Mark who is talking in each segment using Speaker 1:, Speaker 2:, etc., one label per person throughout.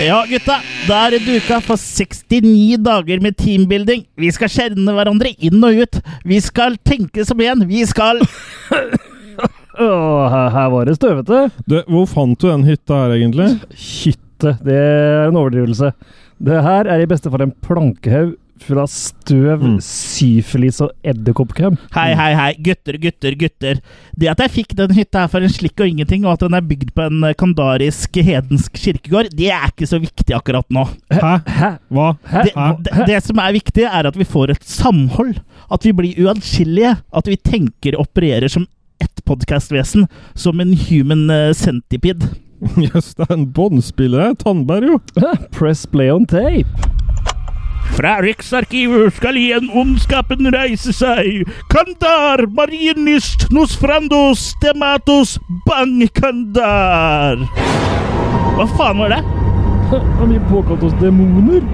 Speaker 1: Ja, gutta. Da er det duka for 69 dager med teambuilding. Vi skal kjenne hverandre inn og ut. Vi skal tenke som én. Vi skal
Speaker 2: Åh, her- her var det støvete.
Speaker 3: Du, hvor fant du den hytta her, egentlig?
Speaker 2: Hytte. Det er en overdrivelse. Det her er i beste fall en plankehaug full av støv,
Speaker 3: Mm.
Speaker 2: syfilis og edderkoppkrem.
Speaker 1: Hei, hei, hei. Gutter, gutter, gutter. Det at jeg fikk den hytta her for en slikk og ingenting, og at den er bygd på en eh, kandarisk hedensk kirkegård, det er ikke så viktig akkurat nå.
Speaker 3: Hæ?
Speaker 2: Hæ?
Speaker 3: Hva?
Speaker 2: Hæ?
Speaker 1: Det, det, det som er viktig, er at vi får et samhold. At vi blir uatskillelige. At vi tenker og opererer som ett podkastvesen. Som en human eh, centipede.
Speaker 3: Jøss, det er en båndspiller. det er Tandberg, jo.
Speaker 2: Press play on tape.
Speaker 1: Fra Riksarkivet skal igjen ondskapen reise seg. Kandar, marinist, nosfrandos, dematos, bang kandar. Hva faen var det?
Speaker 2: Og vi påkalte oss demoner.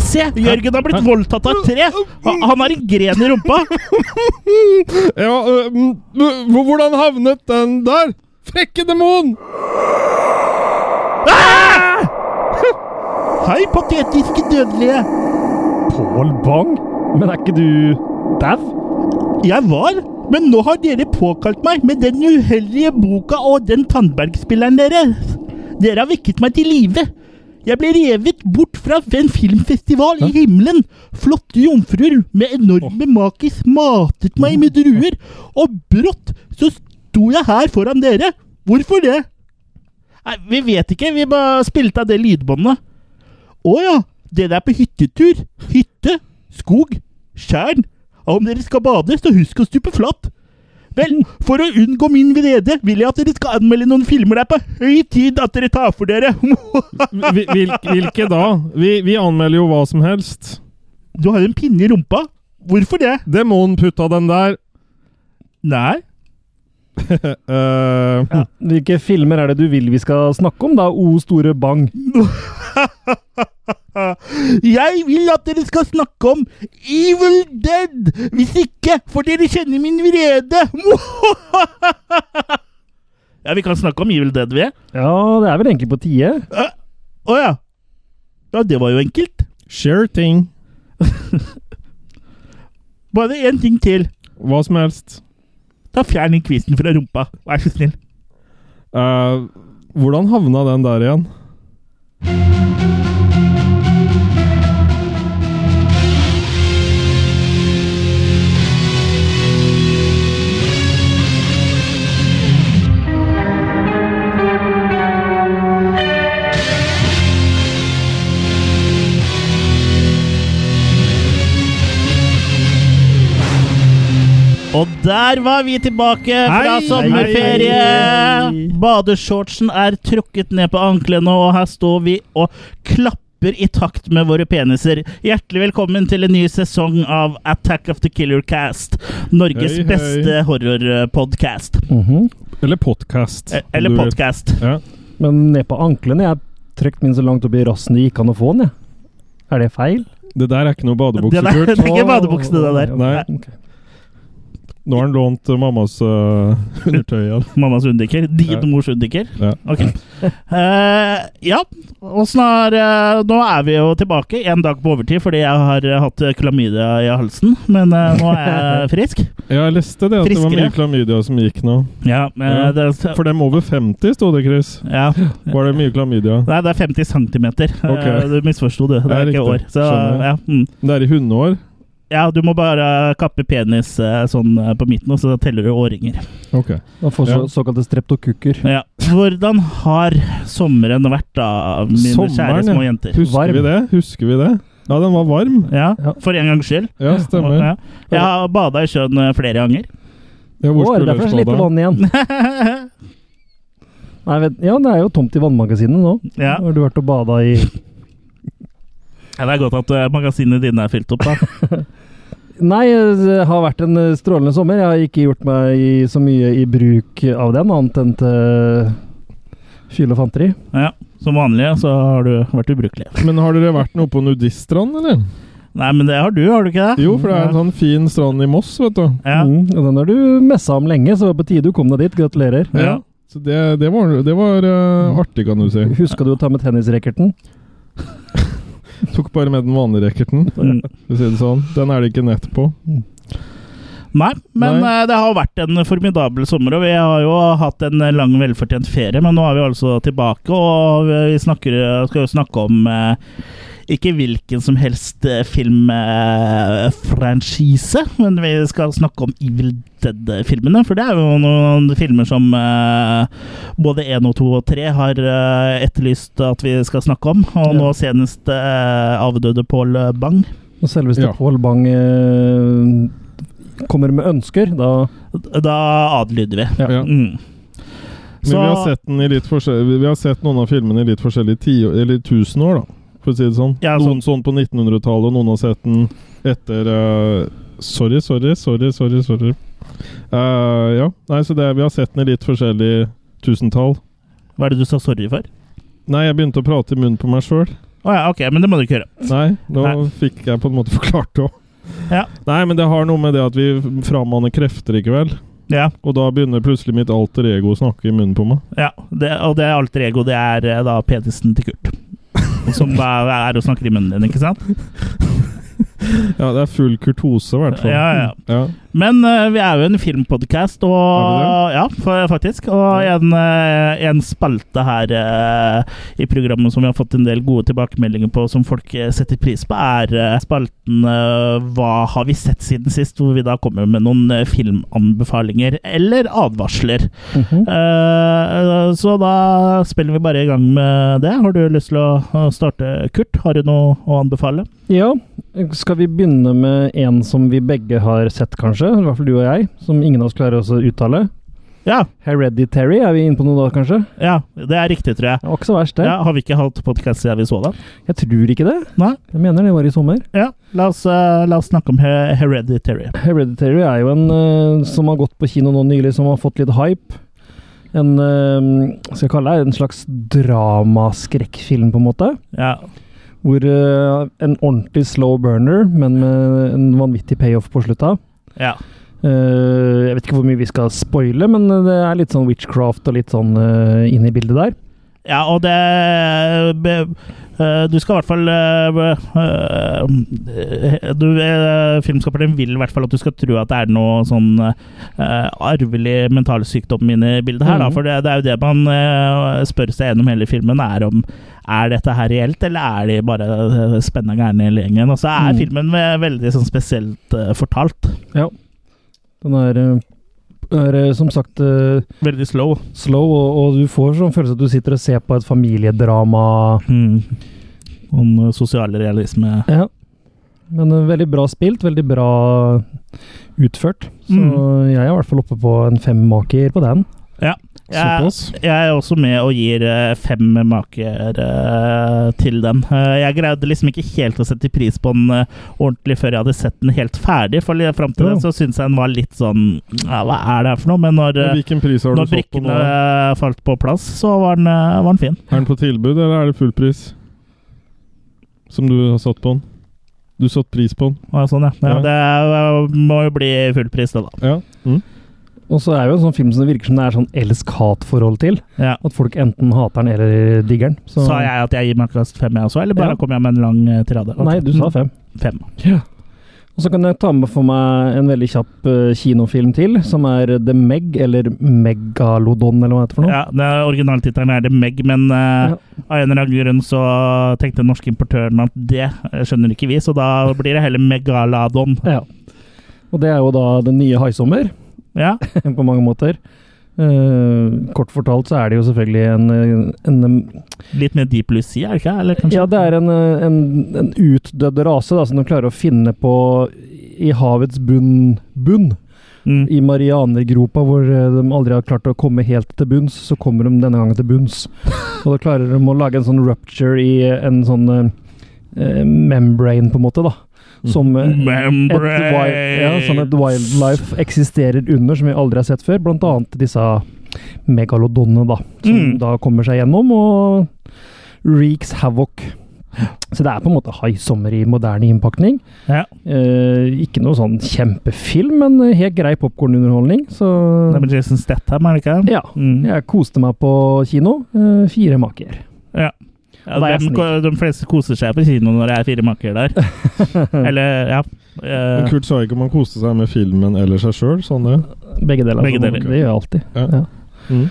Speaker 1: Se, Jørgen har blitt voldtatt av et tre. Ha- Han har en gren i rumpa.
Speaker 3: Ja, øh, mm, øh, hvor- hvordan havnet den der? Frekke demon!
Speaker 1: Ah! Hei, patetiske dødelige.
Speaker 2: Pål Bang? Men er ikke du dau?
Speaker 1: Jeg var, men nå har dere påkalt meg med den uheldige boka og den Tandberg-spilleren deres. Dere har vekket meg til live. Jeg ble revet bort fra en filmfestival i himmelen. Flotte jomfruer med enorme makis matet meg med druer, og brått så sto jeg her foran dere. Hvorfor det? Nei, Vi vet ikke, vi bare spilte av det lydbåndet. Å ja, dere er på hyttetur. Hytte, skog, skjern. Og om dere skal bade, så husk å stupe flatt. Vel, for å unngå min vrede, vil jeg at dere skal anmelde noen filmer der på høy tid at dere tar for dere.
Speaker 3: Hvil, hvil- hvilke da? Vi, vi anmelder jo hva som helst.
Speaker 1: Du har en pinne i rumpa. Hvorfor det?
Speaker 3: Demon putta den der.
Speaker 1: Nei.
Speaker 3: Eh,
Speaker 2: Hvilke filmer er det du vil vi skal snakke om, da, O store Bang?
Speaker 1: Ah. Jeg vil at dere skal snakke om Evil Dead. Hvis ikke får dere kjenne min vrede. ja, vi kan snakke om Evil Dead, vi.
Speaker 2: Ja, det er vel egentlig på tide.
Speaker 1: Å ja. Ja, det var jo enkelt.
Speaker 3: Share ting.
Speaker 1: Bare én ting til.
Speaker 3: Hva som helst.
Speaker 1: Da fjern den kvisten fra rumpa. Vær så snill.
Speaker 3: Eh, hvordan havna den der igjen?
Speaker 1: Og der var vi tilbake fra
Speaker 3: Hei!
Speaker 1: sommerferie!
Speaker 2: Hei!
Speaker 1: Badeshortsen er trukket ned på anklene, og her står vi og klapper i takt med våre peniser. Hjertelig velkommen til en ny sesong av Attack of the Killer Cast. Norges
Speaker 3: Hei, hei.
Speaker 1: beste horrorpodcast.
Speaker 2: Mhm.
Speaker 3: Eller podcast.
Speaker 1: Eh,
Speaker 3: om du
Speaker 1: Eller
Speaker 3: vil.
Speaker 1: podkast.
Speaker 3: Ja.
Speaker 2: Men ned på anklene. Jeg trykte min så langt opp i rassen det gikk an å få den, jeg. Er det feil?
Speaker 3: Det der er ikke noe
Speaker 1: Det der-
Speaker 3: badebuksekult.
Speaker 1: det er ikke badebuksene, det der.
Speaker 3: Nei.
Speaker 2: Ok.
Speaker 3: Nå har han lånt eh, mammas eh, undertøy igjen.
Speaker 1: Mammas hundeker. Din
Speaker 3: Ja.
Speaker 1: mors hundeker.
Speaker 3: Ja.
Speaker 1: Ok. Eh, ja, og snar, eh, nå er vi jo tilbake en dag på overtid fordi jeg har eh, hatt eh, klamydia i halsen, men eh, nå er jeg frisk.
Speaker 3: Ja, jeg leste det at det var
Speaker 1: Friskere.
Speaker 3: mye klamydia som gikk nå.
Speaker 1: Ja, men, eh, det,
Speaker 3: For dem over 50 sto det, Chris.
Speaker 1: ja.
Speaker 3: Var det mye klamydia?
Speaker 1: Nei, det er 50 centimeter. Eh,
Speaker 3: Ok.
Speaker 1: Du misforsto, du. Det
Speaker 3: Ja,
Speaker 1: er ikke
Speaker 3: riktig.
Speaker 1: år. Så,
Speaker 3: Skjønner.
Speaker 1: ja, mm.
Speaker 3: Det er i hundeår.
Speaker 1: ja, du må bare kappe penis eh, sånn eh, på midten, og så teller du årringer.
Speaker 3: Ok.
Speaker 2: Da får så,
Speaker 3: Ja.
Speaker 2: såkalte streptokukker.
Speaker 1: Ja. Hvordan har sommeren vært, da, mine
Speaker 3: Sommeren,
Speaker 1: kjære
Speaker 3: ja.
Speaker 1: små jenter?
Speaker 3: Husker
Speaker 2: Varm.
Speaker 3: vi det? Husker vi det? Ja, den var varm.
Speaker 1: Ja,
Speaker 2: Ja.
Speaker 1: For en gangs skyld.
Speaker 3: Ja, stemmer.
Speaker 1: Ja. Jeg har bada i sjøen eh, flere ganger.
Speaker 3: Ja,
Speaker 2: Å,
Speaker 3: hvor
Speaker 2: er det derfor
Speaker 3: skulle dere
Speaker 2: så lite
Speaker 3: stå da?
Speaker 2: vann igjen? Nei, vet, ja, det er jo tomt i vannmagasinet nå.
Speaker 1: ja.
Speaker 2: Har du vært og bada i
Speaker 1: Ja, Det er godt at eh, magasinene dine er fylt opp. da.
Speaker 2: Nei, det har vært en eh, strålende sommer. Jeg har ikke gjort meg i, så mye i bruk av den, annet enn til fyll og fanteri.
Speaker 1: Ja. Som vanlig så har du vært ubrukelig.
Speaker 3: Men har dere vært noe på nudiststrand, eller?
Speaker 1: Nei, men det har du, har du ikke det?
Speaker 3: Jo, for det er en sånn fin strand i Moss, vet du.
Speaker 1: Ja.
Speaker 2: Mm, og den har du messa om lenge, så det var på tide du kom deg dit. Gratulerer.
Speaker 1: Ja.
Speaker 3: Ja. Så det, det var, det var eh, artig, kan du si.
Speaker 2: Huska du å ta med tennisrackerten?
Speaker 3: Tok bare med den vanlige racketen,
Speaker 1: Mm.
Speaker 3: for å si det sånn. Den er det ikke nett på.
Speaker 1: Nei, men
Speaker 3: Nei.
Speaker 1: eh, det har vært en formidabel sommer, og vi har jo hatt en eh, lang, velfortjent ferie. Men nå er vi altså tilbake, og vi snakker, skal jo snakke om eh, ikke hvilken som helst filmfranchise, men vi skal snakke om Evil Dead-filmene. For det er jo noen filmer som eh, både 1 og 2 og 3 har eh, etterlyst at vi skal snakke om. Og
Speaker 2: Ja.
Speaker 1: nå senest eh, avdøde Paul Bang.
Speaker 2: Og selveste
Speaker 3: Ja.
Speaker 2: Pål Bang eh, kommer med ønsker, da
Speaker 1: Da adlyder vi.
Speaker 2: Ja.
Speaker 3: Ja.
Speaker 1: Mm.
Speaker 3: Men vi har, sett den i litt forskjell- vi har sett noen av filmene i litt forskjellige tiår, eller tusenår, da. For å si det sånn.
Speaker 1: Ja, altså-
Speaker 3: Noen sånn på 1900-tallet, og noen har sett den etter eh, Sorry, sorry, sorry, sorry. sorry. Eh, ja. Nei, så det, vi har sett den i litt forskjellig tusentall.
Speaker 1: Hva er det du sa sorry for?
Speaker 3: Nei, jeg begynte å prate i munnen på meg sjøl.
Speaker 1: Å ja, ok, men det må du ikke gjøre.
Speaker 3: Nei, nå
Speaker 1: Nei.
Speaker 3: fikk jeg på en måte forklart det òg.
Speaker 1: Ja.
Speaker 3: Nei, men det har noe med det at vi frammanner krefter i kveld.
Speaker 1: Ja,
Speaker 3: Og da begynner plutselig mitt alter ego å snakke i munnen på meg.
Speaker 1: ja. Det, og det alter ego, det er eh, da penisen til Kurt. Som da er og snakker i munnen din, ikke sant?
Speaker 3: Ja, det er full kurtose, i hvert fall.
Speaker 1: Ja, ja.
Speaker 3: ja.
Speaker 1: Men eh, vi er jo en filmpodcast, og Ja, fa- faktisk. Og
Speaker 3: Ja.
Speaker 1: en, eh, en spalte her eh, i programmet som vi har fått en del gode tilbakemeldinger på, som folk eh, setter pris på, er eh, spalten eh, Hva har vi sett siden sist? Hvor vi da kommer med noen eh, filmanbefalinger eller advarsler.
Speaker 2: Mhm.
Speaker 1: Eh, så da spiller vi bare i gang med det. Har du lyst til å å starte, Kurt? Har du noe å anbefale?
Speaker 2: Ja. Skal vi begynne med en som vi begge har sett, kanskje? I hvert fall du og jeg, som ingen av oss klarer oss å uttale.
Speaker 1: Ja,
Speaker 2: Hereditary, er vi inne på noe da, kanskje?
Speaker 1: ja det er riktig, tror jeg.
Speaker 2: Det var ikke så verst, det.
Speaker 1: Ja, har vi ikke hatt podkast siden vi så den?
Speaker 2: Jeg tror ikke det.
Speaker 1: Nei.
Speaker 2: Jeg mener det var i sommer.
Speaker 1: Ja, la oss, eh, la oss snakke om Her- Hereditary.
Speaker 2: Hereditary er jo en eh, som har gått på kino nå nylig, som har fått litt hype. En eh, skal jeg kalle det en slags dramaskrekkfilm, på en måte.
Speaker 1: Ja,
Speaker 2: Hvor eh, en ordentlig slow burner, men med en vanvittig payoff på slutta.
Speaker 1: ja.
Speaker 2: Eh, jeg vet ikke hvor mye vi skal spoile, men det er litt sånn witchcraft og litt sånn eh, inn i bildet der.
Speaker 1: ja og det be- eh, Du skal i hvert fall eh, be- eh, du, eh, Filmskaperen vil i hvert fall at du skal tro at det er noe sånn eh, arvelig mentalsykdom inne i bildet her, da.
Speaker 2: Mhm.
Speaker 1: For det, det er jo det man eh, spør seg gjennom hele filmen, er om er dette her reelt, eller er de bare eh, spenna gærne hele gjengen? Og så er
Speaker 2: Mhm.
Speaker 1: filmen ve- veldig sånn spesielt eh, fortalt.
Speaker 2: Den er, eh, er eh, som sagt eh,
Speaker 1: Veldig slow.
Speaker 2: slow, og, og du får sånn følelse at du sitter og ser på et familiedrama.
Speaker 1: Mm. Om eh, sosial realisme.
Speaker 2: Ja. Men eh, veldig bra spilt, veldig bra utført. Så
Speaker 1: Mm.
Speaker 2: jeg er i hvert fall oppe på en femmaker på den.
Speaker 1: Jeg,
Speaker 3: Såpass.
Speaker 1: jeg er også med og gir eh, fem maker eh, til den. Eh, Jeg greide liksom ikke helt å sette pris på den eh, ordentlig før jeg hadde sett den helt ferdig. For li- fram til
Speaker 2: Ja.
Speaker 1: det så syntes jeg den var litt sånn ja, Hva er det her for noe? Men når,
Speaker 3: Men
Speaker 1: eh,
Speaker 3: Hvilken pris har du
Speaker 1: når
Speaker 3: fått på nå?
Speaker 1: brikkene eh, falt på plass, så var den, eh, var den fin.
Speaker 3: Er den på tilbud, eller er det full pris? Som du har satt på den? Du satt pris på den?
Speaker 1: Og sånn, ja. Ja,
Speaker 3: Ja.
Speaker 1: det eh, må jo bli full pris, det, da.
Speaker 3: Ja. Mm.
Speaker 2: Og så er det jo en sånn film som det virker som det er sånn elsk-hat-forhold til.
Speaker 1: Ja.
Speaker 2: At folk enten hater den eller digger den. Så-
Speaker 1: Sa jeg at jeg gir makekast fem, jeg også, eller bare
Speaker 2: Ja.
Speaker 1: kom jeg med en lang eh, tirade? Ok.
Speaker 2: Nei, du sa
Speaker 1: Mm.
Speaker 2: fem.
Speaker 1: fem.
Speaker 2: Og så kan jeg ta med for meg en veldig kjapp eh, kinofilm til, som er The Meg, eller Megalodon, eller hva det heter for noe.
Speaker 1: Ja, det er- Originaltittelen er det Meg, men eh,
Speaker 2: Ja.
Speaker 1: av en eller annen grunn så tenkte den norske importøren at det eh, skjønner ikke vi, så da blir det heller Megaladon.
Speaker 2: Ja. Og det er jo da den nye Haisommer,
Speaker 1: Ja,
Speaker 2: på mange måter. Eh, kort fortalt så er det jo selvfølgelig en, eh, en
Speaker 1: Litt mer Deep Lucy, er det ikke? Eller kanskje?
Speaker 2: Ja, det er en, eh, en, en utdødd rase da, som de klarer å finne på i havets bunn, bunn
Speaker 1: Mm.
Speaker 2: i Marianergropa, hvor eh, de aldri har klart å komme helt til bunns, så kommer de denne gangen til bunns. Og da klarer de å lage en sånn rupture i eh, en sånn eh, eh, membrane, på en måte, da.
Speaker 3: Mm.
Speaker 2: Som eh, et,
Speaker 1: Membrane.
Speaker 2: wi- ja, som et wildlife eksisterer under, som vi aldri har sett før. Blant annet disse megalodonene, da. Som
Speaker 1: Mm.
Speaker 2: da kommer seg gjennom og reaks havoc. Så det er på en måte High Sommer i moderne innpakning.
Speaker 1: Ja.
Speaker 2: Eh, ikke noe sånn kjempefilm, men helt grei popkornunderholdning. Så
Speaker 1: Det er med Jason Statham, er det ikke?
Speaker 2: ja.
Speaker 1: Mm.
Speaker 2: Jeg koste meg på kino. Eh, fire maker.
Speaker 1: Ja,
Speaker 2: Da er
Speaker 1: de,
Speaker 2: jeg snill.
Speaker 1: de fleste koser seg på kino når det er fire makker der. Eller, ja.
Speaker 3: Men
Speaker 1: eh,
Speaker 3: Kurt sa ikke om han koste seg med filmen eller seg sjøl. Sånn det.
Speaker 2: Begge deler.
Speaker 1: Begge
Speaker 2: så
Speaker 1: deler.
Speaker 2: Det gjør jeg alltid.
Speaker 3: Ja.
Speaker 2: Ja.
Speaker 1: Mm.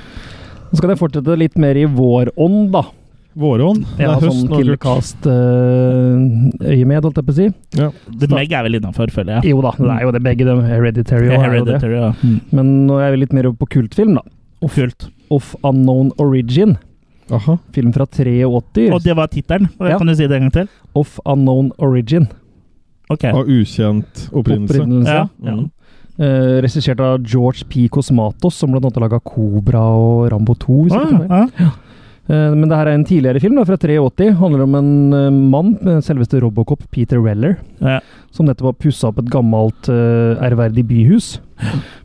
Speaker 2: Så skal jeg fortsette litt mer i vårånd, da.
Speaker 3: Vårånd. Det
Speaker 2: Ja,
Speaker 3: er høst
Speaker 2: sånn
Speaker 3: nå, Kurt.
Speaker 2: Killercast-øyemed, eh, holdt jeg på å si.
Speaker 1: The Meg er vel innafor, føler jeg.
Speaker 2: Jo da, det er jo det begge dem. Hereditary og er jo det.
Speaker 1: Hereditary, ja. Mm.
Speaker 2: Men nå er vi litt mer over på kultfilm, da.
Speaker 1: Kult.
Speaker 2: Of Unknown Origin.
Speaker 3: Aha.
Speaker 2: Film fra 83.
Speaker 1: Og det var tittelen.
Speaker 2: Ja.
Speaker 1: Kan du si det en gang til?
Speaker 2: Of Unknown Origin.
Speaker 1: Ok.
Speaker 3: Av ukjent opprinnelse.
Speaker 2: Opprinnelse.
Speaker 1: Ja.
Speaker 3: Ja.
Speaker 1: Mm.
Speaker 2: Eh, Regissert av George P. Cosmatos, som blant annet laga Cobra og Rambo 2. hvis jeg ikke tar feil.
Speaker 1: Ah, ah.
Speaker 2: Eh, Men det her er en tidligere film da, fra 83. Handler om en eh, mann, eh, selveste Robocop Peter Weller,
Speaker 1: Ja.
Speaker 2: som nettopp har pussa opp et gammelt, eh, ærverdig byhus.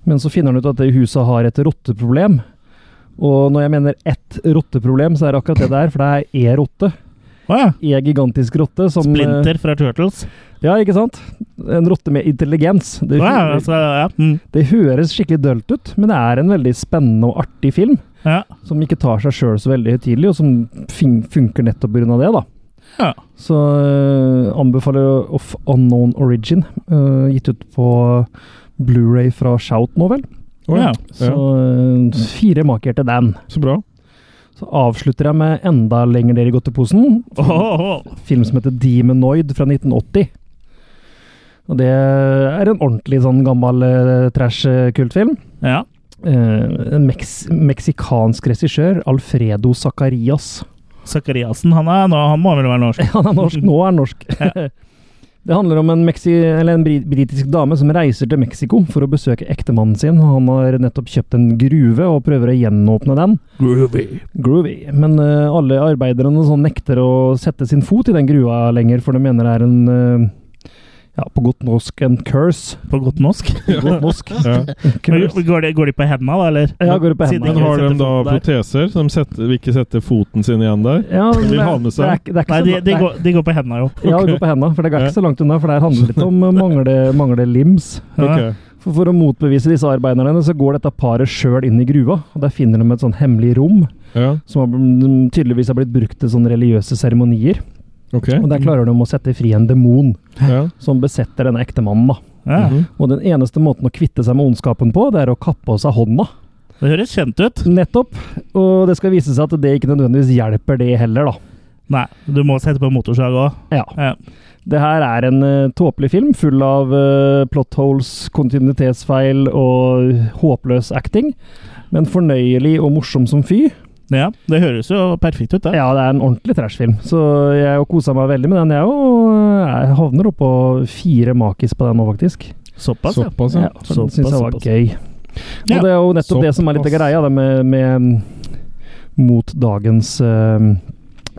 Speaker 2: Men så finner han ut at det huset har et rotteproblem. Og når jeg mener ett rotteproblem, så er det akkurat det det er, for det er E-rotte.
Speaker 1: Å ja.
Speaker 2: E-gigantisk rotte som eh,
Speaker 1: Splinter fra Turtles.
Speaker 2: Ja, ikke sant? En rotte med intelligens. Det,
Speaker 1: Å ja, altså, ja. Mm.
Speaker 2: det høres skikkelig dølt ut, men det er en veldig spennende og artig film
Speaker 1: ja.
Speaker 2: som ikke tar seg sjøl så veldig høytidelig, og som fin- funker nettopp pga. det. da.
Speaker 1: Ja.
Speaker 2: Så øh, anbefaler jeg Of Unknown Origin, øh, gitt ut på Blu-ray fra Shout nå, vel.
Speaker 3: Å ja.
Speaker 2: Så
Speaker 3: ja.
Speaker 2: øh, fire maker til den.
Speaker 3: Så bra.
Speaker 2: Så avslutter jeg med enda lenger ned i godteposen.
Speaker 1: Åh, åh, åh.
Speaker 2: Film som heter Demonoid fra 1980. Og det er en ordentlig sånn gammel øh, trash-kultfilm.
Speaker 1: Ja.
Speaker 2: Eh, en meks meksikansk regissør, Alfredo Zacarias.
Speaker 1: Sakariassen, han, er nå- han må vel være norsk?
Speaker 2: Han er norsk, nå er han norsk. Det handler om en, meksi, eller en bri- britisk dame som reiser til Mexico for å besøke ektemannen sin. Han har nettopp kjøpt en gruve og prøver å gjenåpne den.
Speaker 1: Groovy.
Speaker 2: Groovy. Men eh, alle arbeiderne som nekter å sette sin fot i den gruva lenger, for de mener det er en eh, ja, på godt norsk en curse.
Speaker 1: På godt norsk.
Speaker 2: På godt norsk.
Speaker 3: Ja.
Speaker 2: curse.
Speaker 1: Går de, går de på hendene, da, eller?
Speaker 2: Ja, går det på
Speaker 1: Sitter
Speaker 2: hendene.
Speaker 3: Men har de
Speaker 1: setter
Speaker 3: da
Speaker 1: foten der.
Speaker 3: proteser, så de setter, vil ikke sette foten sin igjen der?
Speaker 2: Ja,
Speaker 3: De vil
Speaker 2: det er-
Speaker 3: ha med seg.
Speaker 2: Det er, ikke- det er ikke
Speaker 1: Nei,
Speaker 2: så-
Speaker 1: de,
Speaker 2: det
Speaker 1: de,
Speaker 2: er-
Speaker 1: går, de går på hendene, jo.
Speaker 2: Ja, det går på hendene, for det er ikke så langt unna. For det her handler litt om eh, mangle, mangle lims.
Speaker 1: Ja.
Speaker 3: Ok.
Speaker 2: For, for å motbevise disse arbeiderne, så går dette paret sjøl inn i gruva. og Der finner de et sånn hemmelig rom,
Speaker 3: Ja,
Speaker 2: som har, mm, tydeligvis har blitt brukt til sånne religiøse seremonier.
Speaker 3: ok.
Speaker 2: Og Der klarer de å sette fri en demon
Speaker 3: Ja.
Speaker 2: som besetter denne ektemannen. da.
Speaker 1: Ja.
Speaker 3: Mhm.
Speaker 2: Og Den eneste måten å kvitte seg med ondskapen på, det er å kappe av seg hånda.
Speaker 1: Det høres kjent ut.
Speaker 2: Nettopp. Og det skal vise seg at det ikke nødvendigvis hjelper, det heller, da.
Speaker 1: Nei, du må sette på motorsag òg.
Speaker 2: Ja.
Speaker 1: Ja.
Speaker 2: Det her er en uh, tåpelig film full av uh, plot holes, kontinuitetsfeil og håpløs acting. Men fornøyelig og morsom som fy.
Speaker 1: ja. Det høres jo perfekt ut, det.
Speaker 2: Ja, det er en ordentlig trashfilm. Så jeg kosa meg veldig med den, jeg òg. Og jeg havner oppå fire makis på den nå, faktisk.
Speaker 1: Såpass, ja.
Speaker 3: Såpass,
Speaker 2: Ja,
Speaker 3: ja.
Speaker 2: for den
Speaker 1: Såpass,
Speaker 2: syns jeg var
Speaker 1: såpass.
Speaker 2: gøy.
Speaker 1: Ja.
Speaker 2: Og det er jo nettopp det som er litt av
Speaker 3: Såpass.
Speaker 2: greia det med, med mm, mot dagens eh,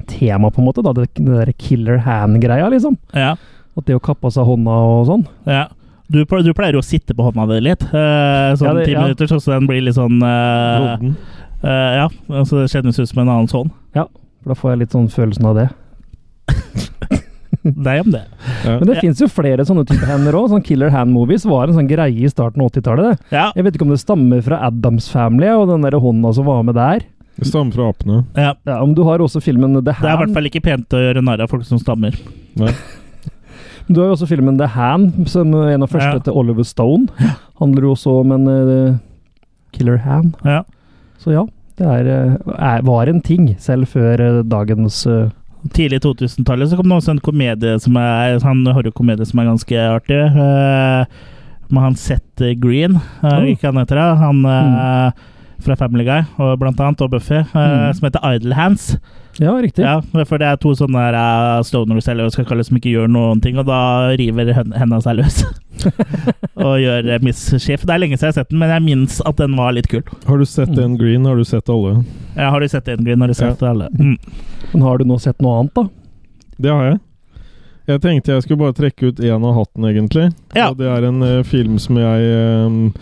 Speaker 2: tema, på en måte. Da. Det, det derre killer hand-greia, liksom.
Speaker 1: Ja.
Speaker 2: At det å kappe av seg hånda og sånn.
Speaker 1: ja. Du, ple- du pleier jo å sitte på hånda di litt, eh,
Speaker 2: Ja,
Speaker 1: sånn
Speaker 2: det-
Speaker 1: ti
Speaker 2: ja.
Speaker 1: minutter, så den blir litt sånn eh,
Speaker 3: Rodden.
Speaker 1: eh, Ja, altså det kjennes ut som en annen sånn.
Speaker 2: For da får jeg litt sånn følelsen av det.
Speaker 1: Det er om det.
Speaker 3: Ja.
Speaker 2: Men det
Speaker 1: Ja.
Speaker 2: finnes jo flere sånne type hender òg. Sånn Killer Hand Movies var en sånn greie i starten av 80-tallet. det.
Speaker 1: Ja,
Speaker 2: Jeg vet ikke om det stammer fra Addams Family og den der hånda som var med der.
Speaker 3: Det stammer fra apene.
Speaker 1: ja.
Speaker 2: Ja, om du har også filmen The
Speaker 1: Det er i hvert
Speaker 2: Hand.
Speaker 1: fall ikke pent å gjøre narr av folk som stammer.
Speaker 3: Nei.
Speaker 2: Du har jo også filmen The Hand, som er en av første
Speaker 1: Ja.
Speaker 2: til Oliver Stone. Handler jo også om en eh, Killer Hand.
Speaker 1: Ja.
Speaker 2: Så ja, det er, eh, er, var en ting, selv før eh, dagens eh,
Speaker 1: Tidlig 2000-tallet så kom det også en komedie som er Han horrorkomedie som er ganske artig. eh, med han Seth Green, uh,
Speaker 2: Oh.
Speaker 1: ikke han heter det. Han eh, fra Family Guy og blant annet, og Buffy, eh,
Speaker 2: Mm.
Speaker 1: som heter Idle Hands.
Speaker 2: Ja, riktig.
Speaker 1: Ja, for det er to sånne her, eh, stoners eller hva skal jeg kalle det, som ikke gjør noen ting, og da river hen- henda seg løs. og gjør eh, mischief. Det er lenge siden jeg har sett den, men jeg minnes at den var litt kul.
Speaker 3: Har du sett den green, har du sett alle.
Speaker 1: Ja, har du sett den, Green? Har du sett alle? Mm.
Speaker 2: Men har du nå sett noe annet, da?
Speaker 3: Det har jeg. Jeg tenkte jeg skulle bare trekke ut én av hatten, egentlig.
Speaker 1: Ja.
Speaker 3: Og det er en eh, film som jeg eh,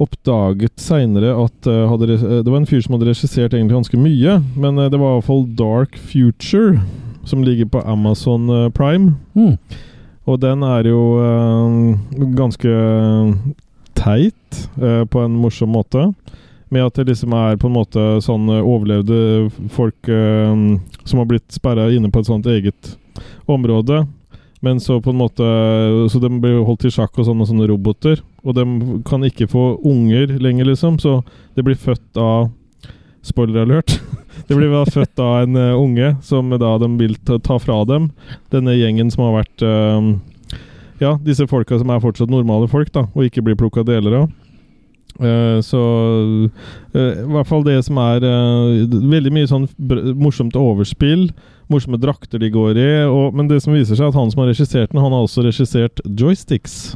Speaker 3: oppdaget seinere at eh, hadde, re- eh, Det var en fyr som hadde regissert egentlig ganske mye, men eh, det var i hvert fall Dark Future. som ligger på Amazon eh, Prime.
Speaker 2: Mm.
Speaker 3: Og den er jo eh, ganske teit eh, på en morsom måte. Med at det liksom er på en måte sånn eh, overlevde folk eh, som har blitt sperra inne på et sånt eget område. Men så på en måte eh, Så de blir holdt i sjakk og sånne, sånne roboter. Og de kan ikke få unger lenger, liksom. Så det blir født av Spoiler alert. Det blir da født av en eh, unge som da de vil ta, ta fra dem. Denne gjengen som har vært eh, Ja, disse folka som er fortsatt normale folk, da, og ikke blir plukka deler av. Eh, så eh, I hvert fall det som er eh, veldig mye sånn br morsomt overspill. Morsomme drakter de går i. Og, men det som viser seg, at han som har regissert den, han har også regissert joysticks.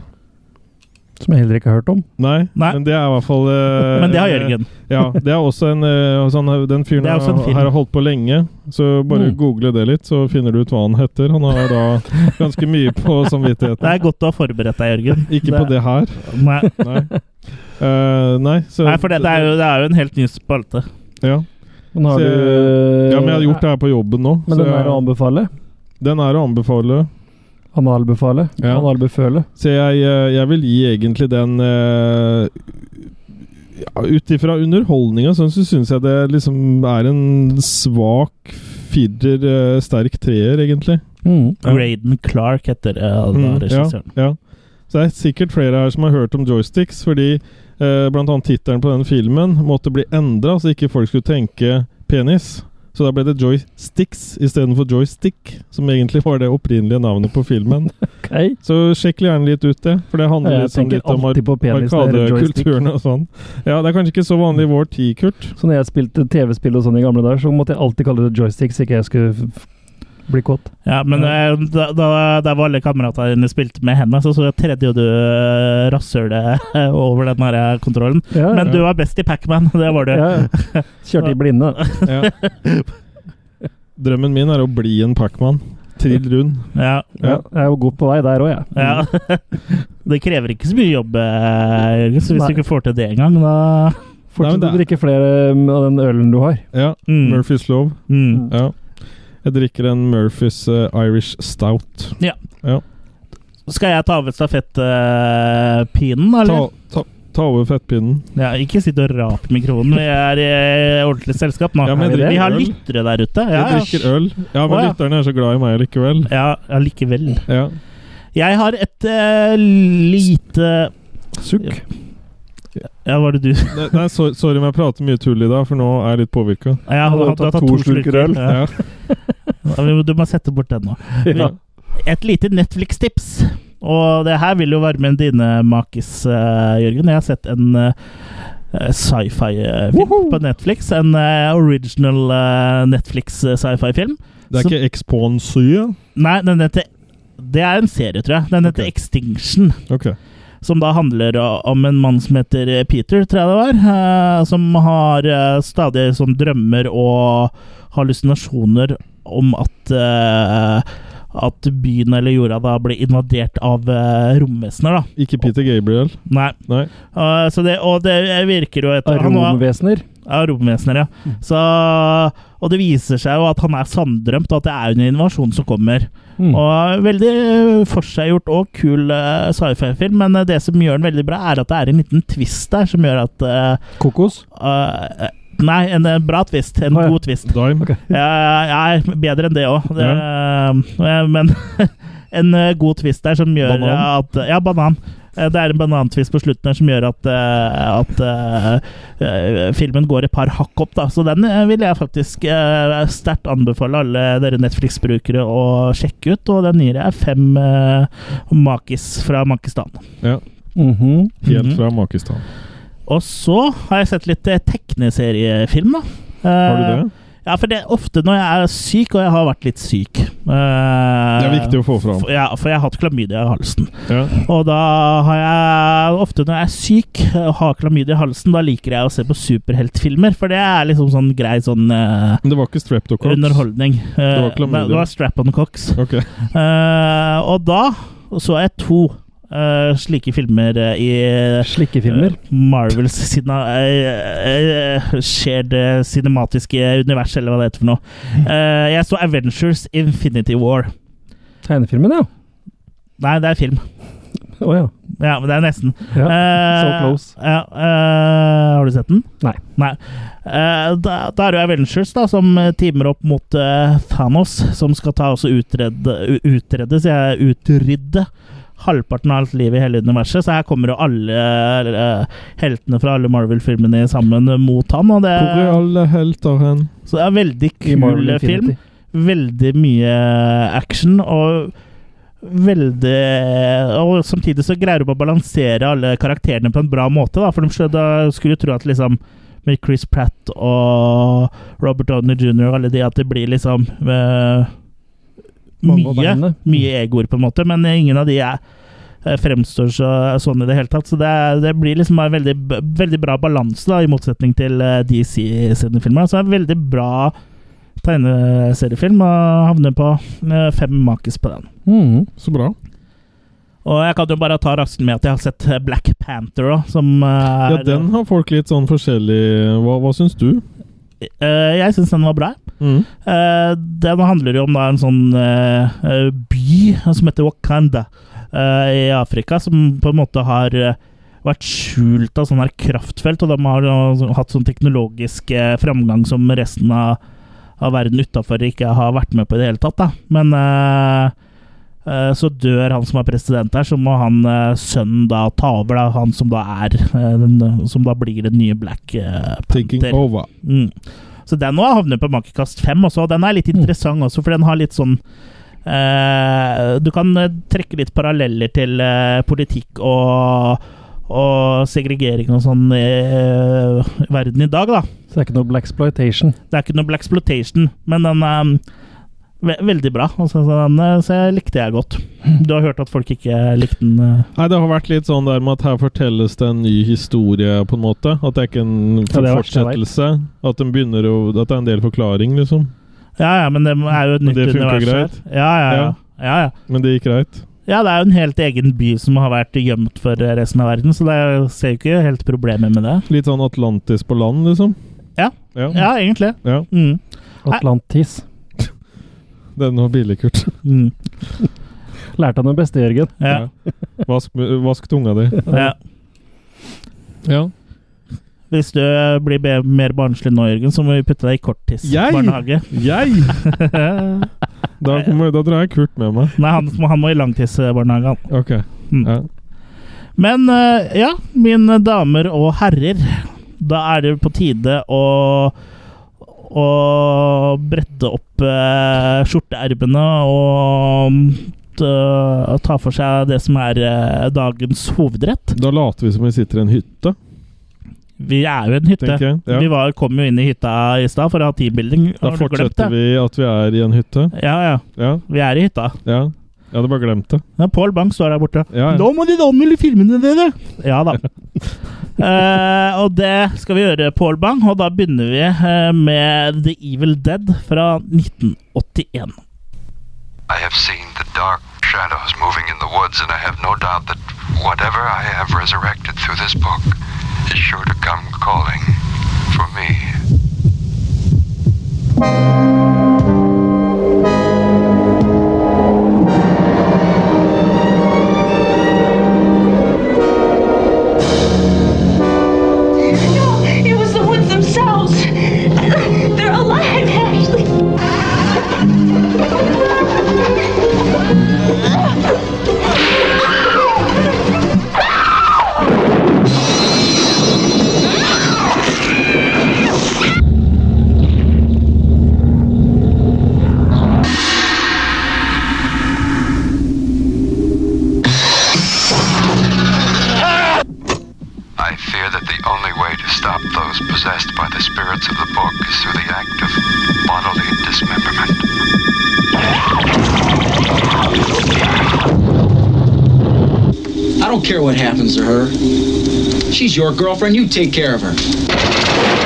Speaker 2: Som jeg heller ikke har hørt om.
Speaker 3: Nei,
Speaker 1: Nei.
Speaker 3: men det er i hvert fall eh,
Speaker 1: Men det har Jørgen.
Speaker 3: ja, det er også en eh, sånn, Den fyren
Speaker 1: Det er
Speaker 3: her
Speaker 1: også en film.
Speaker 3: har holdt på lenge, så bare
Speaker 2: Mm.
Speaker 3: google det litt, så finner du ut hva han heter. Han har da ganske mye på
Speaker 1: Det
Speaker 3: samvittigheten.
Speaker 1: er godt du har forberedt deg, Jørgen.
Speaker 3: Ikke på det her.
Speaker 1: Nei,
Speaker 3: Nei. Eh, nei, så
Speaker 1: Nei for dette er jo, det er jo en helt ny spalte.
Speaker 3: ja.
Speaker 2: Men har
Speaker 3: Så- eh,
Speaker 2: du eh,
Speaker 3: ja, men jeg har gjort det her på jobben nå.
Speaker 2: Men
Speaker 3: så
Speaker 2: den er å
Speaker 3: jeg,
Speaker 2: anbefale?
Speaker 3: den er å anbefale.
Speaker 2: Analbefale?
Speaker 3: Ja.
Speaker 2: Analbeføle?
Speaker 3: Så jeg, eh, jeg vil gi egentlig den uh, Ut ifra underholdninga sånn, så syns jeg det liksom er en svak firer, eh, sterk treer, egentlig.
Speaker 2: Mm.
Speaker 3: Ja.
Speaker 1: Graydon Clark heter eh, da
Speaker 3: Mm,
Speaker 1: regissøren.
Speaker 3: Ja, ja. Så det er sikkert flere her som har hørt om joysticks, fordi eh, bl.a. tittelen på den filmen måtte bli endra, så ikke folk skulle tenke penis. Så da ble det joysticks istedenfor joystick, som egentlig var det opprinnelige navnet på filmen.
Speaker 2: Ok.
Speaker 3: Så sjekk gjerne litt ut det, for det handler
Speaker 2: Jeg
Speaker 3: litt, sånn
Speaker 2: tenker
Speaker 3: litt om
Speaker 2: alltid på penis når det er joystick.
Speaker 3: arkadekulturen og sånn. Ja, det er kanskje ikke så vanlig i vår tid, Kurt.
Speaker 2: Så når jeg spilte TV-spill og sånn i gamle dager, så måtte jeg alltid kalle det joystick, så ikke jeg skulle f- f- bli kåt.
Speaker 1: Ja, men eh, da, da, der var alle kameratene dine spilte med hendene, så, så tredde jo du eh, rasshølet over den her eh, kontrollen.
Speaker 2: Ja,
Speaker 1: Men du var best i Pacman, det var du.
Speaker 2: ja. ja. Kjørte i blinde.
Speaker 3: Ja. Drømmen min er å bli en Pacman. Trill rund.
Speaker 1: Ja.
Speaker 2: Ja. Jeg er jo god på vei der òg, jeg.
Speaker 1: ja. Det krever ikke så mye jobb, eh, Jørgen, så hvis
Speaker 2: Nei.
Speaker 1: du ikke får til det engang, da
Speaker 3: Nei, men
Speaker 2: Fortsett
Speaker 3: det
Speaker 2: å
Speaker 3: er-
Speaker 2: drikke flere mm, av den ølen du har.
Speaker 3: Ja.
Speaker 1: Mm.
Speaker 3: Murphys lov.
Speaker 1: mm.
Speaker 3: Ja. Jeg drikker en Murphys eh, Irish Stout.
Speaker 1: Skal jeg ta over stafettpinnen,
Speaker 3: Ta,
Speaker 1: eh, eller?
Speaker 3: ta, ta over fettpinnen.
Speaker 1: Ja, ikke sitt og rap mikrofonen. Vi er i ordentlig selskap nå.
Speaker 3: Ja, men
Speaker 2: jeg drikker
Speaker 1: vi har
Speaker 3: øl.
Speaker 1: lyttere der ute. Ja,
Speaker 3: Jeg drikker øl. Ja, men
Speaker 1: Å, ja.
Speaker 3: lytterne er så glad i meg likevel.
Speaker 1: ja. ja, likevel.
Speaker 3: Ja.
Speaker 1: Jeg har et eh, lite
Speaker 2: Sukk.
Speaker 1: Ja, var det du
Speaker 3: Nei, Nei, sorry, sorry om jeg prater mye tull i dag, for nå er jeg litt påvirka.
Speaker 1: Ja,
Speaker 2: du har tatt to slurker øl.
Speaker 1: Ja. Ja, vi- Du må sette bort den nå.
Speaker 3: Ja.
Speaker 1: Et lite Netflix-tips. Og det her vil jo varme en dine makis, eh, Jørgen. Jeg har sett en eh, sci-fi-film
Speaker 2: Woho!
Speaker 1: på Netflix. En eh, original eh, Netflix eh, sci-fi-film.
Speaker 3: Det er
Speaker 1: Så-
Speaker 3: ikke Expon 7?
Speaker 1: Nei, den heter Det er en serie, tror jeg. Den heter
Speaker 3: Ok.
Speaker 1: Extinction.
Speaker 3: Ok.
Speaker 1: Som da handler om en mann som heter eh, Peter, tror jeg det var. eh, Som har eh, stadig sånn drømmer og hallusinasjoner om at eh, At byen eller jorda da ble invadert av eh, romvesener, da.
Speaker 3: Ikke Peter Gabriel.
Speaker 1: Nei.
Speaker 3: Nei.
Speaker 1: Eh, så det, og det virker jo etter han var-
Speaker 2: Aromvesener.
Speaker 1: ja, romvesener, ja. Så, og det viser seg jo at han er sanndrømt, og at det er en invasjon som kommer.
Speaker 2: Mm.
Speaker 1: Og Veldig eh, forseggjort og kul eh, sci-fi-film, men eh, det som gjør den veldig bra, er at det er en liten twist der som gjør at eh,
Speaker 2: Kokos.
Speaker 1: eh, Nei, en eh, bra twist. En
Speaker 2: Å, ja.
Speaker 1: god twist.
Speaker 3: Dime.
Speaker 2: Ok.
Speaker 1: Ja, ja, bedre enn det òg, men en eh, god twist der som gjør
Speaker 3: Banan?
Speaker 1: at Ja, banan. Eh, Det er en banantvist på slutten her som gjør at, eh, at eh, eh, filmen går et par hakk opp. da Så den eh, vil jeg faktisk eh, sterkt anbefale alle dere Netflix-brukere å sjekke ut. Og den gir jeg fem eh, makis fra Makistan.
Speaker 2: Mhm.
Speaker 3: Helt
Speaker 1: Mhm.
Speaker 3: fra Makistan.
Speaker 1: Og så har jeg sett litt eh, tekneseriefilm, da. Eh,
Speaker 3: Har du det?
Speaker 1: Ja, for det er ofte når jeg er syk, og jeg har vært litt syk eh,
Speaker 3: Det er viktig å få fram.
Speaker 1: for, ja, for jeg har hatt klamydia i halsen.
Speaker 3: Ja.
Speaker 1: Og da har jeg ofte når jeg er syk og har klamydia i halsen, da liker jeg å se på superheltfilmer, for det er liksom sånn grei sånn eh,
Speaker 3: Men det var ikke Streptocox?
Speaker 1: underholdning. Eh,
Speaker 3: var klamydia.
Speaker 1: det var strap on cocks.
Speaker 3: Ok.
Speaker 1: Eh, og da så jeg to. eh, slike filmer eh, i
Speaker 2: Slikkefilmer.
Speaker 1: eh, Marvels sina, eh, eh, shared eh, cinematiske univers, eller hva det heter for noe. Eh, jeg så Avengers Infinity War.
Speaker 2: Tegnefilmen, ja.
Speaker 1: Nei, det er film.
Speaker 2: Å ja.
Speaker 1: Ja, men det er nesten.
Speaker 2: ja.
Speaker 1: Eh,
Speaker 2: so close.
Speaker 1: Ja, eh, har du sett den?
Speaker 2: Nei.
Speaker 1: Eh, da, da er det jo Avengers da, som eh, timer opp mot eh, Thanos, som skal ta også utrede, u- utrede, så jeg utrydde halvparten av alt livet i hele universet. Så her kommer jo alle eh, heltene fra alle Marvel-filmene sammen mot han. Og det,
Speaker 3: Hvor er alle helter hen?
Speaker 1: så det er en veldig
Speaker 2: I Marvel
Speaker 1: kul film
Speaker 2: Infinity.
Speaker 1: veldig mye action og veldig Og samtidig så greier de å balansere alle karakterene på en bra måte, da, for de skulle, da skulle jo tro at liksom med Chris Pratt og Robert Downey jr. og alle de at det blir liksom eh,
Speaker 2: Mange og
Speaker 1: mye,
Speaker 2: beinene.
Speaker 1: mye egoer, på en måte, men ingen av de er eh, fremstår så, sånn i det hele tatt. Så det, er- det blir liksom en veldig, b- veldig bra balanse, da, i motsetning til eh, DC sine filmer. Så det er en veldig bra tegneseriefilm, og havner på eh, fem makis på den.
Speaker 2: Mm.
Speaker 3: Så bra.
Speaker 1: Og jeg kan jo bare ta raskt med at jeg har sett eh, Black Panther òg, som eh,
Speaker 3: Ja,
Speaker 1: er-
Speaker 3: den har folk litt sånn forskjellig Hva, hva syns du?
Speaker 1: Eh, Jeg syns den var bra.
Speaker 3: Mm.
Speaker 1: Eh, den handler jo om da, en sånn eh, eh, by som heter Wakanda eh, i Afrika, som på en måte har eh, vært skjult av sånne her kraftfelt, og de har eh, så- hatt sånn teknologisk eh, framgang som resten av, av verden utafor ikke har vært med på i det hele tatt. Da. Men eh, eh, så dør han som er president der, så må han eh, sønnen da ta over, da, han som da er eh, den, Som da blir den nye Black eh,
Speaker 3: Taking
Speaker 1: Panther.
Speaker 3: over.
Speaker 1: Mm. Så den òg havner på makekast fem også. og Den er litt
Speaker 3: Mm.
Speaker 1: interessant også, for den har litt sånn eh, Du kan eh, trekke litt paralleller til eh, politikk og, og segregering og sånn i eh, verden i dag, da.
Speaker 2: Så det er ikke noe Blaxploitation.
Speaker 1: Det er ikke noe Black Exploitation, men den er mm, ve veldig bra. Altså, så den eh, så jeg likte jeg godt.
Speaker 3: Mm.
Speaker 1: Du har hørt at folk ikke likte den? eh.
Speaker 3: Nei, det har vært litt sånn der med at her fortelles det en ny historie, på en måte. At det er ikke en
Speaker 2: det er verste jeg vet.
Speaker 3: fortsettelse. At, den begynner å, at det er en del forklaring, liksom.
Speaker 1: Ja ja, men det er jo et
Speaker 3: Men
Speaker 1: nytt
Speaker 3: det funker
Speaker 1: univers. her.
Speaker 3: greit.
Speaker 1: Ja ja ja.
Speaker 3: Ja.
Speaker 1: ja, ja.
Speaker 3: Men det gikk greit.
Speaker 1: Ja, det er jo en helt egen by som har vært gjemt for resten av verden, så det er- ser jo ikke helt problemer med det.
Speaker 3: Litt sånn Atlantis på land, liksom.
Speaker 1: Ja.
Speaker 3: Ja,
Speaker 1: Ja, egentlig.
Speaker 3: Ja.
Speaker 1: Mm.
Speaker 2: Atlantis.
Speaker 3: Den var billig, Kurt.
Speaker 1: Mm.
Speaker 2: Lærte han den beste, Jørgen.
Speaker 1: Ja.
Speaker 3: Vask, vask tunga di.
Speaker 1: Ja.
Speaker 3: Ja.
Speaker 1: Hvis du eh, blir be- mer barnslig nå, Jørgen, så må vi putte deg i korttidsbarnehage.
Speaker 3: Jeg! Da, kommer, da drar jeg Kurt med meg.
Speaker 1: Nei, han, må- han må i langtidsbarnehage, han.
Speaker 3: Ok.
Speaker 1: Mm.
Speaker 3: Ja.
Speaker 1: Men eh, ja, mine damer og herrer. Da er det på tide å å brette opp eh, skjorteermene og eh, ta for seg det som er eh, dagens hovedrett.
Speaker 3: Da later vi som vi sitter i en hytte,
Speaker 1: Vi er jo i en hytte.
Speaker 3: tenker jeg.
Speaker 1: Vi
Speaker 3: Ja.
Speaker 1: var, kom jo inn i hytta i stad for å ha teambuilding.
Speaker 3: Da
Speaker 1: Har du glemt
Speaker 3: fortsetter
Speaker 1: det?
Speaker 3: vi at vi er i en hytte.
Speaker 1: Ja, ja.
Speaker 3: Ja,
Speaker 1: Vi er i hytta.
Speaker 3: ja. Jeg hadde bare glemt det.
Speaker 1: Ja, Pål Bang står der borte.
Speaker 3: Ja, ja.
Speaker 1: Nå må de anmelde filmene dere! Ja da. Eh, og det skal vi gjøre, Pål Bang, og da begynner vi eh, med The Evil Dead fra 1981.
Speaker 4: I have seen the dark shadows moving in the woods, and I have no doubt that whatever I have resurrected through this book is sure to come calling for me.
Speaker 5: No, it was the woods themselves. They're alive, Ashley.
Speaker 4: I fear that the only way to stop those possessed by the spirits of the book is through the act of bodily dismemberment.
Speaker 6: I don't care what happens to her. She's your girlfriend. You take care of her.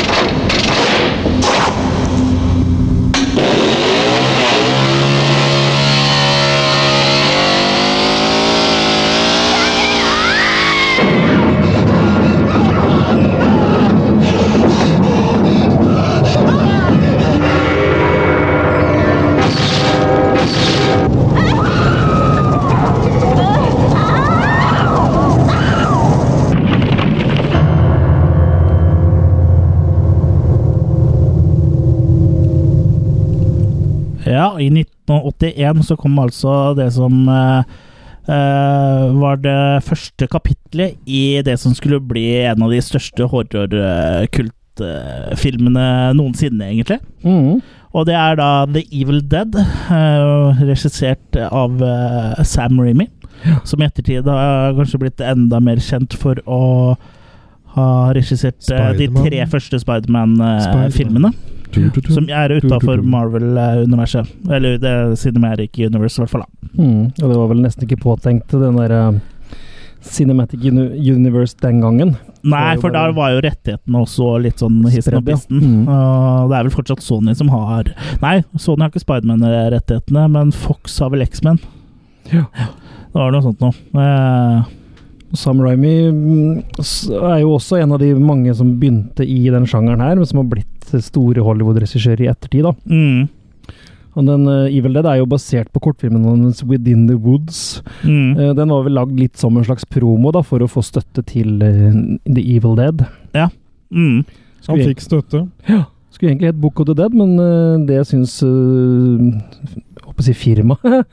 Speaker 1: Ja, i 1981 så kom altså det som eh, eh, var det første kapitlet i det som skulle bli en av de største horrorkultfilmene noensinne, egentlig.
Speaker 2: Mm.
Speaker 1: Og det er da The Evil Dead, eh, regissert av eh, Sam Remy. Som i ettertid har kanskje blitt enda mer kjent for å ha regissert eh, de
Speaker 3: Spiderman.
Speaker 1: tre første Spiderman-filmene. Som er utafor Marvel-universet. Eller det Cinematic Universe, i hvert fall. da.
Speaker 2: Mm. Og det var vel nesten ikke påtenkt, den derre Cinematic Uni- Universe den gangen.
Speaker 1: Nei,
Speaker 2: Det er jo
Speaker 1: for da
Speaker 2: bare-
Speaker 1: var jo rettighetene også litt sånn hissen og
Speaker 2: Spredd, ja.
Speaker 1: pisten.
Speaker 2: Mm.
Speaker 1: Og det er vel fortsatt Sony som har Nei, Sony har ikke Spiderman-rettighetene, men Fox har vel X-Men.
Speaker 2: Ja.
Speaker 1: Det var noe sånt noe. Eh,
Speaker 2: Sam Raimi mm, s- er jo også en av de mange som begynte i den sjangeren her, men som har blitt store Hollywood-regissører i ettertid. da.
Speaker 1: mm,
Speaker 2: Og den eh, Evil Dead er jo basert på kortfilmen hans Within the Woods.
Speaker 1: mm,
Speaker 2: Eh, den var vel lagd litt som en slags promo da, for å få støtte til eh, The Evil Dead.
Speaker 1: mm.
Speaker 3: Han fikk støtte.
Speaker 2: Skulle egentlig hett Book of the Dead, men eh, det syns eh, Håper å si firmaet.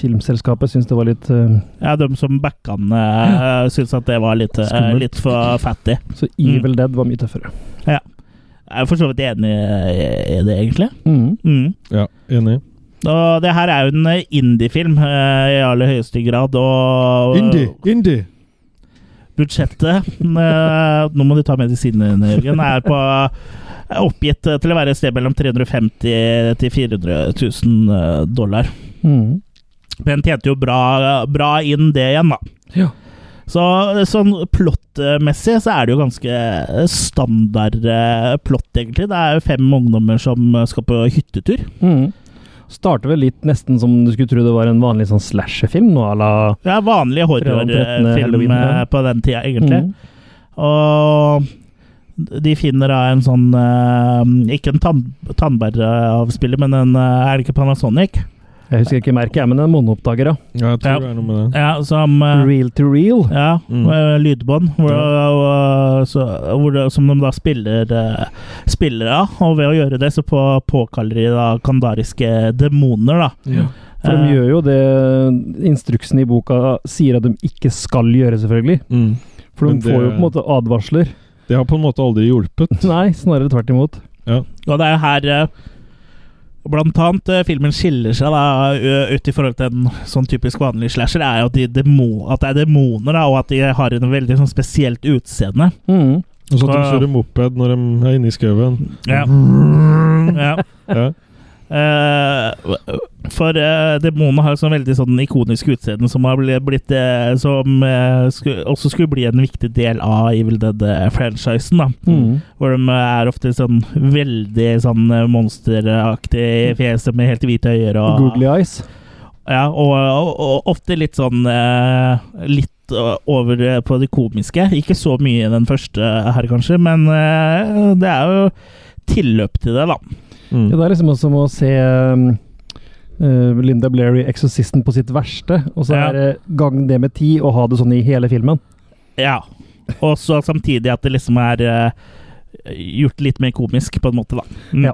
Speaker 2: Filmselskapet syns det var litt eh,
Speaker 1: Ja, de som backa den, eh, syntes at det var litt, eh,
Speaker 2: Skummelt.
Speaker 1: litt for fattig.
Speaker 2: Så Evil Dead var mye tøffere.
Speaker 1: Jeg er for så vidt enig i i det, egentlig.
Speaker 2: Mm.
Speaker 1: Mm.
Speaker 3: Ja, enig.
Speaker 1: Og det her er jo en eh, indie-film eh, i aller høyeste grad, og
Speaker 3: Indie! Indie!
Speaker 1: budsjettet eh, Nå må du ta medisinene dine, Jørgen. Er på er oppgitt eh, til å være et sted mellom 350 til 400 000 eh, dollar.
Speaker 2: Mm.
Speaker 1: Men tjente jo bra, bra inn det igjen, da.
Speaker 2: Ja.
Speaker 1: Så sånn plottmessig så er det jo ganske standard eh, plott, egentlig. Det er jo fem ungdommer som eh, skal på hyttetur.
Speaker 2: Mm. Starter vel litt nesten som du skulle tro det var en vanlig sånn slasherfilm nå, à la
Speaker 1: Det er vanlig
Speaker 2: Fredag den trettende,
Speaker 1: horrorfilm
Speaker 2: Halloween, Mm.
Speaker 1: eh,
Speaker 2: ja.
Speaker 1: på den tida, egentlig. Og de finner da en sånn eh, Ikke en tann tannbæravspiller, men en eh, Er det ikke Panasonic?
Speaker 2: Jeg husker ikke merket, jeg, men en monooppdager, ja.
Speaker 3: Ja, jeg tror
Speaker 1: Ja.
Speaker 3: det er noe med det.
Speaker 1: Ja, som eh,
Speaker 2: Real to real.
Speaker 1: Ja,
Speaker 3: Mm.
Speaker 1: eh, lydbånd. Hvor, eh,
Speaker 3: Ja.
Speaker 1: og, så, hvor det, som de da spiller, eh, spiller av. Og ved å gjøre det, så på, påkaller de da kandariske demoner, da.
Speaker 3: Ja.
Speaker 2: For
Speaker 1: Eh,
Speaker 2: de gjør jo det instruksen i boka sier at de ikke skal gjøre, selvfølgelig.
Speaker 3: Mm.
Speaker 2: For
Speaker 3: Men
Speaker 2: de
Speaker 3: det-
Speaker 2: får jo på en måte advarsler.
Speaker 3: Det har på en måte aldri hjulpet.
Speaker 2: Nei, snarere tvert imot.
Speaker 1: Og det er jo her eh, Blant annet eh, filmen skiller seg da ø- ut i forhold til en sånn typisk vanlig slasher, er jo at, de demo, at det er demoner, da, og at de har en veldig sånn spesielt utseende.
Speaker 2: Mm.
Speaker 3: Og så at de
Speaker 1: Ja.
Speaker 3: kjører moped når de er inne i skauen.
Speaker 1: Ja. ja.
Speaker 3: Ja.
Speaker 1: Eh, for uh, demonene har jo sånn veldig sånn ikonisk utseende som har bli- blitt eh, Som eh, sku, også skulle bli en viktig del av Evil Dead-franchisen, da.
Speaker 2: Mm.
Speaker 1: Hvor de er ofte sånn veldig sånn eh, monsteraktig i fjeset med helt hvite øyne og
Speaker 2: Googly eyes.
Speaker 1: Ja, og, og, og ofte litt sånn eh, Litt eh, over eh, på det komiske. Ikke så mye i den første her, kanskje, men eh, det er jo tilløp til det, da.
Speaker 2: Ja,
Speaker 3: Mm.
Speaker 2: det er liksom som å se um, eh, Linda Blair i 'Exorcisten' på sitt verste, og så
Speaker 1: Ja.
Speaker 2: er det gang det med ti, og ha det sånn i hele filmen.
Speaker 1: Ja. Og så samtidig at det liksom er eh, gjort litt mer komisk, på en måte, da. Mm.
Speaker 2: Ja.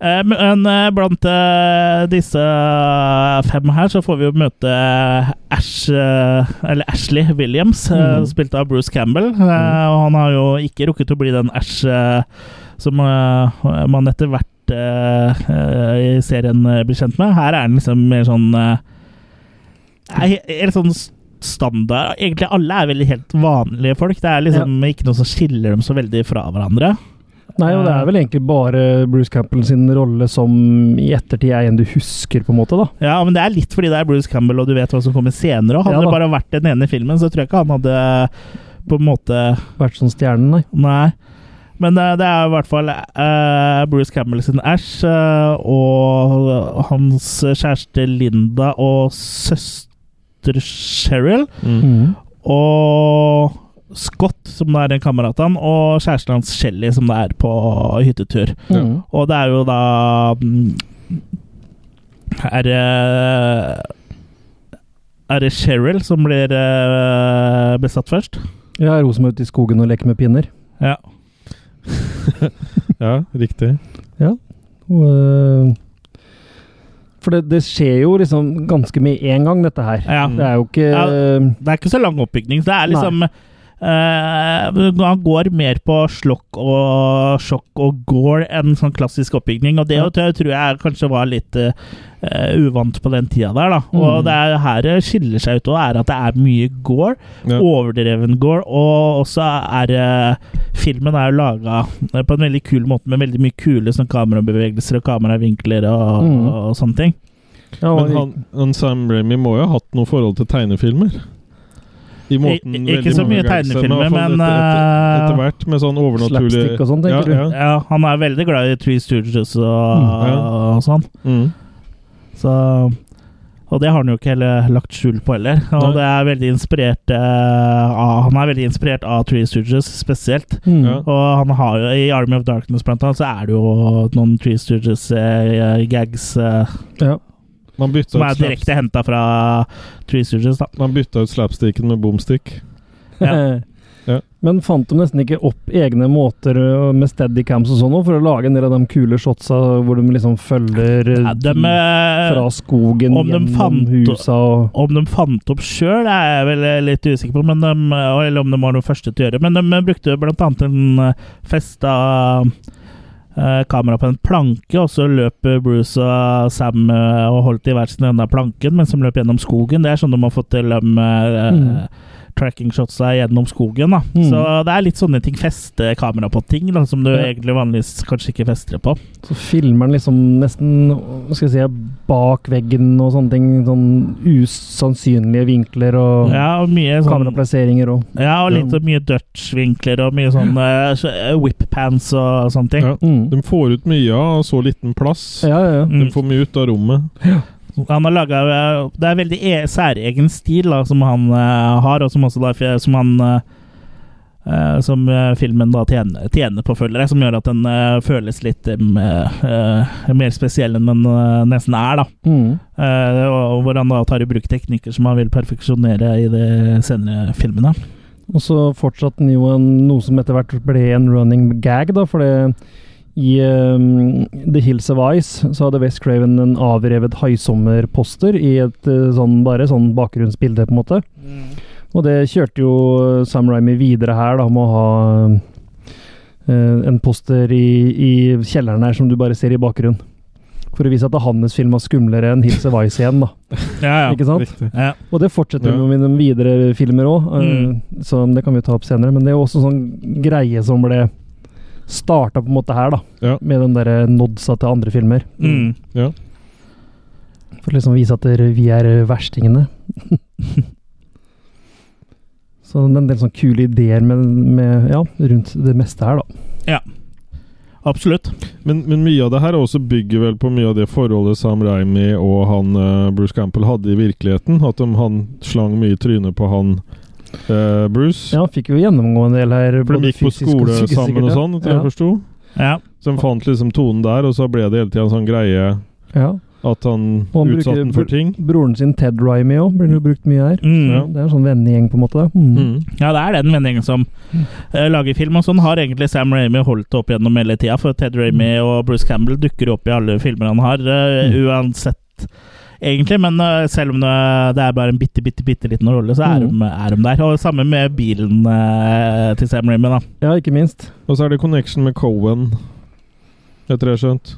Speaker 1: Eh, Men eh, blant eh, disse eh, fem her så får vi jo møte Ash, eh, eller Ashley Williams, eh,
Speaker 2: Mhm.
Speaker 1: spilt av Bruce Campbell. Eh, Og han har jo ikke rukket å bli den Ash eh, som eh, man etter hvert eh, eh, i serien eh, blir kjent med. Her er han liksom mer sånn eh, er he- Helt sånn s- standard Egentlig alle er veldig helt vanlige folk. Det er liksom ikke noe som skiller dem så veldig fra hverandre.
Speaker 2: Nei, og det
Speaker 1: Eh.
Speaker 2: er vel egentlig bare Bruce Campbell sin rolle som i ettertid er en du husker, på en måte, da.
Speaker 1: Ja, men det er litt fordi det er Bruce Campbell, og du vet hva som kommer senere. Og hadde
Speaker 2: Ja da.
Speaker 1: det bare vært den ene filmen, så tror jeg ikke han hadde eh, på en måte
Speaker 2: Vært sånn stjernen, nei.
Speaker 1: Nei. Men eh, det er i hvert fall eh, Bruce Campbell sin Ash eh, og hans kjæreste Linda og søster Cheryl
Speaker 3: Mm.
Speaker 1: Mhm.
Speaker 2: Mm.
Speaker 1: og Scott, som da er en kamerat av han, og kjæresten hans Shelly, som det er på hyttetur.
Speaker 2: Mm.
Speaker 1: Og det er jo da mm, Er det Er det Cheryl som blir eh, besatt først?
Speaker 2: Ja, roser meg ut i skogen og leker med pinner.
Speaker 1: Ja.
Speaker 3: ja, riktig.
Speaker 2: Og, øh, For det, det skjer jo liksom ganske med en gang, dette her.
Speaker 1: Ja.
Speaker 2: Det er jo ikke eh,
Speaker 1: Ja. Det er ikke så lang oppbygning. så Det er liksom eh, Han går mer på slokk og sjokk og gore enn sånn klassisk oppbygning. Og det
Speaker 2: Ja.
Speaker 1: tror jeg- tror jeg kanskje var litt eh, eh, uvant på den tida der, da.
Speaker 2: Mm.
Speaker 1: Og det er her det skiller seg ut òg, er at det er mye gore.
Speaker 3: Ja.
Speaker 1: Overdreven gore. Og også er eh, Filmen er jo laga på en veldig kul måte, med veldig mye kule sånn kamerabevegelser og kameravinkler og,
Speaker 2: Mm.
Speaker 1: og, og sånne ting.
Speaker 2: ja,
Speaker 3: Men han, han Sam Remy må jo ha hatt noe forhold til tegnefilmer? I måten
Speaker 1: I- i- ikke
Speaker 3: veldig
Speaker 1: så
Speaker 3: mange
Speaker 1: mye
Speaker 3: gangster-
Speaker 1: tegnefilmer,
Speaker 3: i hvert fall
Speaker 1: men,
Speaker 3: etter,
Speaker 1: eh,
Speaker 3: etter, etter hvert med sånn overnaturlig
Speaker 2: Slapstick og sånn, tenker
Speaker 3: ja, Ja.
Speaker 1: Ja, han er veldig glad i Three Stooges og,
Speaker 3: ja.
Speaker 1: og sånn.
Speaker 3: Mm.
Speaker 1: Så, og det har han jo ikke heller lagt skjul på heller. Og
Speaker 3: Nei.
Speaker 1: det er veldig inspirert eh, av, Han er veldig inspirert av Three Stooges spesielt.
Speaker 2: Mm.
Speaker 3: Ja.
Speaker 1: Og han har jo, i Army of Darkness blant annet, så er det jo noen Three Stooges-gags
Speaker 2: Ja.
Speaker 3: Man bytta
Speaker 1: eh, som
Speaker 3: ut
Speaker 1: er
Speaker 3: slaps-
Speaker 1: direkte henta fra Three Stooges, da.
Speaker 3: man bytta ut slapsticken med boomstick. Ja.
Speaker 2: Men fant de nesten ikke opp egne måter ø, med steadycams og sånn nå, for å lage en del av de kule shotsa hvor de liksom følger ø,
Speaker 1: Ja, de, eh,
Speaker 2: fra skogen
Speaker 1: om de
Speaker 2: gjennom
Speaker 1: fant-
Speaker 2: husa og
Speaker 1: Om de fant opp sjøl, er jeg vel litt usikker på, men de, eller om de var noe første til å gjøre. Men de brukte bl.a. en festa eh, kamera på en planke, og så løp Bruce og Sam eh, og holdt i hver sin ende av planken mens de løp gjennom skogen. Det er sånn de har fått til de eh,
Speaker 2: Mm.
Speaker 1: tracking shotsa gjennom skogen. da.
Speaker 2: Mm.
Speaker 1: Så det er litt sånne ting. Feste kamera på ting da, som du
Speaker 2: Ja.
Speaker 1: egentlig vanligvis kanskje ikke fester det på.
Speaker 2: Så filmer han liksom nesten hva skal jeg si, bak veggen og sånne ting. Sånn usannsynlige vinkler og
Speaker 1: Ja, og mye sånn
Speaker 2: kameraplasseringer og
Speaker 1: Ja, og litt
Speaker 3: Ja.
Speaker 1: mye dutch-vinkler og mye sånn eh, så- eh, whip-pants og sånne ting.
Speaker 3: Ja.
Speaker 2: mm.
Speaker 3: De får ut mye av så liten plass.
Speaker 2: Ja, ja, ja.
Speaker 3: De
Speaker 1: Mm.
Speaker 3: får mye ut av rommet.
Speaker 1: Han har laga Det er veldig e særegen stil da, som han eh, har, og som også da, som han eh, eh, som eh, filmen da tjener, tjener på, føler jeg, som gjør at den eh, føles litt eh, m- eh, mer spesiell enn den eh, nesten er. da
Speaker 2: Mm.
Speaker 1: Eh, og Hvor han da tar i bruk teknikker som han vil perfeksjonere i de senere filmene.
Speaker 2: Og så fortsatte den jo en, noe som etter hvert ble en running gag, da, for det i ehm, The Hills of Ice så hadde West Craven en avrevet haisommerposter i et eh, sånn bare sånn bakgrunnsbilde, på en måte. Og det kjørte jo eh, Sam Raimi videre her, da, med å ha eh, en poster i, i kjelleren her som du bare ser i bakgrunnen. For å vise at det er hans film var skumlere enn Hills of Ice igjen, da.
Speaker 1: Ja,
Speaker 2: Ikke sant?
Speaker 3: Riktig.
Speaker 1: Ja.
Speaker 2: Og det fortsetter
Speaker 3: Ja. Mm.
Speaker 2: vi med i de videre filmer òg, så det kan vi ta opp senere. Men det er jo også sånn greie som ble starta på en måte her, da.
Speaker 3: Ja.
Speaker 2: Med de der eh, nodsa til andre filmer.
Speaker 1: Mm.
Speaker 3: Ja.
Speaker 2: For å liksom vise at dere- vi er eh, verstingene. så det er en del sånne kule ideer med, med, ja, rundt det meste her, da.
Speaker 1: Absolutt.
Speaker 3: Men, men mye av det her også bygger vel på mye av det forholdet Sam Raimi og han eh, Bruce Campbell hadde i virkeligheten. At de, han slang mye i trynet på han eh, Bruce.
Speaker 2: Ja, fikk jo gjennomgå en del her.
Speaker 3: For de gikk på skole sammen og sånn, etter det jeg
Speaker 2: Ja.
Speaker 3: forsto.
Speaker 1: Ja.
Speaker 3: Så de fant liksom tonen der, og så ble det hele tida en sånn greie
Speaker 2: ja.
Speaker 3: at han,
Speaker 2: Og han
Speaker 3: utsatte
Speaker 2: bruker-
Speaker 3: den for ting.
Speaker 2: Broren sin Ted Rimey òg blir jo brukt mye her.
Speaker 1: Mm.
Speaker 3: Ja.
Speaker 2: Det er en sånn vennegjeng, på en måte. da. Mm.
Speaker 3: Mm.
Speaker 1: Ja, det er den vendingen som eh, lager film, og sånn har egentlig Sam Ramy holdt det opp gjennom hele tida. For Ted Ramy og Bruce Campbell dukker opp i alle filmer han har, eh,
Speaker 2: Mm.
Speaker 1: uansett, egentlig. Men eh, selv om det, det er bare en bitte, bitte, bitte liten rolle, så er,
Speaker 2: Mm.
Speaker 1: de, er de der. Og samme med bilen eh, til Sam Ramy, da.
Speaker 2: Ja, ikke minst.
Speaker 3: Og så er det connection med Cohen, etter det jeg har skjønt.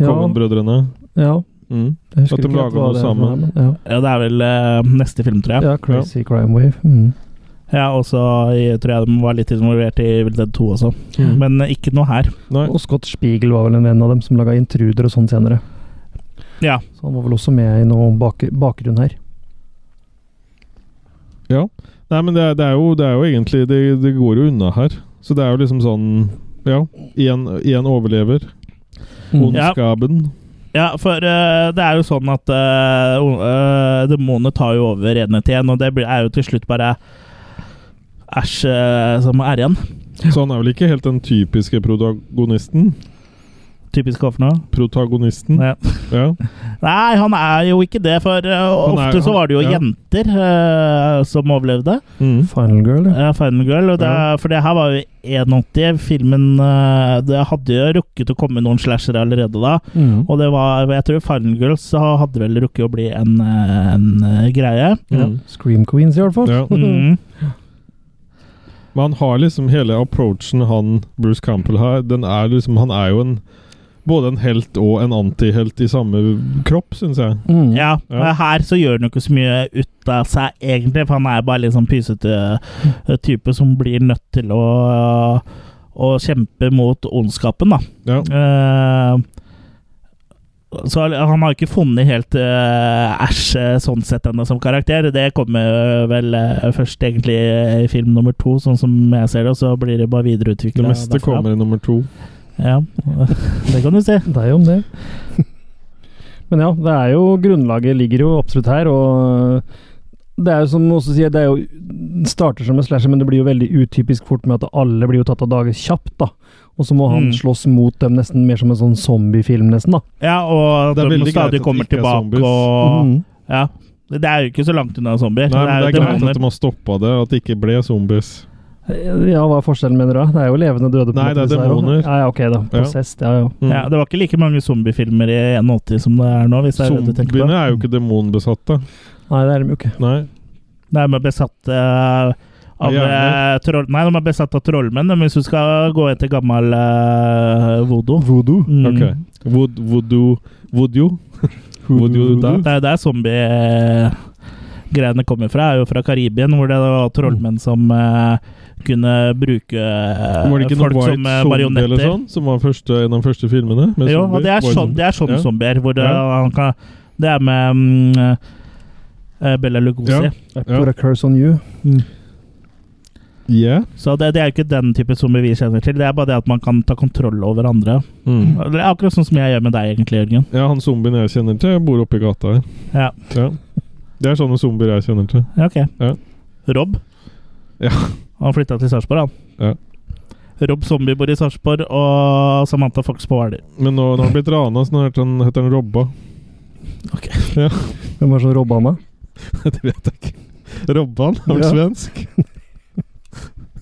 Speaker 2: Ja,
Speaker 3: Cohen-brødrene.
Speaker 2: ja.
Speaker 3: Mm.
Speaker 2: Jeg husker
Speaker 3: At de
Speaker 2: ikke
Speaker 3: lager
Speaker 2: hva
Speaker 3: noe
Speaker 2: det er for
Speaker 3: sammen.
Speaker 2: noe, men
Speaker 1: Ja, det er vel eh, neste film, tror
Speaker 2: Ja.
Speaker 1: jeg.
Speaker 2: ja, Crazy Crime Wave. Mm.
Speaker 1: Ja, og så i- tror jeg de var litt involvert i Evil Dead 2 også.
Speaker 3: Mm.
Speaker 1: Men eh, ikke noe her.
Speaker 3: Nei.
Speaker 2: Og Scott Spiegel var vel en venn av dem som laga Intruder og sånn senere.
Speaker 1: Ja.
Speaker 2: Så han var vel også med i noe bak bakgrunn her.
Speaker 3: Nei, men det er, det er, jo, det er jo egentlig det, det går jo unna her. Så det er jo liksom sånn Ja, én overlever.
Speaker 2: Mm.
Speaker 1: Ja.
Speaker 3: Ondskapen.
Speaker 1: Ja, for eh, det er jo sånn at eh, o- eh, demonene tar jo over enhet igjen, og det blir- er jo til slutt bare Æsj eh, som er igjen.
Speaker 3: Så han er vel ikke helt den typiske protagonisten?
Speaker 1: Typisk Hoff nå.
Speaker 3: Protagonisten.
Speaker 1: Ja.
Speaker 3: Ja.
Speaker 1: Nei, han er jo ikke det, for eh,
Speaker 3: er-
Speaker 1: ofte så
Speaker 3: han-
Speaker 1: var det jo
Speaker 3: ja.
Speaker 1: jenter eh, som overlevde.
Speaker 3: Mm.
Speaker 2: Final Girl, ja.
Speaker 1: Ja, Final Girl. Og det,
Speaker 3: Ja.
Speaker 1: For det her var jo 81. Filmen eh, Det hadde jo rukket å komme noen slasher allerede da.
Speaker 2: Mm.
Speaker 1: Og det var, jeg tror Final Girls så hadde vel rukket å bli en, eh, en eh, greie.
Speaker 2: ja.
Speaker 3: Mm.
Speaker 2: Scream Queens, i hvert fall.
Speaker 3: Ja.
Speaker 1: Mm.
Speaker 3: Men han har liksom hele approachen han Bruce Campbell har. Den er liksom, han er jo en både en helt og en antihelt i samme kropp, syns jeg.
Speaker 2: Mm.
Speaker 1: Ja,
Speaker 3: Ja.
Speaker 1: men her så gjør han jo ikke så mye ut av seg, egentlig, for han er bare litt sånn pysete eh, type som blir nødt til å, å kjempe mot ondskapen, da.
Speaker 3: Ja.
Speaker 1: Eh, så han har ikke funnet helt eh, Æsj eh, sånn sett ennå som karakter. Det kommer vel eh, først egentlig i film nummer to, sånn som jeg ser det, og så blir det bare
Speaker 3: Det
Speaker 1: videreutvikla.
Speaker 3: meste kommer i nummer to.
Speaker 1: Ja, det kan du si.
Speaker 2: Det er jo om det. Men ja, det er jo Grunnlaget ligger jo absolutt her, og det er jo som også sier, det er jo den starter som en slasher, men det blir jo veldig utypisk fort med at alle blir jo tatt av dage kjapt, da. Og så må han
Speaker 1: Mm.
Speaker 2: slåss mot dem nesten mer som en sånn zombiefilm, nesten, da.
Speaker 1: Ja, og
Speaker 3: Det er
Speaker 1: de
Speaker 3: veldig greit at
Speaker 1: stadig
Speaker 3: det
Speaker 1: kommer
Speaker 3: ikke er
Speaker 1: tilbake
Speaker 3: zombies.
Speaker 1: og
Speaker 2: Mm.
Speaker 1: Ja. Det er jo ikke så langt unna zombier.
Speaker 3: Nei, men Det er
Speaker 1: jo
Speaker 3: greit
Speaker 1: demoner.
Speaker 3: at de har stoppa det, at det ikke ble zombies.
Speaker 2: Ja, hva er forskjellen, mener du? da? Det er jo levende døde. på en
Speaker 3: Nei,
Speaker 2: måte,
Speaker 3: det er
Speaker 2: disse her også.
Speaker 3: demoner.
Speaker 2: Ja, ja, ok, da.
Speaker 3: Ja.
Speaker 2: Possessed, ja, ja.
Speaker 3: Mm.
Speaker 1: ja, det var ikke like mange zombiefilmer i 81 som det er nå. hvis det er det du tenker på.
Speaker 3: Zombiene er jo ikke demonbesatte.
Speaker 2: Nei, det er de jo ikke.
Speaker 3: Nei.
Speaker 1: Nei, de er besatt eh, av
Speaker 3: Hjerner.
Speaker 1: eh, troll... Nei, de er besatt av trollmenn, men hvis du skal gå etter gammel eh, vodo.
Speaker 2: Voodoo.
Speaker 1: Mm.
Speaker 3: Ok. Wood, voodoo Voodoo? Voodoo da?
Speaker 1: Det er jo der zombiegreiene kommer fra. er jo fra Karibien, hvor det var trollmenn som eh, kunne bruke eh,
Speaker 3: Var det ikke noe
Speaker 1: folk
Speaker 3: White
Speaker 1: som eh,
Speaker 3: Zombie eller
Speaker 1: marionetter.
Speaker 3: sånn? Som var første, en av de første filmene? med
Speaker 1: Jo,
Speaker 3: zombier?
Speaker 1: og det er
Speaker 3: White
Speaker 1: sånn, det er sånn
Speaker 3: Ja.
Speaker 1: zombier. Hvor det,
Speaker 3: Ja.
Speaker 1: han kan, det er med mm, eh, Bella Lugosi.
Speaker 3: Ja.
Speaker 2: Put a curse on you.
Speaker 3: Yeah.
Speaker 1: Så det, det er jo ikke den type zombie vi kjenner til. Det er bare det at man kan ta kontroll over andre.
Speaker 3: Mm.
Speaker 1: Det er akkurat sånn som jeg gjør med deg, egentlig, Jørgen.
Speaker 3: Ja, han zombien jeg kjenner til, bor oppi gata her.
Speaker 1: Ja,
Speaker 3: Ja. Det er sånne zombier jeg kjenner til.
Speaker 1: ok.
Speaker 3: Ja.
Speaker 1: Rob.
Speaker 3: Ja.
Speaker 1: Han flytta til Sarpsborg, han. Rob Zombie bor i Sarpsborg, og Samantha Fox på Hvaler.
Speaker 3: Men nå, nå har han blitt rana, så nå heter han, heter han Robba.
Speaker 2: Hvem var det som robba han, da?
Speaker 3: det vet jeg ikke. Robban? Er han
Speaker 2: Ja.
Speaker 3: svensk?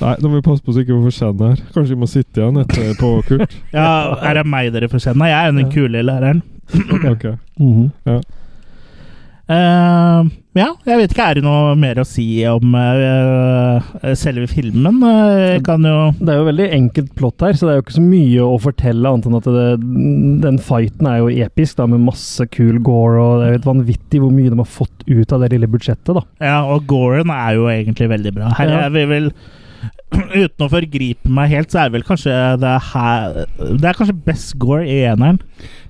Speaker 3: Nei, nå må vi passe på så ikke vi får kjenne her. Kanskje vi må sitte igjen etterpå, Kurt.
Speaker 1: Ja, er det meg dere får kjenne? Jeg er den
Speaker 2: Ja.
Speaker 1: kule læreren.
Speaker 3: Ok.
Speaker 1: Eh, ja, jeg vet ikke. Er det noe mer å si om eh, selve filmen? Eh, Jeg kan jo
Speaker 2: Det er jo veldig enkelt plott her, så det er jo ikke så mye å fortelle, annet enn at det, den fighten er jo episk, da, med masse kul gore, og det er jo helt vanvittig hvor mye de har fått ut av det lille budsjettet, da.
Speaker 1: Ja, og Goren er jo egentlig veldig bra. Her
Speaker 2: Ja.
Speaker 1: er vi vel Uten å forgripe meg helt, så er det vel kanskje det her Det er kanskje best Gore i eneren.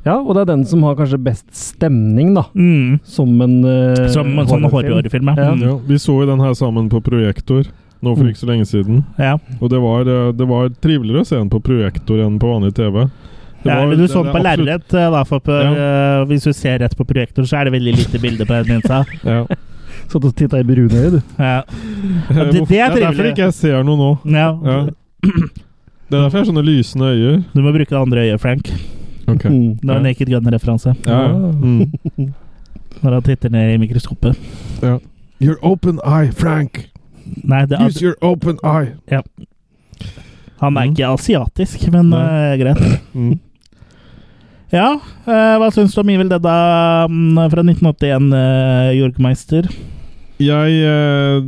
Speaker 2: Ja, og det er den som har kanskje best stemning, da.
Speaker 1: Mm.
Speaker 2: Som en eh,
Speaker 1: Som en sånn horrorfilm. Ja.
Speaker 2: Ja.
Speaker 1: Mm.
Speaker 3: Ja, vi så jo den her sammen på projektor nå for ikke så lenge siden.
Speaker 1: ja.
Speaker 3: Og det var, eh, det var triveligere å se den på projektor enn på vanlig TV. Det
Speaker 1: ja
Speaker 3: var-
Speaker 1: men du så den på
Speaker 3: det er
Speaker 1: lerret, eh, da, for på, eh, hvis du ser rett på projektor, så er det veldig lite bilde på den linsa.
Speaker 3: absolutt- Ja.
Speaker 2: Satt og titta i brunøyd.
Speaker 1: Ja. det- det er
Speaker 3: derfor
Speaker 1: trivelig.
Speaker 3: ikke jeg ser noe nå.
Speaker 1: Ja.
Speaker 3: Ja. Det er derfor jeg har sånne lysende øyne.
Speaker 1: Du må bruke det andre øyet, Frank.
Speaker 3: Okay.
Speaker 2: Mm.
Speaker 1: Det var en
Speaker 3: Ja.
Speaker 1: Naked Gun-referanse.
Speaker 3: Ja. ja. Mm.
Speaker 1: Når han titter ned i mikroskopet.
Speaker 3: Your open eye, Frank.
Speaker 1: Nei, det,
Speaker 3: Use your open eye.
Speaker 1: han er
Speaker 3: Mm.
Speaker 1: ikke asiatisk, men
Speaker 3: Nei.
Speaker 1: eh, greit.
Speaker 3: Mm.
Speaker 1: Ja, eh, hva syns du om Evil Dead da, mm, fra 1981, uh, Jorgmeister?
Speaker 3: Jeg eh,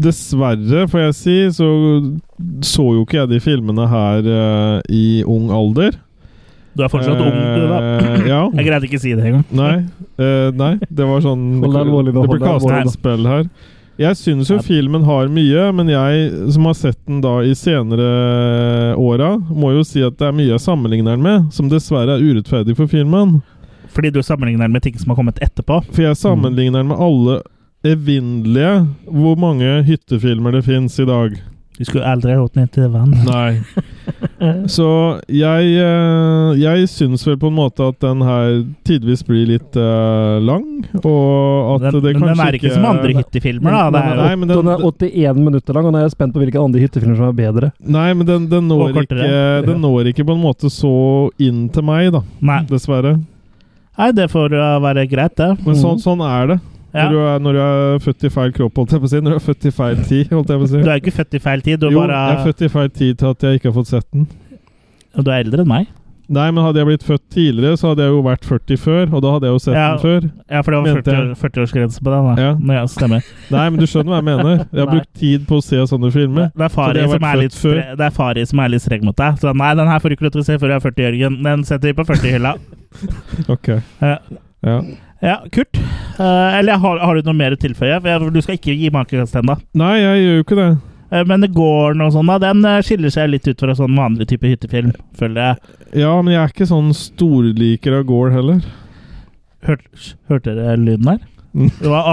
Speaker 3: Dessverre, får jeg si, så så jo ikke jeg de filmene her eh, i ung alder.
Speaker 1: Du er fortsatt ung, du, da.
Speaker 3: Eh, ja.
Speaker 1: Jeg greide ikke å si det engang.
Speaker 3: Nei, eh, nei, det var sånn
Speaker 2: Hold deg alvorlig nå,
Speaker 3: Det ble
Speaker 2: hold deg
Speaker 3: kastet
Speaker 1: alvorlig
Speaker 3: et
Speaker 1: nå.
Speaker 3: spill her. Jeg syns jo
Speaker 1: Ja.
Speaker 3: filmen har mye, men jeg som har sett den da i senere eh, åra, må jo si at det er mye jeg sammenligner den med, som dessverre er urettferdig for filmen.
Speaker 1: Fordi du sammenligner den med ting som har kommet etterpå.
Speaker 3: For jeg sammenligner den med alle evinnelige hvor mange hyttefilmer det fins i dag.
Speaker 1: Du skulle aldri ha gått ned til vann.
Speaker 3: Nei.
Speaker 2: eh.
Speaker 3: Så jeg, eh, jeg syns vel på en måte at den her tidvis blir litt eh, lang, og at
Speaker 1: Den,
Speaker 3: det
Speaker 1: men
Speaker 3: kanskje
Speaker 1: den er ikke som andre hyttefilmer, da. Det
Speaker 2: Men-
Speaker 1: er
Speaker 3: Nei,
Speaker 1: jo
Speaker 3: men
Speaker 2: Den
Speaker 3: den,
Speaker 2: er 81 minutter lang, og nå er jeg spent på hvilke andre hyttefilmer som er bedre.
Speaker 3: nei, men den, den,
Speaker 1: Og
Speaker 3: når
Speaker 1: kortere.
Speaker 3: ikke, den når ikke på en måte så inn til meg, da.
Speaker 1: Nei,
Speaker 3: Dessverre.
Speaker 1: nei det får uh, være greit, det.
Speaker 3: Men sånn, sånn er det.
Speaker 1: Mm. Ja.
Speaker 3: Når, du er, når du er født i feil kropp, holdt jeg på å si. Når du er født i feil tid, holdt jeg på å si.
Speaker 1: Du er jo ikke født i feil tid, du er
Speaker 3: jo,
Speaker 1: bare
Speaker 3: jeg er født i feil tid til at jeg ikke har fått sett den.
Speaker 1: Du er eldre enn meg.
Speaker 3: Nei, men hadde jeg blitt født tidligere, så hadde jeg jo vært 40 før, og da hadde jeg jo sett
Speaker 1: Ja.
Speaker 3: den før.
Speaker 1: Ja, for det var
Speaker 3: Mente
Speaker 1: 40
Speaker 3: jeg.
Speaker 1: 40-årsgrense på den. da.
Speaker 3: Ja.
Speaker 1: Men ja, stemmer.
Speaker 3: Nei, men du skjønner hva jeg mener. Jeg har
Speaker 1: Nei.
Speaker 3: brukt tid på å se sånne filmer.
Speaker 1: Det er
Speaker 3: Så
Speaker 1: Fari
Speaker 3: det har
Speaker 1: som
Speaker 3: vært
Speaker 1: er litt
Speaker 3: født før.
Speaker 1: stre- det er Fari som er litt streng mot deg. Så nei, den her får du ikke lov til å se før du er 40, Jørgen. Den setter vi på 40-hylla.
Speaker 3: Ok.
Speaker 1: Ja.
Speaker 3: Ja.
Speaker 1: ja, Kurt. Eh, eller har, har du noe mer å tilføye? For jeg- Du skal ikke gi makekast ennå.
Speaker 3: Nei, jeg gjør jo ikke det.
Speaker 1: Eh, Men det går noe sånn da. Den eh, skiller seg litt ut fra sånn vanlig type hyttefilm, føler jeg.
Speaker 3: Ja, men jeg er ikke sånn storliker av Gore heller.
Speaker 1: Hørt, hørte dere lyden der?
Speaker 3: Mm.
Speaker 1: Det var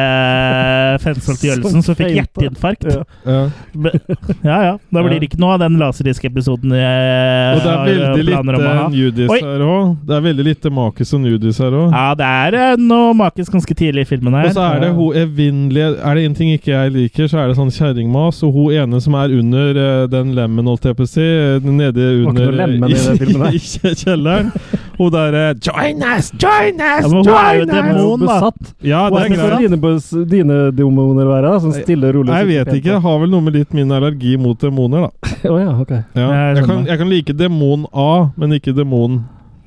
Speaker 1: André Fensholt Jølsen som fikk hjerteinfarkt.
Speaker 2: Ja.
Speaker 3: Ja.
Speaker 1: Men- Ja ja, da blir det ikke noe av den laserdisk-episoden jeg
Speaker 3: Og det er
Speaker 1: har eh,
Speaker 3: veldig
Speaker 1: planer om å
Speaker 3: lite
Speaker 1: ha.
Speaker 3: nudis
Speaker 1: Oi.
Speaker 3: her òg. Det er veldig lite makis og nudis her òg.
Speaker 1: Ja, det er eh, noe magisk ganske tidlig i filmen her.
Speaker 3: Og så er det hun evinnelige Er det én ting ikke jeg liker, så er det sånn kjerringmas. Og hun ene som er under eh, den lemmen, holdt jeg på å si, eh, nede
Speaker 2: var ikke
Speaker 3: under eh,
Speaker 2: noe lemmen i den filmen her.
Speaker 3: i kje- kjelleren. Hun derre Join us! Join us!
Speaker 1: Ja, men hun er jo
Speaker 2: Er
Speaker 3: join us!»
Speaker 2: jo
Speaker 1: demon, da.
Speaker 2: besatt.
Speaker 3: Ja,
Speaker 2: Hva
Speaker 3: det er
Speaker 2: syns du
Speaker 3: greit.
Speaker 2: dine, bes- dine demoner være? da? Sånn stille og rolig?
Speaker 3: Jeg vet ikke. Det har vel noe med litt min allergi mot demoner, da.
Speaker 2: Å ja, ok.
Speaker 3: Ja.
Speaker 1: Jeg
Speaker 3: Jeg, kan,
Speaker 1: skjønner.
Speaker 3: jeg kan like demon A, men ikke demon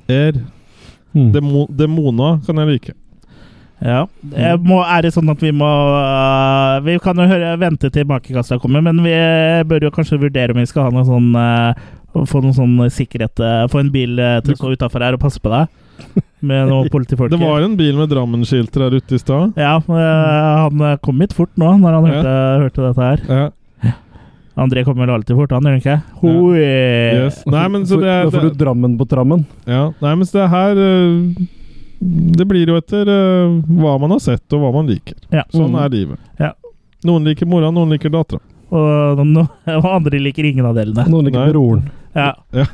Speaker 3: R.
Speaker 2: Mm.
Speaker 3: Demo, demona kan jeg like.
Speaker 1: Ja. Jeg
Speaker 3: Mm.
Speaker 1: må, er det sånn at vi må øh, Vi kan jo høre, vente til makekassa kommer, men vi eh, bør jo kanskje vurdere om vi skal ha noe sånn øh, Få noe sånn sikkerhet øh, Få en bil øh, til å stå utafor her og passe på deg med noen politifolk.
Speaker 3: Det var en bil med Drammen-skilter her ute i stad.
Speaker 1: ja, øh,
Speaker 3: Mm.
Speaker 1: han øh, kom hit fort nå, når han hørte, hørte dette her.
Speaker 3: Ja.
Speaker 1: André kommer vel alltid fort, han gjør han ikke? Hoi!
Speaker 2: Eh,
Speaker 3: Yes. Nei, men så det,
Speaker 2: da får
Speaker 3: det,
Speaker 2: du Drammen på trammen.
Speaker 3: Ja, nei, men så det her øh, Det blir jo etter øh, hva man har sett, og hva man liker.
Speaker 1: Ja.
Speaker 3: Sånn
Speaker 2: Mm.
Speaker 3: er livet.
Speaker 1: Ja.
Speaker 3: Noen liker mora, noen liker dattera.
Speaker 1: Og, no, og andre liker ingen av delene.
Speaker 2: Noen liker
Speaker 3: Nei.
Speaker 2: broren.
Speaker 1: Ja.
Speaker 3: Ja.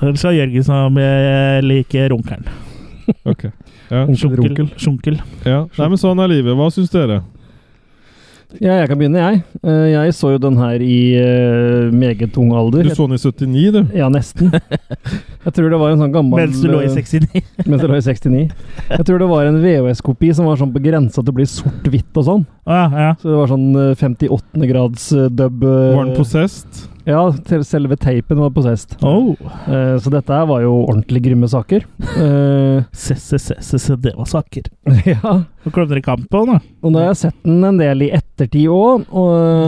Speaker 1: Ellers er Jørgen som eh, liker runkeren.
Speaker 3: Ok. Ja.
Speaker 2: Onkel Runkel.
Speaker 1: Sjunkel.
Speaker 3: ja. Nei, men sånn er livet. Hva syns dere?
Speaker 2: Ja, jeg kan begynne, jeg. Eh, Jeg så jo den her i eh, meget ung alder.
Speaker 3: Du så den i 79, du.
Speaker 2: Ja, nesten. Jeg tror det var en sånn gammel
Speaker 1: Mens du lå i 69.
Speaker 2: mens jeg lå i 69. Jeg tror det var en VHS-kopi som var sånn på grensa til å bli sort-hvitt og sånn.
Speaker 1: Ah, ja.
Speaker 2: Så det var sånn eh, 58. grads eh, dub eh,
Speaker 3: Var den possessed?
Speaker 2: Ja, til selve teipen var possessed.
Speaker 1: Oh.
Speaker 2: Eh, Så dette her var jo ordentlig grymme saker. Eh,
Speaker 1: Se, se, se, se, se, det var saker.
Speaker 2: Ja.
Speaker 1: Nå klovner det kamp på nå.
Speaker 2: Og nå har jeg sett den en del i ettertid eh, òg.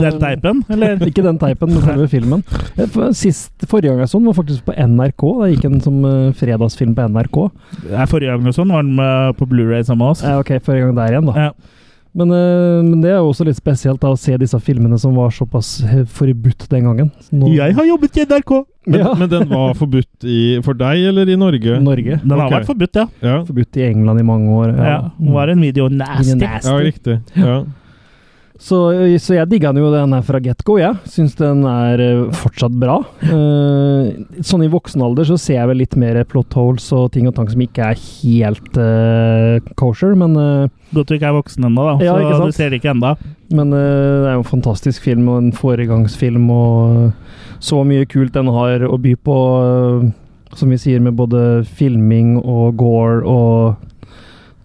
Speaker 1: Den teipen, eller?
Speaker 2: Ikke den teipen, men selve filmen. Eh, for- Sist, forrige gang jeg så den, var faktisk på NRK. Det gikk en som eh, fredagsfilm på NRK.
Speaker 1: Nei, forrige gang og sånn var den med på Blu-ray sammen med oss.
Speaker 2: Eh, ok, forrige gang der igjen, da.
Speaker 1: Ja.
Speaker 2: Men, eh, men det er jo også litt spesielt da, å se disse filmene som var såpass eh, forbudt den gangen. Så nå,
Speaker 1: Jeg har jobbet i NRK!
Speaker 3: Men,
Speaker 2: Ja.
Speaker 3: men den var forbudt i, for deg eller i Norge?
Speaker 2: Norge.
Speaker 1: Den har
Speaker 3: Ok.
Speaker 1: vært forbudt, ja.
Speaker 3: Ja,
Speaker 2: Forbudt i England i mange år. Mm.
Speaker 1: ja. Den var en video nasty.
Speaker 2: Video nasty.
Speaker 3: ja riktig. Ja.
Speaker 2: Så, så jeg digga den jo den her fra get go, jeg. Syns den er eh, fortsatt bra. Eh, sånn i voksen alder så ser jeg vel litt mer plot holes og ting og tang som ikke er helt eh, kosher, men, eh,
Speaker 1: Godt du ikke er voksen ennå, da.
Speaker 2: Ja, ikke
Speaker 1: så
Speaker 2: sant?
Speaker 1: du ser det ikke ennå.
Speaker 2: men eh, det er jo en fantastisk film og en foregangsfilm og eh, så mye kult den har å by på, eh, som vi sier, med både filming og gore og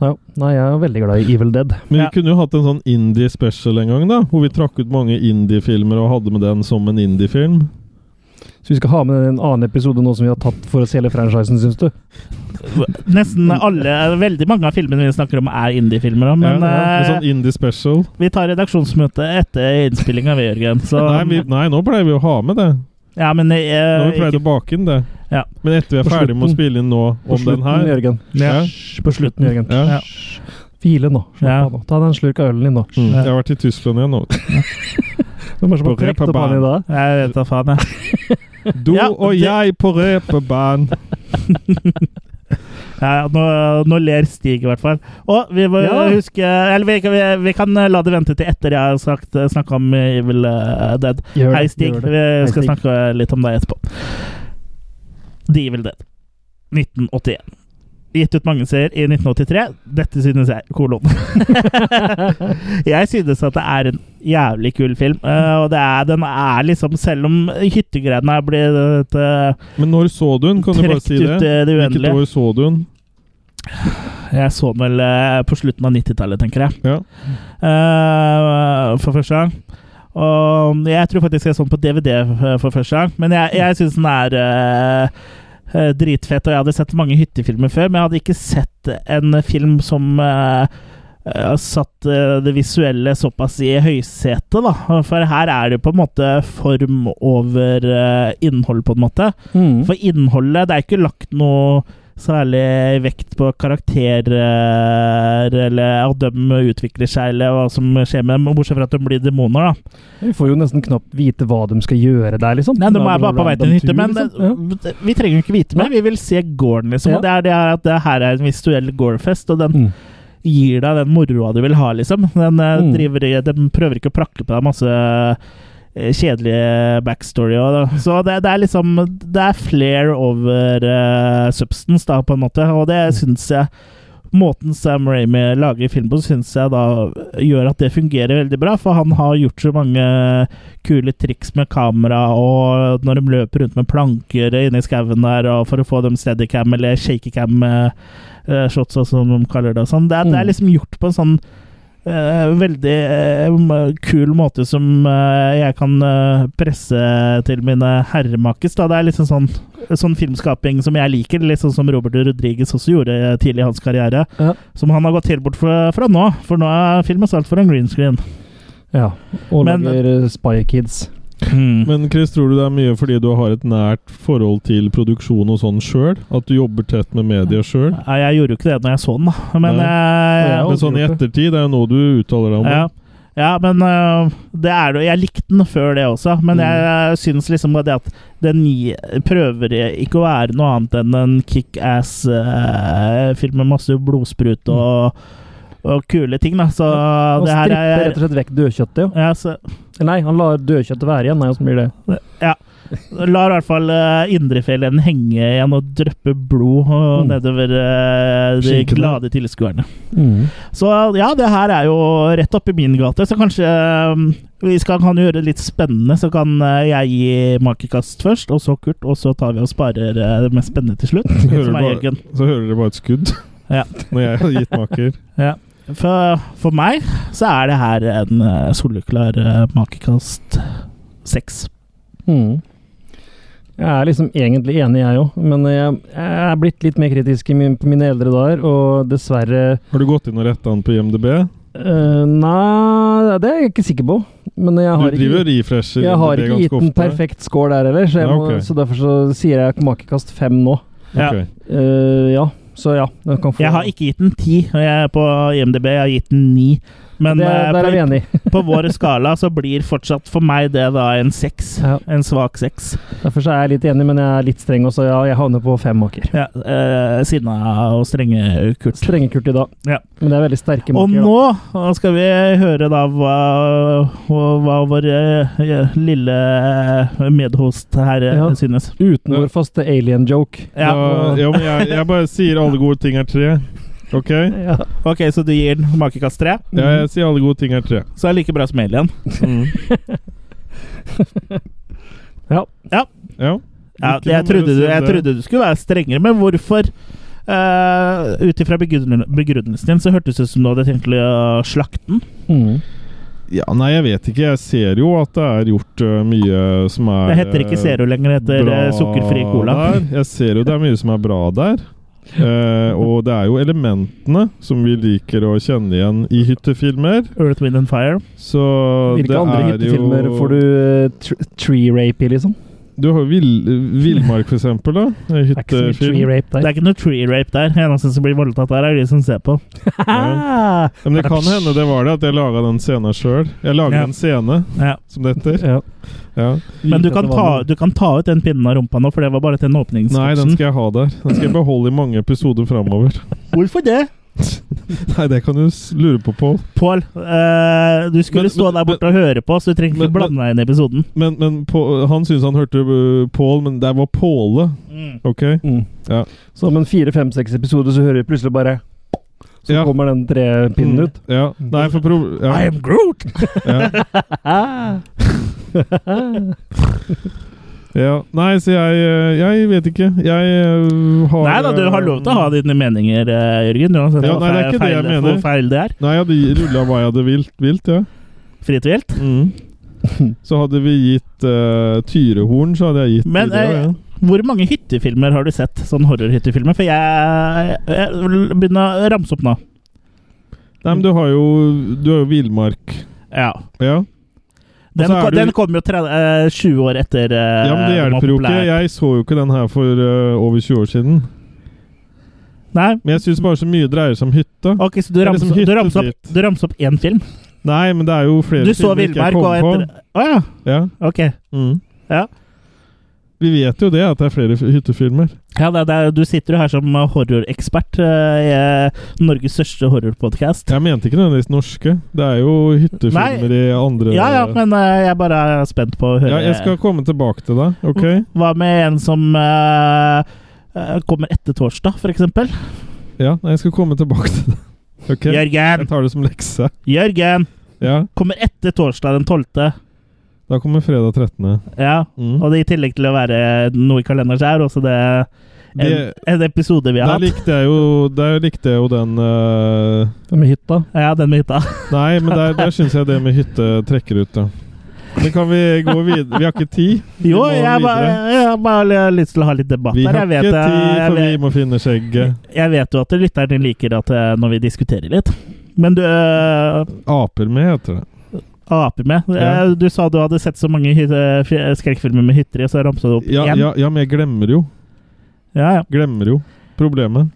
Speaker 2: Nei, nei, jeg er veldig glad i Evil Dead.
Speaker 3: Men vi
Speaker 1: Ja.
Speaker 3: kunne jo hatt en sånn indie special en gang, da. Hvor vi trakk ut mange indie-filmer og hadde med den som en indie-film.
Speaker 2: Så vi skal ha med den i en annen episode nå som vi har tatt for å selge franchisen, syns du?
Speaker 1: Nesten alle, veldig mange av filmene vi snakker om, er indie-filmer. da, Men
Speaker 3: ja, ja. En
Speaker 1: eh,
Speaker 3: sånn indie special.
Speaker 1: vi tar redaksjonsmøte etter innspillinga, vi, Jørgen. Så,
Speaker 3: Nei, vi, nei, nå pleier vi å ha med det.
Speaker 1: ja, men, eh,
Speaker 3: Nå vi
Speaker 1: ikke-
Speaker 3: pleide å bake inn det.
Speaker 1: Ja.
Speaker 3: Men etter vi er
Speaker 2: På
Speaker 3: ferdig med å
Speaker 2: slutten.
Speaker 3: spille inn nå
Speaker 2: På
Speaker 3: om den
Speaker 2: slutten,
Speaker 3: her
Speaker 2: Jørgen.
Speaker 3: ja.
Speaker 2: Hysj, På slutten, Jørgen.
Speaker 3: Ja.
Speaker 1: Ja.
Speaker 2: Hvile nå. Slapp
Speaker 1: Ja.
Speaker 2: av nå. Ta den slurk av ølen din nå.
Speaker 3: Mm. Jeg har vært i Tyskland igjen nå.
Speaker 2: Hvem er det som har
Speaker 3: På
Speaker 2: trukket opp
Speaker 3: reperbanen.
Speaker 2: han i dag?
Speaker 1: Jeg vet da faen, jeg.
Speaker 3: Du
Speaker 1: Ja,
Speaker 3: og
Speaker 1: det-
Speaker 3: jeg på reperband.
Speaker 1: Ja, ja, nå, nå ler Stig, i hvert fall. Og vi må
Speaker 2: Ja.
Speaker 1: huske Eller vi, vi, vi kan la det vente til etter jeg har snakka om Evil eh, Dead.
Speaker 2: Gjør det,
Speaker 1: Hei, Stig.
Speaker 2: gjør det.
Speaker 1: Vi
Speaker 2: Hei,
Speaker 1: skal
Speaker 2: Stig.
Speaker 1: snakke litt om deg etterpå. The Evil Dead. 1981. Gitt ut mange serier i 1983. Dette synes jeg. Kolon. jeg synes at det er en jævlig kul film. eh, og det er, den er liksom Selv om hyttegreiene er blitt eh,
Speaker 3: Men når så du den? Kan du bare
Speaker 1: trukket
Speaker 3: si
Speaker 1: ut
Speaker 3: det?
Speaker 1: eh, det
Speaker 3: Hvilket
Speaker 1: uendelige
Speaker 3: år så du den?
Speaker 1: Jeg så den vel eh, på slutten av 90-tallet, tenker jeg.
Speaker 3: Ja.
Speaker 1: Eh, for første gang. Og jeg tror faktisk jeg så den på DVD eh, for første gang, men jeg, jeg syns den er eh, eh, dritfett. Og jeg hadde sett mange hyttefilmer før, men jeg hadde ikke sett en film som eh, eh, satt eh, det visuelle såpass i høysetet, da. For her er det på en måte form over eh, innhold, på en måte.
Speaker 2: Mm.
Speaker 1: For innholdet Det er ikke lagt noe særlig vekt på karakterer eller at de utvikler seg eller hva som skjer med dem, bortsett fra at de blir demoner, da.
Speaker 2: Vi får jo nesten knapt vite hva de skal gjøre der, liksom.
Speaker 1: Nei, de
Speaker 2: Det
Speaker 1: er bare på vei til en hytte, men
Speaker 2: random tur, liksom.
Speaker 1: eh, vi trenger jo ikke vite mer.
Speaker 2: Nei.
Speaker 1: Vi vil se gården, liksom.
Speaker 2: Ja.
Speaker 1: Og det er det her at det her er en visuell gårdfest, og den
Speaker 2: Ja. Mm.
Speaker 1: gir deg den moroa du vil ha, liksom. Den, eh,
Speaker 2: Mm.
Speaker 1: driver, i- den prøver ikke å prakke på deg masse eh, kjedelig backstory. Og, så det, det er liksom Det er flair over eh, substance, da, på en måte. Og det syns jeg Måten Sam Ramy lager film på, syns jeg da gjør at det fungerer veldig bra. For han har gjort så mange kule triks med kamera, og når de løper rundt med planker inne i skauen der, og for å få dem steadycam eller shakycam eh, eh, shots, og som de kaller det. Og sånn. det, er- det er
Speaker 2: Mm.
Speaker 1: liksom gjort på en sånn eh, veldig eh, m- kul måte som eh, jeg kan eh, presse til mine herremakes. Da. Det er liksom sånn, sånn filmskaping som jeg liker, liksom som Robert Rodriguez også gjorde eh, tidlig i hans karriere.
Speaker 2: Ja.
Speaker 1: Som han har gått helt bort fra, fra nå, for nå er filmen solgt for en green screen.
Speaker 2: ja. Og
Speaker 1: Men-
Speaker 2: lager eh, Spy Kids. Mm.
Speaker 3: Men Chris, tror du det er mye fordi du har et nært forhold til produksjon og sånn sjøl? At du jobber tett med media sjøl?
Speaker 1: Nei, jeg gjorde jo ikke det når jeg så den, da. Men
Speaker 3: Nei.
Speaker 1: eh,
Speaker 2: Ja,
Speaker 3: Men sånn i ettertid, det er jo nå du uttaler deg om
Speaker 1: Ja.
Speaker 3: det.
Speaker 1: Ja, men øh, det er det. Jeg likte den før det også,
Speaker 2: Mm.
Speaker 1: men jeg syns liksom det at den gi- prøver ikke å være noe annet enn en kickass-film med masse blodsprut og, og kule ting, da. Så
Speaker 2: Han
Speaker 1: det her er
Speaker 2: stripper rett Mm. og slett vekk dødkjøttet, jo.
Speaker 1: ja, så,
Speaker 2: Nei, han lar dødkjøttet være igjen, nei, og så blir det
Speaker 1: Lar i hvert fall uh, indrefjellen henge igjen og dryppe blod øh,
Speaker 2: Mm.
Speaker 1: nedover øh, de
Speaker 3: Skinkene.
Speaker 1: glade tilskuerne. Så ja, det her er jo rett opp i min gate, så kanskje øhm, vi skal, kan gjøre det litt spennende. Så kan øh, jeg gi makekast først, og så Kurt, og så tar vi og sparer øh, det mest spennende til slutt.
Speaker 3: Hører
Speaker 1: Som er
Speaker 3: bare-
Speaker 1: Jørgen.
Speaker 3: Så hører dere bare et skudd
Speaker 1: Ja.
Speaker 3: når jeg har gitt maker.
Speaker 1: For, for meg så er det her en øh, soleklar øh, makekast seks.
Speaker 2: Mm. Jeg er liksom egentlig enig, jeg òg, men jeg, jeg er blitt litt mer kritisk i min, på mine eldre dager, og dessverre
Speaker 3: Har du gått inn og retta den på IMDb?
Speaker 2: øh, Nei, det er jeg ikke sikker på. Men jeg
Speaker 3: Du
Speaker 2: har
Speaker 3: driver og
Speaker 2: ikke,
Speaker 3: refresher
Speaker 2: jeg har
Speaker 3: IMDb
Speaker 2: ikke gitt
Speaker 3: ganske
Speaker 2: en
Speaker 3: ofte.
Speaker 2: perfekt score der heller, så, jeg
Speaker 3: Ja,
Speaker 2: må,
Speaker 3: ok.
Speaker 2: så derfor så sier jeg makekast fem nå.
Speaker 3: Ok.
Speaker 2: Eh, ja, så ja. Den kan få
Speaker 1: Jeg har ikke gitt den ti, og jeg er på IMDb jeg har gitt den ni. Men
Speaker 2: det,
Speaker 1: øh,
Speaker 2: Der er vi
Speaker 1: på,
Speaker 2: enige.
Speaker 1: på vår skala så blir fortsatt for meg det da en seks.
Speaker 2: Ja,
Speaker 1: En svak seks.
Speaker 2: derfor så er jeg litt enig, men jeg er litt streng også. Ja, jeg havner på fem maker.
Speaker 1: Ja, eh, Sinna og strenge Kurt.
Speaker 2: Strenge Kurt i dag,
Speaker 1: Ja.
Speaker 2: men det er veldig sterke
Speaker 1: Og
Speaker 2: maker. da.
Speaker 1: nå eh, skal vi høre da hva, hva vår eh, lille eh, medhost her eh,
Speaker 2: Ja.
Speaker 1: synes.
Speaker 2: Uten vår faste alien-joke.
Speaker 1: Ja.
Speaker 3: Da, ja, men jeg, jeg bare sier alle gode ting er tre. Ok?
Speaker 2: Ja.
Speaker 1: Ok, så du gir den makekast tre?
Speaker 3: Ja, jeg sier alle gode ting er tre.
Speaker 1: Så er det like bra som Alien. Mhm.
Speaker 2: Ja.
Speaker 3: Ja.
Speaker 1: Ja, jeg,
Speaker 3: Ikke noe
Speaker 1: trodde du,
Speaker 3: mer å si om
Speaker 1: jeg
Speaker 3: det.
Speaker 1: trodde du skulle være strengere, men hvorfor? Uh, Ut ifra begrunn- begrunnelsen din så hørtes det ut som du hadde tenkt å slakte den.
Speaker 2: Mm.
Speaker 3: ja, nei, jeg vet ikke. Jeg ser jo at det er gjort øh, mye som er
Speaker 1: Det heter ikke
Speaker 3: øh,
Speaker 1: Zero lenger, det heter
Speaker 3: bra
Speaker 1: eh, sukkerfri cola.
Speaker 3: Der. Jeg ser jo det er mye som er bra der. Eh, og det er jo elementene som vi liker å kjenne igjen i hyttefilmer.
Speaker 1: Earth, Wind and Fire.
Speaker 3: Så
Speaker 2: Hvilke
Speaker 3: det
Speaker 2: andre
Speaker 3: er jo
Speaker 2: hyttefilmer får du eh, tr tree rape i, liksom?
Speaker 3: Du har jo vill- Villmark, for eksempel. da En
Speaker 2: Det er ikke så mye tree
Speaker 3: Hyttefilm.
Speaker 2: rape
Speaker 1: Det
Speaker 2: der.
Speaker 1: er ikke noe tree rape der. Eneste som blir voldtatt der, er de som ser på.
Speaker 2: Ah!
Speaker 3: Ja, Men det kan hende det var det, at jeg laga den scenen sjøl. Jeg lager
Speaker 1: Ja.
Speaker 3: en scene,
Speaker 1: Ja.
Speaker 3: som det heter.
Speaker 2: Ja.
Speaker 3: Ja.
Speaker 1: Men du
Speaker 2: Vite at
Speaker 1: kan,
Speaker 2: det var
Speaker 1: ta, du kan ta ut den pinnen av rumpa nå, for det var bare til en
Speaker 3: Nei, den
Speaker 1: åpningssketsjen.
Speaker 3: skal jeg ha der. Den skal jeg beholde i mange episoder framover.
Speaker 1: Hvorfor det?
Speaker 3: Nei, det kan du s- lure på, Pål.
Speaker 1: Pål, eh, du skulle
Speaker 3: Men-
Speaker 1: stå
Speaker 3: men-
Speaker 1: der borte og høre på, så du trenger ikke
Speaker 3: Men-
Speaker 1: blande deg inn i episoden.
Speaker 3: Men, men På- han syntes han hørte øh, Pål, men der var Påle. Ok?
Speaker 2: Mm.
Speaker 3: Ja.
Speaker 2: Så om en fire, fem, seks episoder så hører vi plutselig bare Så
Speaker 3: Ja.
Speaker 2: kommer den
Speaker 1: Mm.
Speaker 2: trepinnen ut.
Speaker 3: Ja. Nei, for pro...
Speaker 1: I
Speaker 3: Ja.
Speaker 1: am Groot!
Speaker 3: Ja. ja. Nei, så jeg øh, Jeg vet ikke. Jeg øh, har
Speaker 1: Nei da, du har lov til å ha dine meninger, eh, Jørgen. Uansett
Speaker 3: Ja,
Speaker 1: hva
Speaker 3: nei, det er
Speaker 1: feil,
Speaker 3: ikke det jeg
Speaker 1: feil-
Speaker 3: mener.
Speaker 1: hvor feil det er.
Speaker 3: Nei, jeg hadde rulla hva jeg hadde vilt, vilt ja.
Speaker 1: Fritt og helt.
Speaker 3: Mm. Så hadde vi gitt øh, tyrehorn, så hadde jeg gitt
Speaker 1: Men,
Speaker 3: det,
Speaker 1: eh,
Speaker 3: ja.
Speaker 1: Hvor mange hyttefilmer har du sett? Sånn horrorhyttefilmer? For jeg, jeg begynner å ramse opp nå.
Speaker 3: Nei,
Speaker 1: mm.
Speaker 3: men du har jo Du har jo villmark.
Speaker 1: Ja.
Speaker 3: Ja.
Speaker 1: Den,
Speaker 3: så er
Speaker 1: ko-
Speaker 3: du-
Speaker 1: den kom jo 30, eh, 20 år etter eh,
Speaker 3: ja, men
Speaker 1: den var
Speaker 3: det hjelper jo ikke.
Speaker 1: populær.
Speaker 3: Jeg så jo ikke den her for øh, over 20 år siden.
Speaker 1: Nei,
Speaker 3: Men jeg syns bare så mye dreier seg om hytta.
Speaker 1: ok, så du
Speaker 3: Det er
Speaker 1: ramser
Speaker 3: liksom
Speaker 1: du ramser opp,
Speaker 3: hyttefritt.
Speaker 1: du ramser opp én film?
Speaker 3: Nei, men det er jo flere
Speaker 1: Du så
Speaker 3: filmer ikke jeg
Speaker 1: Villmark og
Speaker 3: kommer
Speaker 1: etter
Speaker 3: på.
Speaker 1: Å ja,
Speaker 3: Ja.
Speaker 1: ok.
Speaker 3: Mm.
Speaker 1: Ja.
Speaker 3: Vi vet jo det, at det er flere f- hyttefilmer.
Speaker 1: Ja, det, er- det, er- du sitter jo her som horrorekspert eh, i Norges største horrorpodkast.
Speaker 3: Jeg mente ikke nødvendigvis norske. Det er jo hyttefilmer i andre
Speaker 1: Ja ja, men eh, jeg bare er spent på å høre
Speaker 3: Ja, jeg skal komme tilbake til deg, OK?
Speaker 1: Hva med en som eh, eh, kommer etter torsdag, for eksempel?
Speaker 3: Ja, nei, jeg skal komme tilbake til deg. OK? Jeg
Speaker 1: Jørgen!
Speaker 3: tar det som lekse.
Speaker 1: Jørgen!
Speaker 3: Ja,
Speaker 1: Kommer etter torsdag den 12.
Speaker 3: da kommer fredag 13.
Speaker 1: Ja.
Speaker 3: Mm.
Speaker 1: Og det i tillegg til å være noe i kalenderen, så er det også det en,
Speaker 3: Det-
Speaker 1: en episode vi har
Speaker 3: Der
Speaker 1: hatt.
Speaker 3: likte jeg jo, der likte jeg jo den øh,
Speaker 2: Den Med hytta.
Speaker 1: Ja, den med hytta.
Speaker 3: Nei, men der, der syns jeg det med hytte trekker ut, da. Men kan vi gå videre? Vi har ikke tid. Vi
Speaker 1: Jo,
Speaker 3: må
Speaker 1: jeg bare,
Speaker 3: videre.
Speaker 1: jeg har bare lyst til å ha litt debatt
Speaker 3: Vi
Speaker 1: her.
Speaker 3: har
Speaker 1: Jeg vet, eh,
Speaker 3: ikke tid,
Speaker 1: jeg,
Speaker 3: for vi
Speaker 1: vet,
Speaker 3: må finne skjegget.
Speaker 1: jeg vet jo at lytteren liker at eh, når vi diskuterer litt. Men du øh,
Speaker 3: Aper med, heter det.
Speaker 1: aper med.
Speaker 3: Ja.
Speaker 1: Eh, Du sa du hadde sett så mange hytte- fi- skrekkfilmer med hytter i, og så ramsa du opp
Speaker 3: Ja,
Speaker 1: én. Ja.
Speaker 3: ja, ja, men jeg glemmer jo.
Speaker 1: Ja,
Speaker 3: Glemmer jo. Problemet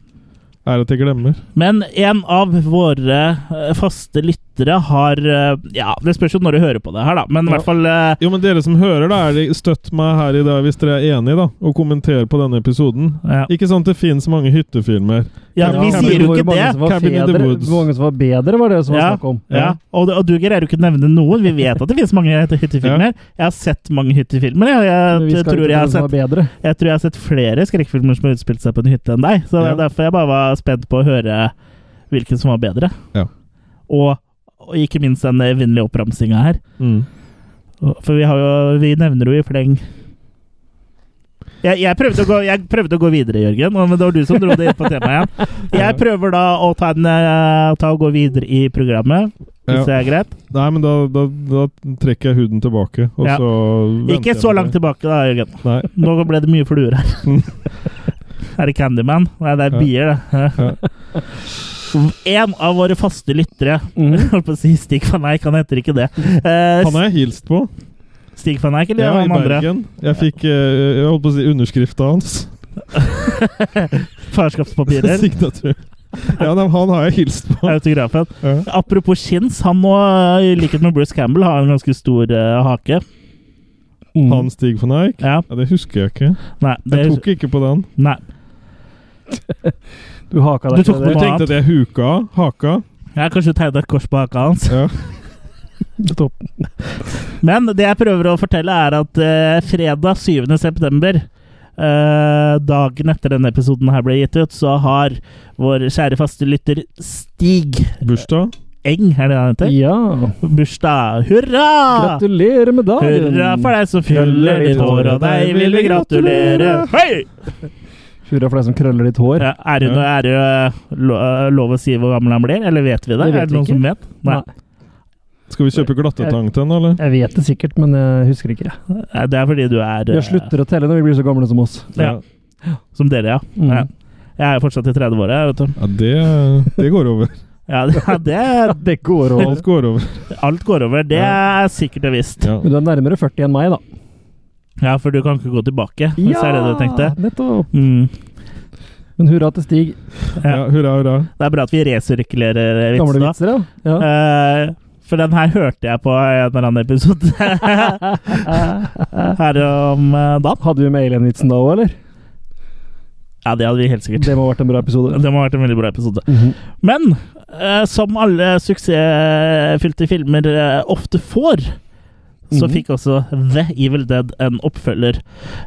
Speaker 3: er at jeg glemmer.
Speaker 1: Men en av våre eh, faste lyttere har eh, Ja, det spørs jo når du hører på det her, da, men i
Speaker 3: Ja.
Speaker 1: hvert fall eh,
Speaker 3: Jo, men dere som hører, da, er det- støtt meg her i dag hvis dere er enige, da, og kommenter på denne episoden.
Speaker 1: ja.
Speaker 3: Ikke sant det fins mange hyttefilmer.
Speaker 1: ja,
Speaker 3: Ja,
Speaker 1: vi
Speaker 3: men
Speaker 1: sier jo
Speaker 2: Hvor
Speaker 1: ikke
Speaker 2: mange
Speaker 1: det.
Speaker 2: som var
Speaker 3: Cabin in the
Speaker 2: bedre-
Speaker 3: Woods.
Speaker 2: Hvor mange som var bedre, var det som var
Speaker 1: Ja.
Speaker 2: snakk om.
Speaker 1: Ja, og, og du greier jo ikke å nevne noen. Vi vet at det finnes mange hytte- hyttefilmer. Jeg har sett mange hyttefilmer. Jeg,
Speaker 2: Men
Speaker 1: jeg,
Speaker 2: vi skal
Speaker 1: tror
Speaker 2: ikke
Speaker 1: jeg,
Speaker 2: til
Speaker 1: har
Speaker 2: den som
Speaker 1: sett,
Speaker 2: var bedre.
Speaker 1: jeg tror jeg har sett flere skrekkfilmer som har utspilt seg på en hytte enn deg. Så det er
Speaker 3: Ja.
Speaker 1: derfor jeg bare var spent på å høre hvilken som var bedre.
Speaker 3: Ja.
Speaker 1: Og, og ikke minst den evinnelige oppramsinga her.
Speaker 3: Mm.
Speaker 1: Og- For vi, har jo, vi nevner jo i fleng jeg, jeg, prøvde å gå, jeg prøvde å gå videre, Jørgen, og- men det var du som dro det inn på temaet igjen. Jeg prøver da å ta, en, eh, ta og gå videre i programmet, hvis
Speaker 3: Ja.
Speaker 1: det er greit.
Speaker 3: Nei, men da, da, da trekker jeg huden tilbake, og
Speaker 1: Ja.
Speaker 3: så venter
Speaker 1: Ikke
Speaker 3: jeg
Speaker 1: så
Speaker 3: med
Speaker 1: langt
Speaker 3: det.
Speaker 1: tilbake, da, Jørgen.
Speaker 3: Nei.
Speaker 1: Nå ble det mye fluer her. Er det Candyman? Nei, det er
Speaker 3: Ja.
Speaker 1: bier, det. En av våre faste lyttere
Speaker 3: Mhm.
Speaker 1: Jeg Holdt på å si Stig van Eijk, han heter ikke det. Eh,
Speaker 3: Han har jeg hilst på.
Speaker 1: Stig van Eijk eller
Speaker 3: Ja, i
Speaker 1: han andre?
Speaker 3: Bergen. Jeg fikk eh, jeg holdt på å si underskrifta hans.
Speaker 1: Farskapspapirer.
Speaker 3: Signatur. Ja, nei, han har jeg hilst på.
Speaker 1: Autografen.
Speaker 3: Ja.
Speaker 1: Apropos chins, han må, eh, i likhet med Bruce Campbell, ha en ganske stor eh, hake.
Speaker 2: Mm.
Speaker 3: Han Stig van Eyck?
Speaker 1: Ja,
Speaker 3: Ja, det husker jeg ikke.
Speaker 1: nei, det,
Speaker 3: Jeg tok ikke på den.
Speaker 1: nei.
Speaker 2: Du haka
Speaker 1: Du
Speaker 2: deg
Speaker 1: tok på
Speaker 2: til
Speaker 3: Du
Speaker 2: det.
Speaker 1: meg.
Speaker 3: tenkte at jeg huka av? Haka?
Speaker 1: Jeg har kanskje tegna et kors på haka hans.
Speaker 3: Ja.
Speaker 2: Topp.
Speaker 1: Men det jeg prøver å fortelle, er at eh, fredag 7. september, eh, dagen etter denne episoden her ble gitt ut, så har vår kjære faste lytter Stig
Speaker 3: Bursdag?
Speaker 1: Eng, er det han heter?
Speaker 2: Ja.
Speaker 1: Bursdag. Hurra!
Speaker 2: Ah. Gratulerer med dagen!
Speaker 1: Hurra for deg som fyller ditt hår, og deg vil vi gratulere! Hei!
Speaker 2: Hurra for deg som krøller ditt hår.
Speaker 1: Ja, Er det, noe- er det eh, lo- eh, lov å si hvor gammel han blir, eller vet vi det?
Speaker 2: Det vet
Speaker 1: er det
Speaker 2: vi
Speaker 1: noen
Speaker 2: ikke.
Speaker 1: som vet? Nei.
Speaker 3: Skal vi kjøpe glattetang til henne, eller?
Speaker 2: Jeg vet det sikkert, men jeg husker ikke.
Speaker 1: Nei, Det er fordi du er eh,
Speaker 2: Jeg slutter å telle når vi blir så gamle som oss.
Speaker 1: Ja. som dere, ja.
Speaker 2: Mm.
Speaker 1: ja. Jeg er fortsatt i 30-åra, vet du.
Speaker 3: Ja, det, eh, det går over.
Speaker 1: Ja, det, det,
Speaker 2: Det går over.
Speaker 3: Alt går over.
Speaker 1: Alt går over. Det er sikkert og visst.
Speaker 3: Ja.
Speaker 2: Men du er nærmere 40 enn meg, da.
Speaker 1: Ja, for du kan ikke gå tilbake, hvis det er det du tenkte.
Speaker 2: nettopp!
Speaker 1: Mm.
Speaker 2: Men hurra til Stig.
Speaker 3: Ja, hurra, hurra.
Speaker 1: Det er bra at vi resirkulerer eh, vitsen.
Speaker 2: Gamle
Speaker 1: da.
Speaker 2: vitser, ja. ja.
Speaker 1: Eh, for den her hørte jeg på en eller annen episode her om eh, dagen.
Speaker 2: Hadde vi med alien-vitsen da òg, eller?
Speaker 1: Ja, det hadde vi helt sikkert.
Speaker 2: Det må ha vært en bra episode.
Speaker 1: Det må ha vært en veldig bra episode.
Speaker 2: Mhm.
Speaker 1: Men eh, som alle suksessfylte filmer eh, ofte får, så
Speaker 2: Mhm.
Speaker 1: fikk også The Evil Dead en oppfølger.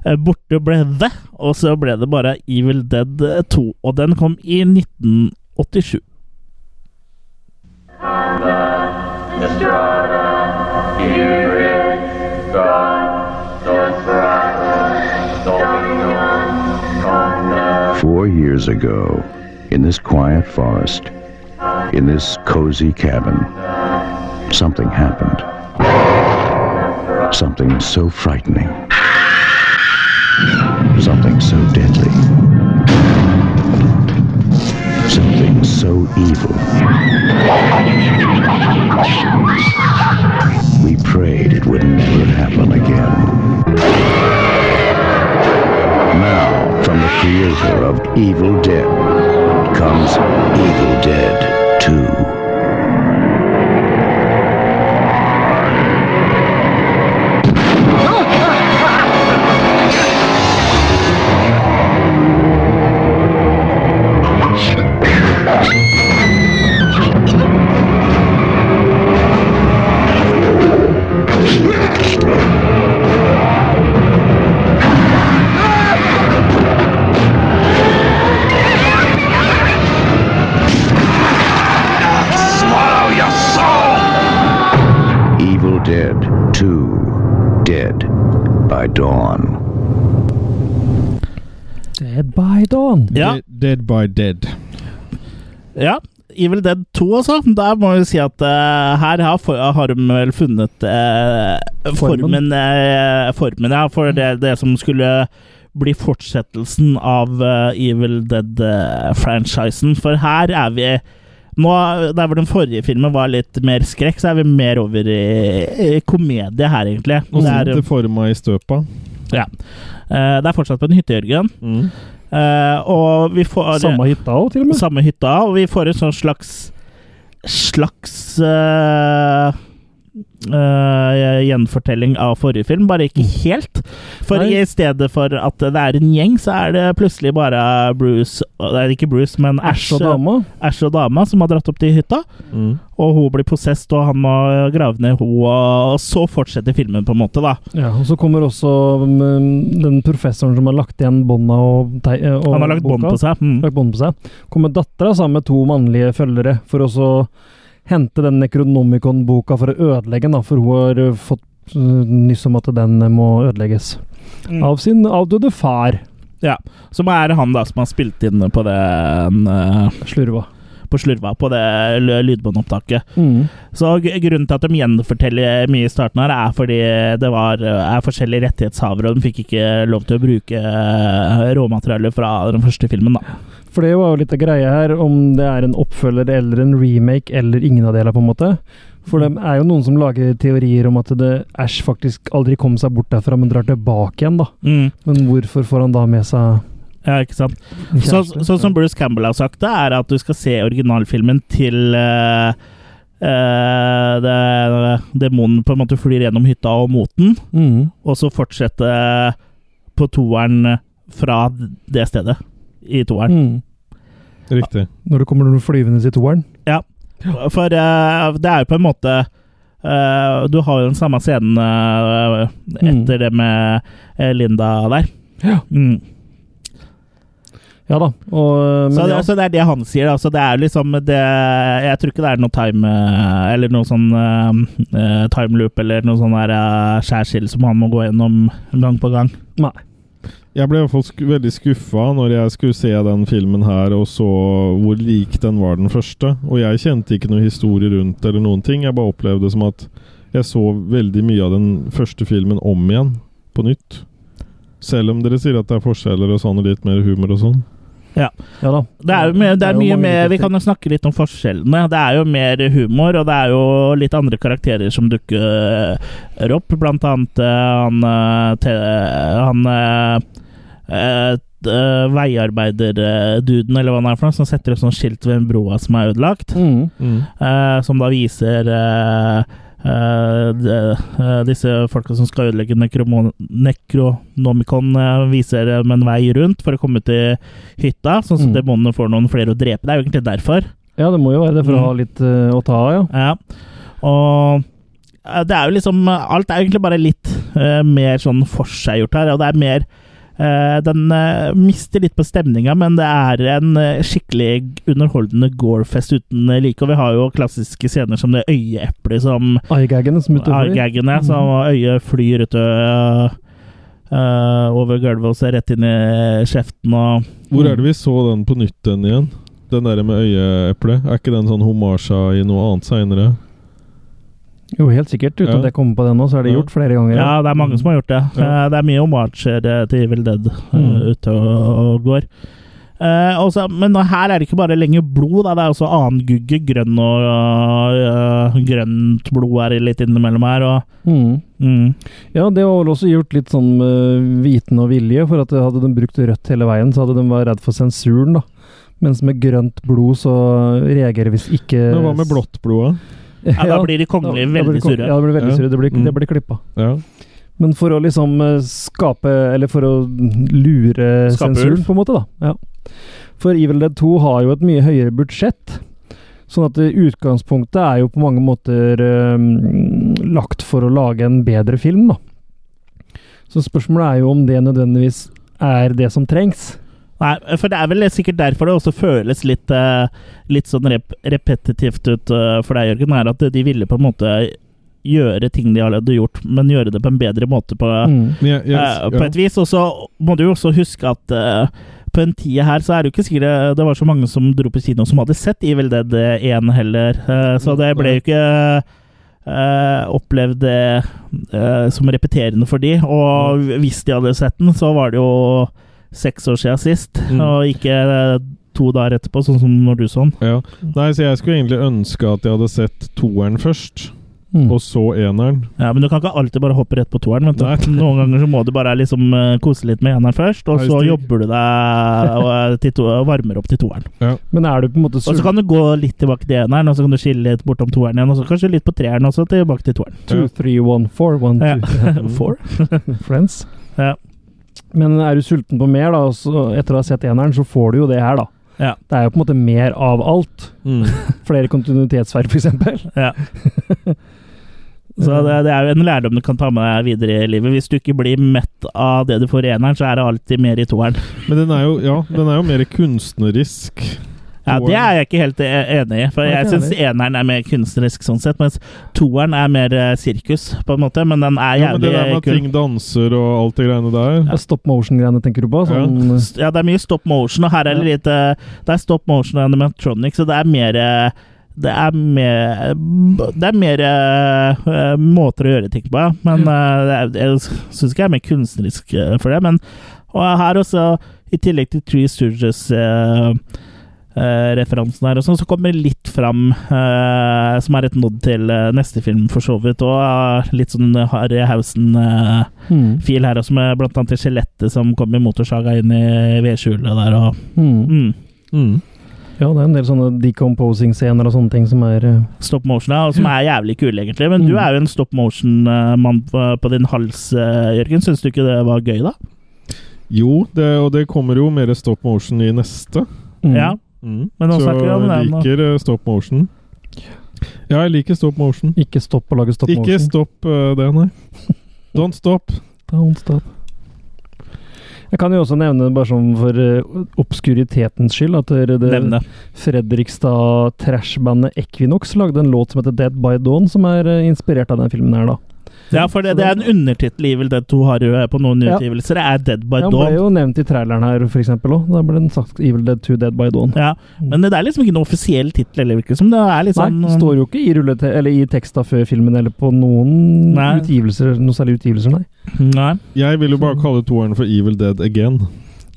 Speaker 1: Eh, borte ble The, og så ble det bare Evil Dead 2. Og den kom i 1987.
Speaker 7: Four years ago, in this quiet forest, in this cozy cabin, something happened. Something so frightening. Something so deadly. Something so evil. We prayed it would never happen again. Now, from the creator of Evil Dead comes Evil Dead 2. Evil Dead 2 Dead by Dawn.
Speaker 2: Dead by Dawn.
Speaker 1: Ja.
Speaker 3: Dead, dead by dead.
Speaker 1: Ja. Evil Dead 2, altså. Der må vi si at eh, her har, for, har de vel funnet eh,
Speaker 2: Formen.
Speaker 1: formen, eh, formen ja, for det, det som skulle bli fortsettelsen av eh, Evil Dead-franchisen. For her er vi nå, Der hvor den forrige filmen var litt mer skrekk, så er vi mer over i, i komedie her, egentlig.
Speaker 3: Og
Speaker 1: Det er,
Speaker 3: sitter forma i støpa.
Speaker 1: ja. Eh, det er fortsatt på en hytte, Jørgen.
Speaker 3: Mm.
Speaker 1: Eh, og vi får
Speaker 2: Samme hytta òg, til og
Speaker 1: på
Speaker 2: med.
Speaker 1: samme hytta, og vi får en sånn slags slags øh, øh, gjenfortelling av forrige film, bare ikke helt. For
Speaker 2: Mm. Nei.
Speaker 1: i stedet for at det er en gjeng, så er det plutselig bare Bruce og- Det er ikke Bruce, men
Speaker 2: Æsj og
Speaker 1: dama.
Speaker 2: dama.
Speaker 1: Ash og dama som har dratt opp til hytta.
Speaker 3: Mm.
Speaker 1: Og hun blir possessed, og han må grave ned henne, og så fortsetter filmen, på en måte, da.
Speaker 2: Ja, og så kommer også mm, den professoren som har lagt igjen bånda og, tei- eh, og
Speaker 1: Han har lagt bånd
Speaker 2: boka.
Speaker 1: på seg. Mm.
Speaker 2: lagt bånd på seg. Kommer dattera sammen med to mannlige følgere for å så hente den Necronomicon-boka for å ødelegge den, da, for hun har eh, fått eh, nyss om at den eh, må ødelegges.
Speaker 1: Mm.
Speaker 2: Av sin avdøde far,
Speaker 1: Ja. Som er han da som har spilt inn på den øh,
Speaker 2: slurva.
Speaker 1: på slurva på det l- lydbåndopptaket.
Speaker 2: Mm.
Speaker 1: Så gr- grunnen til at de gjenforteller mye i starten her, er fordi det var, eh, er forskjellige rettighetshavere, og de fikk ikke lov til å bruke eh, råmaterialet fra den første filmen, da.
Speaker 2: For det var jo litt av greia her, om det er en oppfølger eller en remake eller ingen av delene, på en måte. For det er jo noen som lager teorier om at det Ash faktisk aldri kom seg bort derfra, men drar tilbake igjen, da. Men hvorfor får han da med
Speaker 1: Mm,
Speaker 2: seg
Speaker 1: Ja, ikke sant?
Speaker 2: en
Speaker 1: Så,
Speaker 2: kjæreste?
Speaker 1: sånn som Bruce Campbell har sagt, det er at du skal se originalfilmen til eh, eh, det- Demonen på en måte flyr gjennom hytta og mot den,
Speaker 2: mm.
Speaker 1: og så fortsette på toeren fra det stedet. I toeren.
Speaker 2: Mm.
Speaker 3: Riktig.
Speaker 2: Når det kommer noen flyvende i toeren.
Speaker 1: For eh, det er jo på en måte eh, Du har jo den samme scenen eh,
Speaker 2: Mm.
Speaker 1: etter det med eh, Linda der.
Speaker 2: Ja.
Speaker 1: Mm.
Speaker 2: Ja da. Og, eh, men
Speaker 1: Så, det,
Speaker 2: ja.
Speaker 1: så det er altså- det han sier. Da. Så det er liksom det, Jeg tror ikke det er noe time eh, Eller noe sånn eh, eh, time loop eller noe sånn der eh, skjærsild som han må gå gjennom gang på gang.
Speaker 2: Nei.
Speaker 3: Jeg ble i hvert fall sk veldig skuffa når jeg skulle se den filmen her og så hvor lik den var den første. Og jeg kjente ikke noe historie rundt eller noen ting. Jeg bare opplevde det som at jeg så veldig mye av den første filmen om igjen, på nytt. Selv om dere sier at det er forskjeller og sånn, og litt mer humor og sånn.
Speaker 2: Ja da.
Speaker 1: Det er, jo mer, det er
Speaker 2: Mm. jo
Speaker 1: mye
Speaker 2: mange
Speaker 1: mer Vi
Speaker 2: likheter.
Speaker 1: kan jo snakke litt om forskjellene. Det er jo mer humor, og det er jo litt andre karakterer som dukker opp. Blant annet eh, han eh, te, Han eh, eh, t- eh, veiarbeiderduden, eller hva han er for noe, som setter opp sånn skilt ved en broa som er ødelagt.
Speaker 2: Mm.
Speaker 1: eh, som da viser eh, eh, det- eh, disse folka som skal ødelegge nekromo- Necronomicon, eh, viser dem en vei rundt for å komme til hytta, sånn at
Speaker 2: Mm.
Speaker 1: demonene får noen flere å drepe. Det er jo egentlig derfor.
Speaker 2: Ja, det må jo være det for
Speaker 1: Mm.
Speaker 2: å ha litt eh, å ta av, ja.
Speaker 1: Ja. Og eh, det er jo liksom Alt er egentlig bare litt eh, mer sånn forseggjort her, og det er mer eh, den eh, mister litt på stemninga, men det er en eh, skikkelig underholdende gorefest uten eh, like. Og vi har jo klassiske scener som det øyeeplet som
Speaker 2: Eye-gaggene som utover.
Speaker 1: Gaggene,
Speaker 3: Mm.
Speaker 1: som øyet flyr ut øh, øh, over gulvet og ser rett inn i kjeften og
Speaker 3: Hvor er det vi så den på nytt den igjen? Den der med øyeeplet? Er ikke den sånn homasja i noe annet seinere?
Speaker 2: Jo, helt sikkert. Uten
Speaker 3: Ja.
Speaker 2: at jeg kommer på det nå, så er det
Speaker 3: Ja.
Speaker 2: gjort flere ganger. ja.
Speaker 1: Ja, det er mange som har gjort det.
Speaker 3: Ja.
Speaker 1: Eh, Det er mye omager eh, til Evil Dead eh,
Speaker 2: Mm.
Speaker 1: ute og, og går. Eh, også, men nå her er det ikke bare lenger blod, da. det er også annen gugge. Grønn og øh, grønt blod er litt innimellom her. Og,
Speaker 2: Mm.
Speaker 1: mm.
Speaker 2: Ja, det var vel også gjort litt sånn med viten og vilje, for at hadde de brukt rødt hele veien, så hadde de vært redd for sensuren, da. Mens med grønt blod så reagerer hvis ikke
Speaker 3: Men hva med blått blod, da?
Speaker 1: ja, da blir de
Speaker 2: Ja,
Speaker 1: kongelige
Speaker 2: da blir
Speaker 1: veldig
Speaker 2: kong-
Speaker 1: sure.
Speaker 2: Ja, det blir veldig
Speaker 3: Ja.
Speaker 2: surre. Det blir,
Speaker 3: Mm.
Speaker 2: det blir klippa.
Speaker 3: Ja.
Speaker 2: Men for å liksom eh, skape Eller for å lure
Speaker 1: Skape
Speaker 2: sensuren,
Speaker 1: ulv.
Speaker 2: på en måte, da. Ja. For Evil Dead 2 har jo et mye høyere budsjett. Sånn at eh, utgangspunktet er jo på mange måter eh, mm, lagt for å lage en bedre film, da. Så spørsmålet er jo om det nødvendigvis er det som trengs.
Speaker 1: Nei, for det er vel sikkert derfor det også føles litt, eh, litt sånn rep repetitivt ut eh, for deg, Jørgen, er at de ville på en måte gjøre ting de allerede har gjort, men gjøre det på en bedre måte på,
Speaker 2: Mm.
Speaker 3: Men jeg, jeg,
Speaker 1: eh, på
Speaker 3: ja.
Speaker 1: et vis. Og så må du jo også huske at eh, på den tida her så er det jo ikke sikkert det- det var så mange som dro på kino som hadde sett Evil Dead 1 heller, eh, så det ble jo ikke eh, opplevd det eh, som repeterende for de, og hvis de hadde sett den, så var det jo seks år siden sist,
Speaker 3: Mm.
Speaker 1: og ikke eh, to dager etterpå, sånn som når du så den.
Speaker 3: ja. Nei, så jeg skulle egentlig ønske at jeg hadde sett toeren først,
Speaker 2: Mm.
Speaker 3: og så eneren.
Speaker 1: Ja, men du kan ikke alltid bare hoppe rett på toeren. Vet
Speaker 3: Nei.
Speaker 1: du. Noen ganger så må du bare liksom eh, kose litt med eneren først, og
Speaker 3: Ja,
Speaker 1: så
Speaker 3: hvis du-
Speaker 1: jobber du deg eh, til to, og varmer opp til toeren.
Speaker 2: Men er du på en måte
Speaker 1: Og så
Speaker 2: sulten?
Speaker 1: kan du gå litt tilbake til eneren, og så kan du skille litt bortom toeren igjen, og så kanskje litt på treeren, og så tilbake til toeren.
Speaker 2: Two, three, one, four, one,
Speaker 1: Ja.
Speaker 2: two.
Speaker 1: Four.
Speaker 2: Friends.
Speaker 1: Ja.
Speaker 2: Men er du sulten på mer, da, og så etter å ha sett eneren, så får du jo det her, da.
Speaker 1: Ja.
Speaker 2: Det er jo på en måte mer av alt.
Speaker 1: Mm.
Speaker 2: Flere kontinuitetsverk, f.eks.
Speaker 1: Ja. Så det, det er jo en lærdom du kan ta med deg videre i livet. Hvis du ikke blir mett av det du får i eneren, så er det alltid mer i toeren.
Speaker 3: Men den er jo, ja, den er jo mer kunstnerisk.
Speaker 1: Ja, Det er jeg ikke helt e- enig i, for
Speaker 2: Nei,
Speaker 1: jeg
Speaker 2: ikke
Speaker 1: syns
Speaker 2: jeg
Speaker 1: eneren er mer kunstnerisk sånn sett, mens toeren er mer eh, sirkus, på en måte, men den er
Speaker 3: Ja, men det
Speaker 1: jævlig
Speaker 3: der med at
Speaker 1: kul.
Speaker 3: ting danser og alt det greiene der
Speaker 2: Ja. Stop motion-greiene tenker du på? Sånn,
Speaker 1: S- Ja, det er mye stop motion, og her er det litt eh, Det er stop motion og animatronic, så det er mer eh, det er mer, det er mer eh, eh, måter å gjøre ting på, ja. men eh, det er, jeg syns ikke jeg er mer kunstnerisk eh, for det. Men og her også, i tillegg til Three Stooges-referansen her, og sånn, så kommer det litt fram, eh, som er et nod til eh, neste film, for så vidt, og eh, litt sånn Harry Hausen eh,
Speaker 2: mm,
Speaker 1: fil her også, med blant annet det skjelettet som kom i motorsaga inn i vedskjulet der. Og,
Speaker 2: mm.
Speaker 1: mm,
Speaker 2: Ja, det er en del sånne decomposing-scener og sånne ting som er eh,
Speaker 1: stop motion, ja, og som er jævlig kule, egentlig. Men
Speaker 2: Mm.
Speaker 1: du er jo en stop motion-mann på, på din hals, eh, Jørgen. Syns du ikke det var gøy, da?
Speaker 3: Jo, det, og det kommer jo mer stop motion i neste.
Speaker 2: mm.
Speaker 1: Ja. Men nå
Speaker 3: Så
Speaker 1: snakker vi om den,
Speaker 3: jeg
Speaker 1: da.
Speaker 3: liker eh, stop motion. Ja, jeg liker stop motion.
Speaker 2: Ikke stopp å lage stop
Speaker 3: Ikke
Speaker 2: motion.
Speaker 3: stopp eh, det, nei. Don't stop.
Speaker 2: Don't stop. Jeg kan jo også nevne, bare sånn for eh, obskuritetens skyld, at det, det
Speaker 1: Nevne.
Speaker 2: Fredrikstad-trashbandet Equinox lagde en låt som heter Dead by Dawn, som er eh, inspirert av den filmen her, da.
Speaker 1: Ja, for det, det er en undertittel i Evil Dead 2 har jo på noen
Speaker 2: Ja.
Speaker 1: utgivelser. Det er Dead by
Speaker 2: Ja, Han ble
Speaker 1: Dawn.
Speaker 2: jo nevnt i traileren her, for eksempel òg. Da ble den sagt 'Evil Dead 2 Dead by Dawn'.
Speaker 1: Ja, men det er liksom ikke noen offisiell tittel, eller virker det som. Det er litt sånn
Speaker 2: Nei, det står jo ikke i, rullete eller i teksta før filmen eller på noen
Speaker 1: Nei.
Speaker 2: utgivelser, noe særlig utgivelser, nei.
Speaker 1: mm, Nei.
Speaker 3: Jeg vil jo bare kalle toeren for Evil Dead Again.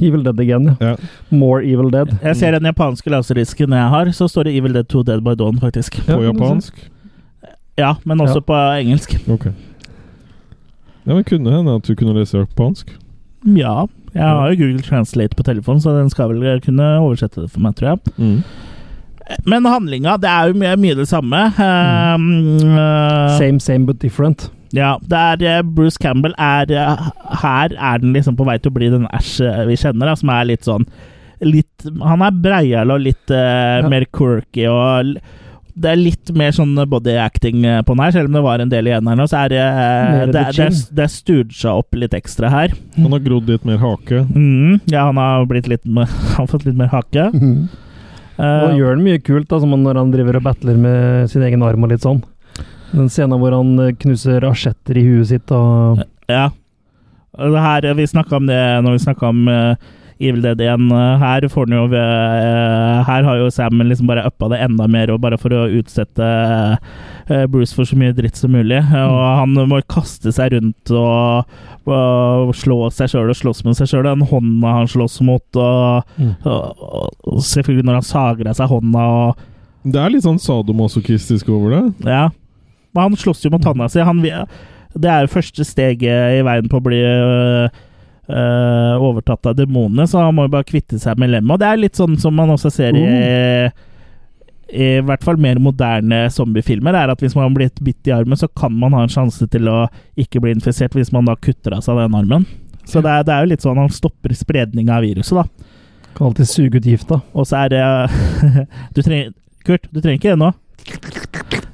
Speaker 2: Evil Dead igjen, ja.
Speaker 3: Ja.
Speaker 2: More Evil Dead.
Speaker 1: Jeg ser den japanske laserdisken jeg har, så står det Evil Dead 2 Dead by Dawn, faktisk.
Speaker 3: På
Speaker 2: Ja,
Speaker 3: japansk.
Speaker 1: Ja, men også
Speaker 2: Ja.
Speaker 1: på engelsk.
Speaker 3: Ok. Ja, men Kunne hende at du kunne lese japansk.
Speaker 1: Ja. Mm. Jeg har jo Google Translate på telefonen, så den skal vel kunne oversette det for meg, tror jeg. Men handlinga, det er jo mye, mye det samme.
Speaker 2: Mm.
Speaker 1: Eh, eh,
Speaker 2: Same, same, but different.
Speaker 1: ja, det er eh, Bruce Campbell er eh, Her er den liksom på vei til å bli den Ash eh, vi kjenner, da, som er litt sånn litt, Han er breial og litt eh,
Speaker 2: Ja.
Speaker 1: mer quirky og l- det er litt mer sånn body acting eh, på den her, selv om det var en del igjen her nå. Så er det, eh,
Speaker 2: Mer
Speaker 1: det,
Speaker 2: the
Speaker 1: det,
Speaker 2: chin.
Speaker 1: det er stooga opp litt ekstra her.
Speaker 3: Han har grodd litt mer hake.
Speaker 1: Mm, ja, han har, blitt litt, mer- han har fått litt mer hake.
Speaker 2: Og
Speaker 1: Eh,
Speaker 2: gjør han mye kult, da, som han- når han driver og battler med sin egen arm og litt sånn. Den scenen hvor han eh, knuser asjetter i huet sitt og
Speaker 1: Ja. Og Det her, vi snakka om det når vi snakka om eh, Evil Dead 1. eh, Her får den jo ved, eh, Her har jo Sam liksom bare uppa det enda mer, og bare for å utsette eh, Bruce for så mye dritt som mulig. Eh, Og han må kaste seg rundt og, og slå seg sjøl og slåss med seg sjøl. Den hånda han slåss mot, og, og, og selvfølgelig når han sager av seg hånda og
Speaker 3: Det er litt sånn sadomasochistisk over det.
Speaker 1: ja. Men han slåss jo mot tanna si. Han, vil- det er jo første steget i veien på å bli øh, øh, overtatt av demonene, så han må jo bare kvitte seg med lemmet. Og det er litt sånn som man også ser i i hvert fall mer moderne zombiefilmer, er at hvis man har blitt bitt i armen, så kan man ha en sjanse til å ikke bli infisert hvis man da kutter av seg den armen. Så det er, det er jo litt sånn han stopper spredning av viruset, da.
Speaker 2: kan alltid suge ut gifta.
Speaker 1: Og så er det du trenger, Kurt, du trenger ikke det nå.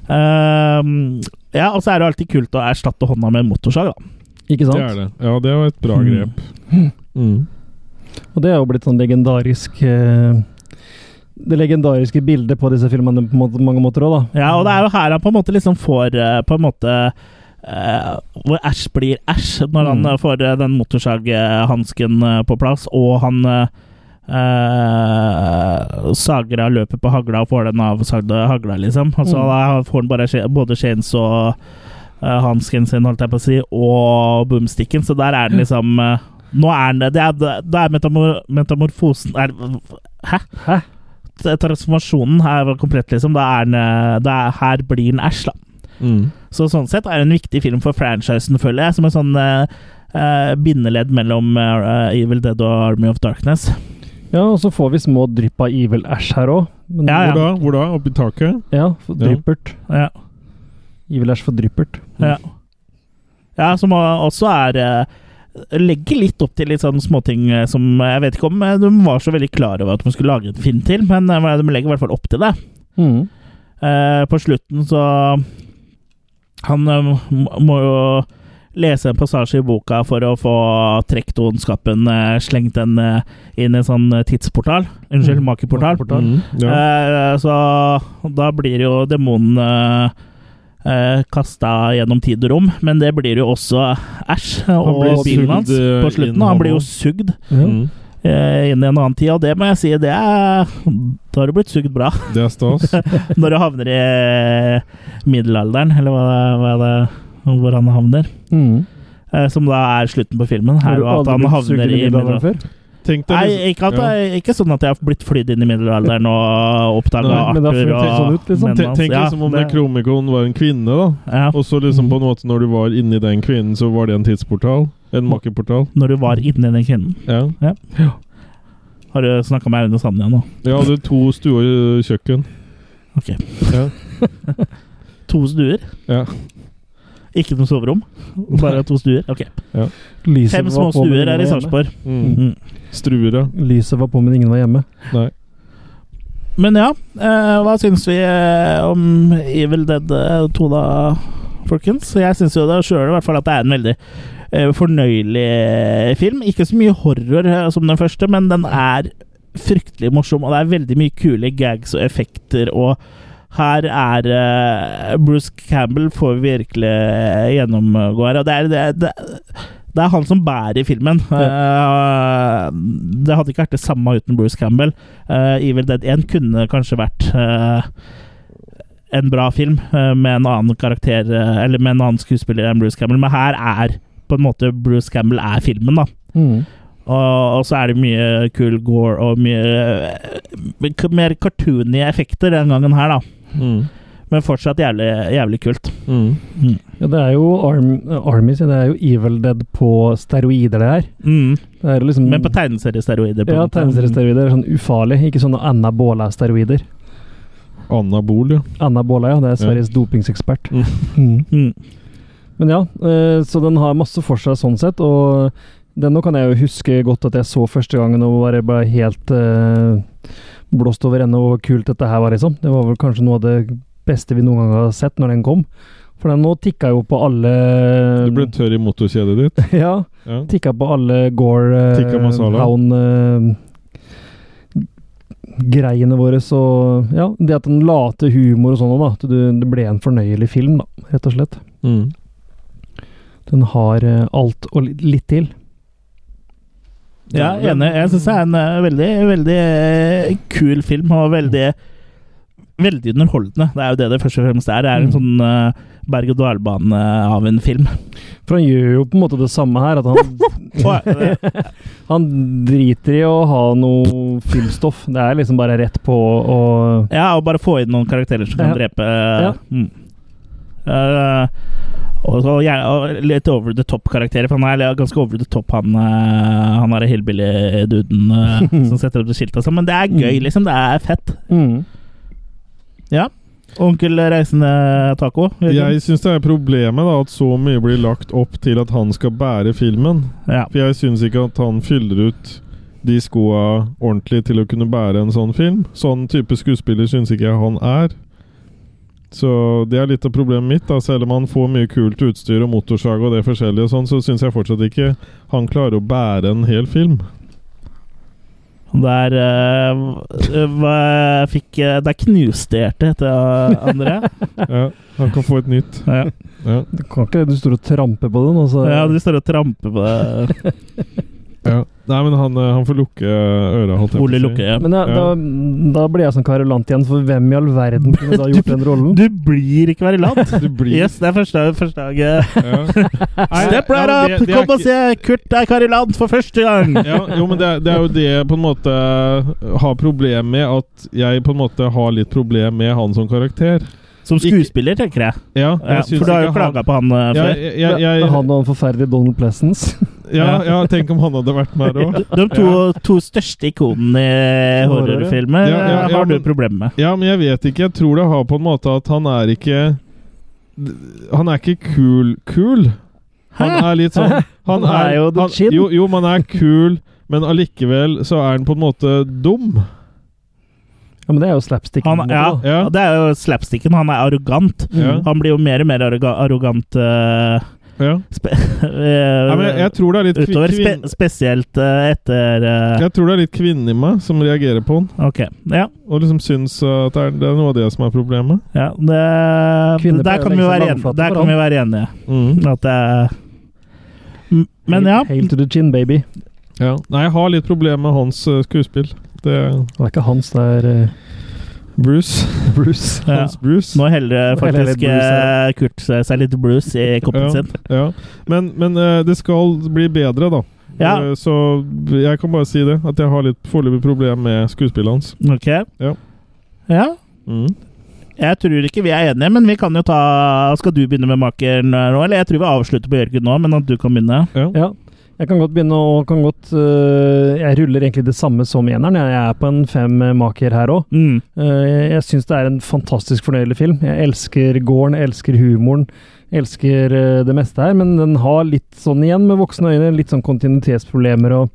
Speaker 1: Ehm, ja, og så er det alltid kult å erstatte hånda med en motorsag, da.
Speaker 2: Ikke sant?
Speaker 3: Det er det. Ja, det var et bra
Speaker 2: Mm.
Speaker 3: grep. Mm.
Speaker 2: Og det er jo blitt sånn legendarisk eh, Det legendariske bildet på disse filmene på må- mange måter òg, da.
Speaker 1: Ja, Og det er jo her han på en måte liksom får eh, På en måte eh, Hvor Æsj blir æsj, når han
Speaker 2: Mm.
Speaker 1: eh, får eh, den motorsaghansken eh, på plass, og han eh, eh, sager av løpet på hagla og får den avsagde hagla, liksom. Altså,
Speaker 2: Mm.
Speaker 1: Da får han bare skje- både chains og eh, hansken sin, holdt jeg på å si, og boomsticken, så der er den liksom eh, Nå er den det. er- Det er metamor metamorfosen er, Hæ?
Speaker 2: Hæ?
Speaker 1: T- Transformasjonen her var komplett, liksom. Da er den eh, det er, Her blir den æsj, da.
Speaker 3: Mm.
Speaker 1: Så sånn sett er det en viktig film for franchisen, føler jeg. Som en sånn eh, eh, bindeledd mellom eh, Evil Dead og Army of Darkness.
Speaker 2: Ja, og så får vi små drypp av Evil Ash her òg.
Speaker 1: Ja, ja.
Speaker 3: Hvor da? Hvor da? Oppi taket?
Speaker 2: ja, for
Speaker 3: Ja.
Speaker 2: dryppert.
Speaker 1: Ja.
Speaker 2: Evil Ash for dryppert.
Speaker 1: Ja. ja, som eh, også er eh, Legger litt opp til litt sånn småting eh, som eh, Jeg vet ikke om eh, de var så veldig klar over at de skulle lage en film til, men eh, de legger i hvert fall opp til det.
Speaker 2: Mm.
Speaker 1: Eh, på slutten så Han eh, må- må jo lese en passasje i boka for å få trukket ondskapen, eh, slengt den eh, inn i en sånn eh, tidsportal. Unnskyld,
Speaker 2: Mm.
Speaker 1: makeportal.
Speaker 2: Makeportal.
Speaker 3: Mm. Ja.
Speaker 1: Eh, så da blir jo demonene eh, kasta gjennom tid og rom, men det blir jo også æsj.
Speaker 3: blir
Speaker 1: Og bilen
Speaker 3: sugd,
Speaker 1: hans
Speaker 3: eh,
Speaker 1: på slutten.
Speaker 3: inn,
Speaker 1: Han
Speaker 3: han
Speaker 1: blir jo
Speaker 3: også.
Speaker 1: sugd
Speaker 2: Ja.
Speaker 3: Mm.
Speaker 1: eh, inn i en annen tid, og det må jeg si, det er Da har du blitt sugd bra.
Speaker 3: Det er stas.
Speaker 1: Når du havner i middelalderen, eller hva, hva det hvor han havner.
Speaker 2: Mm.
Speaker 1: Eh, som da er slutten på filmen.
Speaker 2: Har
Speaker 1: Her,
Speaker 2: du
Speaker 1: og at
Speaker 2: aldri
Speaker 1: han
Speaker 2: blitt sugd
Speaker 1: havner
Speaker 2: inn
Speaker 1: i
Speaker 2: middelalderen
Speaker 1: middelalderen.
Speaker 2: før?
Speaker 3: Tenk deg liksom-
Speaker 1: Nei, ikke, at
Speaker 3: Ja.
Speaker 1: jeg, ikke sånn at jeg har blitt flydd inn i middelalderen og oppdaga
Speaker 3: Nei,
Speaker 2: men det
Speaker 1: Arthur
Speaker 2: har
Speaker 1: og
Speaker 2: føltes sånn ut, liksom.
Speaker 1: mennene
Speaker 3: Tenk,
Speaker 1: hans.
Speaker 3: tenk
Speaker 1: altså. Ja,
Speaker 3: liksom om det, Necromicon var en kvinne, da.
Speaker 1: ja. Mm.
Speaker 3: Og så liksom på en måte når du var inni den kvinnen, så var det en tidsportal. En
Speaker 1: Mm.
Speaker 3: makkeportal.
Speaker 1: Når du var inni den kvinnen.
Speaker 3: Ja.
Speaker 1: Har du snakka med Aune Sand igjen nå?
Speaker 3: Jeg hadde to stuer i kjøkken.
Speaker 1: Ok.
Speaker 3: Ja.
Speaker 1: To stuer?
Speaker 3: Ja.
Speaker 1: Ikke noe soverom? Bare to stuer? Ok.
Speaker 2: Lyset
Speaker 1: Fem
Speaker 2: var
Speaker 1: små
Speaker 2: på, men
Speaker 1: stuer
Speaker 2: ingen
Speaker 1: er i
Speaker 2: var hjemme.
Speaker 1: Sarpsborg.
Speaker 3: Mm.
Speaker 1: Mm.
Speaker 3: Struere.
Speaker 2: Lyset var på, men ingen var hjemme.
Speaker 3: Nei.
Speaker 1: Men ja, eh, hva syns vi eh, om Evil Dead eh, 2 da, folkens? Jeg syns jo det sjøl i hvert fall at det er en veldig eh, fornøyelig eh, film. Ikke så mye horror eh, som den første, men den er fryktelig morsom, og det er veldig mye kule gags og effekter. og her er eh, Bruce Campbell får virkelig eh, gjennomgå her. Og det er, det, er- det, det er han som bærer filmen. Eh, det hadde ikke vært det samme uten Bruce Campbell. Eh, Evil Dead 1 kunne kanskje vært eh, en bra film eh, med en annen karakter eh, Eller med en annen skuespiller enn Bruce Campbell, men her er på en måte Bruce Campbell er filmen, da.
Speaker 2: Mm.
Speaker 1: Og, og så er det mye kul gore og mye eh, mer cartoony effekter den gangen her, da.
Speaker 3: Mm.
Speaker 1: Men fortsatt jævlig, jævlig kult.
Speaker 3: Mm.
Speaker 2: Ja, det er jo Arm, Army, sier det er jo Evil Dead på steroider, det her.
Speaker 1: Mm.
Speaker 2: Det er jo liksom
Speaker 1: Men på tegneseriesteroider. på en
Speaker 2: Ja,
Speaker 1: måte.
Speaker 2: tegneseriesteroider er sånn ufarlig, ikke sånne anabola steroider.
Speaker 3: Anna Bol, ja.
Speaker 2: Anna Båla, ja. Det er Sveriges dopingsekspert.
Speaker 3: Mm.
Speaker 2: Mm.
Speaker 1: Mm.
Speaker 2: Men ja, eh, så den har masse for seg sånn sett, og denne kan jeg jo huske godt at jeg så første gangen og bare ble helt eh, blåst over ende og hvor kult dette her var, liksom. Det var vel kanskje noe av det beste vi noen gang har sett når den kom. For den nå tikka jo på alle
Speaker 3: Du ble tørr i motorkjedet ditt.
Speaker 2: Ja.
Speaker 3: Ja.
Speaker 2: Tikka på alle Gore eh,
Speaker 3: Tikka masala.
Speaker 2: Hound greiene våre, så Ja, det at den la til humor og sånn, da. At du, det ble en fornøyelig film, da, rett og slett.
Speaker 3: Mm.
Speaker 2: Den har eh, alt og li- litt til.
Speaker 1: Ja, enig. Jeg syns det er en eh, veldig, veldig eh, kul film, og veldig Veldig underholdende. Det er jo det det først og fremst er. Det er en sånn eh, berg-og-dal-bane av en film.
Speaker 2: For han gjør jo på en måte det samme her, at han,
Speaker 1: Og, eh,
Speaker 2: han driter i å ha noe filmstoff. Det er liksom bare rett på og
Speaker 1: Ja, og bare få inn noen karakterer som kan
Speaker 2: Ja.
Speaker 1: drepe mm. Eh, og, så gjerne- og litt over the top-karakterer, for han er ganske over the top, han, uh, han er hillbilly-duden eh, som setter opp det skiltet og sånn. Men det er gøy, liksom. Det er fett.
Speaker 2: mm.
Speaker 1: Ja. Onkel Reisende Taco. Jørgen?
Speaker 3: Jeg syns det er problemet da at så mye blir lagt opp til at han skal bære filmen.
Speaker 1: Ja.
Speaker 3: For jeg syns ikke at han fyller ut de skoa ordentlig til å kunne bære en sånn film. Sånn type skuespiller syns ikke jeg han er. Så det er litt av problemet mitt. da Selv om han får mye kult utstyr og motorsag og det forskjellige, og sånn så syns jeg fortsatt ikke han klarer å bære en hel film.
Speaker 1: Der eh, hva fikk eh, Der knuste hjertet til André.
Speaker 3: Ja, han kan få et nytt.
Speaker 1: Ja.
Speaker 3: Ja,
Speaker 2: Du kan ikke Du står og tramper på den, altså. og så
Speaker 1: ja, du står og tramper på det.
Speaker 3: ja. Nei, men han, eh, han får lukke øra, holdt jeg på å
Speaker 1: Ole
Speaker 3: si.
Speaker 1: lukker øynene.
Speaker 2: Men da,
Speaker 3: Ja.
Speaker 2: da, da ble jeg sånn kverulant igjen, for hvem i all verden kunne da gjort den rollen?
Speaker 1: Du blir ikke kverulant!
Speaker 3: Du blir
Speaker 1: Yes, det er første, første dag. eh.
Speaker 3: ja. Nei,
Speaker 1: Step right up!
Speaker 3: ja, men det- det er
Speaker 1: Kom og
Speaker 3: ikke-
Speaker 1: se Kurt er kverulant for første gang!
Speaker 3: ja, jo, men det, er- det er jo det jeg på en måte eh, har problem med. At jeg på en måte har litt problem med han som karakter.
Speaker 1: Som skuespiller, tenker jeg.
Speaker 3: Ja,
Speaker 1: Ja,
Speaker 3: jeg syns
Speaker 1: for du har jo
Speaker 3: ikke han-
Speaker 1: klaga på han eh,
Speaker 3: ja,
Speaker 1: før.
Speaker 3: jeg, jeg,
Speaker 2: Men
Speaker 3: jeg,
Speaker 2: han og han forferdelige Donald Pleasence.
Speaker 3: ja, ja, tenk om han hadde vært med her òg.
Speaker 1: De to, to største ikonene i horrorfilmer
Speaker 3: Ja, ja,
Speaker 1: eh,
Speaker 3: ja,
Speaker 1: har du
Speaker 3: men-
Speaker 1: problemer med.
Speaker 3: Ja, men jeg vet ikke. Jeg tror det har på en måte at han er ikke Han er ikke kul-kul. Han er litt sånn Han,
Speaker 2: Han er jo the
Speaker 3: han-
Speaker 2: chin.
Speaker 3: Jo, jo, man er kul, men allikevel så er han på en måte dum.
Speaker 2: Ja, men det er jo slapstick.
Speaker 1: Han, ja,
Speaker 3: Ja.
Speaker 1: Det er jo slapsticken. Han er arrogant.
Speaker 3: Ja.
Speaker 1: Han blir jo mer og mer arroga arrogant eh,
Speaker 3: Ja.
Speaker 1: spe eh,
Speaker 3: Nei, men jeg, jeg tror det er litt kvi-
Speaker 1: utover. Spe
Speaker 3: kvinn-
Speaker 1: spesielt eh, etter eh,
Speaker 3: Jeg tror det er litt kvinnen i meg som reagerer på han.
Speaker 1: Ok. Ja.
Speaker 3: Og liksom syns at det er, det er noe av det som er problemet.
Speaker 1: ja det,
Speaker 2: Kvinner
Speaker 1: der
Speaker 2: pleier liksom å
Speaker 1: kan vi
Speaker 2: legge seg
Speaker 1: være enige.
Speaker 2: langflate
Speaker 1: Der kan
Speaker 2: for han.
Speaker 1: vi være enige.
Speaker 3: Mm.
Speaker 1: At det er M- Men ja.
Speaker 2: Hail to the chin, baby.
Speaker 3: Ja. Nei, jeg har litt problemer med hans eh, skuespill. Det er
Speaker 2: Det er ikke hans, det er eh,
Speaker 3: Bruce.
Speaker 2: Bruce.
Speaker 1: ja.
Speaker 3: Hans Bruce.
Speaker 1: Nå heller eh,
Speaker 2: Nå
Speaker 1: faktisk
Speaker 2: heller litt blues her.
Speaker 1: eh, Kurt seg seg litt blues i koppen
Speaker 3: Ja.
Speaker 1: sin.
Speaker 3: Ja. Men, men eh, det skal bli bedre, da.
Speaker 1: Ja.
Speaker 3: Eh, Så jeg kan bare si det. At jeg har litt foreløpig problem med skuespillet hans.
Speaker 1: Ok.
Speaker 3: Ja.
Speaker 1: Ja.
Speaker 3: Mm.
Speaker 1: Jeg tror ikke vi er enige, men vi kan jo ta Skal du begynne med makeren eh, nå, eller? Jeg tror vi avslutter på Jørgen nå, men at du kan begynne.
Speaker 2: Ja. Jeg kan godt begynne og kan godt eh, Jeg ruller egentlig det samme som eneren. Jeg er på en fem eh, maker her òg.
Speaker 1: Mm.
Speaker 2: Eh, Jeg syns det er en fantastisk fornøyelig film. Jeg elsker gården, jeg elsker humoren, jeg elsker eh, det meste her, men den har litt sånn igjen med voksne øyne, litt sånn kontinuitetsproblemer og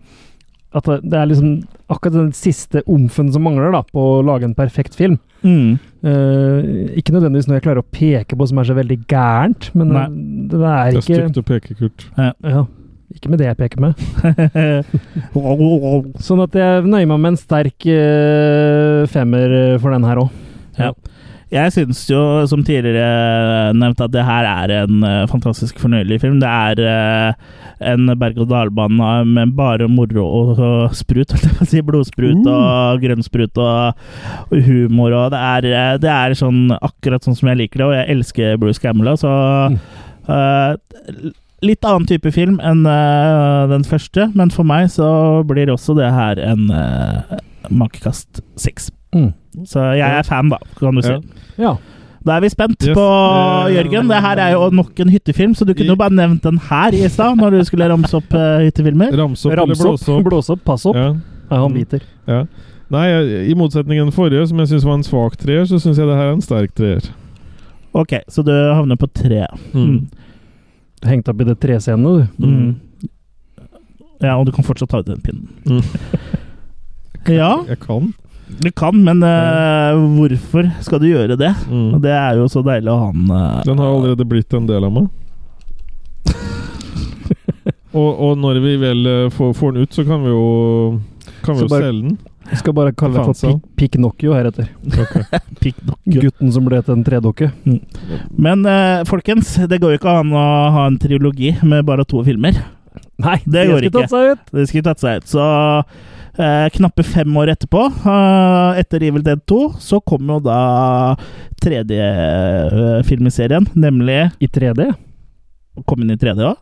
Speaker 2: at det- det er liksom akkurat den siste omfen som mangler da, på å lage en perfekt film.
Speaker 1: Mm.
Speaker 2: Eh, ikke nødvendigvis noe jeg klarer å peke på som er så veldig gærent, men
Speaker 1: Nei.
Speaker 2: den- den er
Speaker 3: Det er
Speaker 2: ikke
Speaker 3: stygt å peke, Kurt.
Speaker 2: ja, Ikke med det jeg peker med.
Speaker 1: mm.
Speaker 2: Sånn at jeg nøyer meg med en sterk eh, femmer eh, for den her òg.
Speaker 1: Jeg syns jo, som tidligere nevnt, at det her er en eh, fantastisk fornøyelig film. Det er eh, en berg-og-dal-bane med bare moro og, og sprut, holdt jeg på å si. Blodsprut og grønnsprut og, og humor og det er, eh, det er sånn, akkurat sånn som jeg liker det, og jeg elsker Bruce Camelot, så eh, Litt annen type film enn eh, den første, men for meg så blir også det her en uh, makekast seks.
Speaker 2: Mm.
Speaker 1: Så jeg er fan, da, kan du si.
Speaker 3: Ja.
Speaker 2: Ja.
Speaker 1: Da er vi spent
Speaker 3: Yes.
Speaker 1: på
Speaker 3: Eh,
Speaker 1: Jørgen. Det her er jo nok en hyttefilm, så du kunne jo bare nevnt den her i stad når du skulle ramse opp eh, hyttefilmer.
Speaker 3: Ramse opp eller
Speaker 2: Ramse
Speaker 3: blåse
Speaker 2: opp,
Speaker 3: opp.
Speaker 2: blåse opp, pass opp.
Speaker 3: Ja.
Speaker 2: Nei, han biter.
Speaker 3: Ja. Nei, jeg, I motsetning til den forrige, som jeg syns var en svak treer, så syns jeg det her er en sterk treer.
Speaker 1: Ok, så du havner på tre. Mm.
Speaker 2: Du hengte opp i det trescenet, du.
Speaker 1: Mm. Ja, og du kan fortsatt ta ut den pinnen.
Speaker 3: Mm.
Speaker 1: ja,
Speaker 3: Jeg kan.
Speaker 1: du kan, men eh, hvorfor skal du gjøre det? Og
Speaker 3: Mm.
Speaker 1: det er jo så deilig å ha den eh,
Speaker 3: Den har allerede blitt en del av meg. og, og når vi vel eh, får, får den ut, så kan vi jo kan vi
Speaker 2: Så
Speaker 3: jo
Speaker 2: bare-
Speaker 3: selge den.
Speaker 2: Jeg skal bare kalle det
Speaker 3: Faen,
Speaker 2: for
Speaker 3: så.
Speaker 2: Pik- Piknokio heretter.
Speaker 1: pikkdokke.
Speaker 2: Gutten som ble til en tredokke.
Speaker 1: Men eh, folkens, det går jo ikke an å ha en trilogi med bare to filmer.
Speaker 2: Nei,
Speaker 1: det går ikke.
Speaker 2: Tatt seg ut.
Speaker 1: Det skulle tatt seg ut. Så eh, knappe fem år etterpå, eh, etter Evil Dead 2, så kom jo da tredje eh, film i serien, nemlig
Speaker 2: I 3D?
Speaker 1: Kom inn i 3D òg?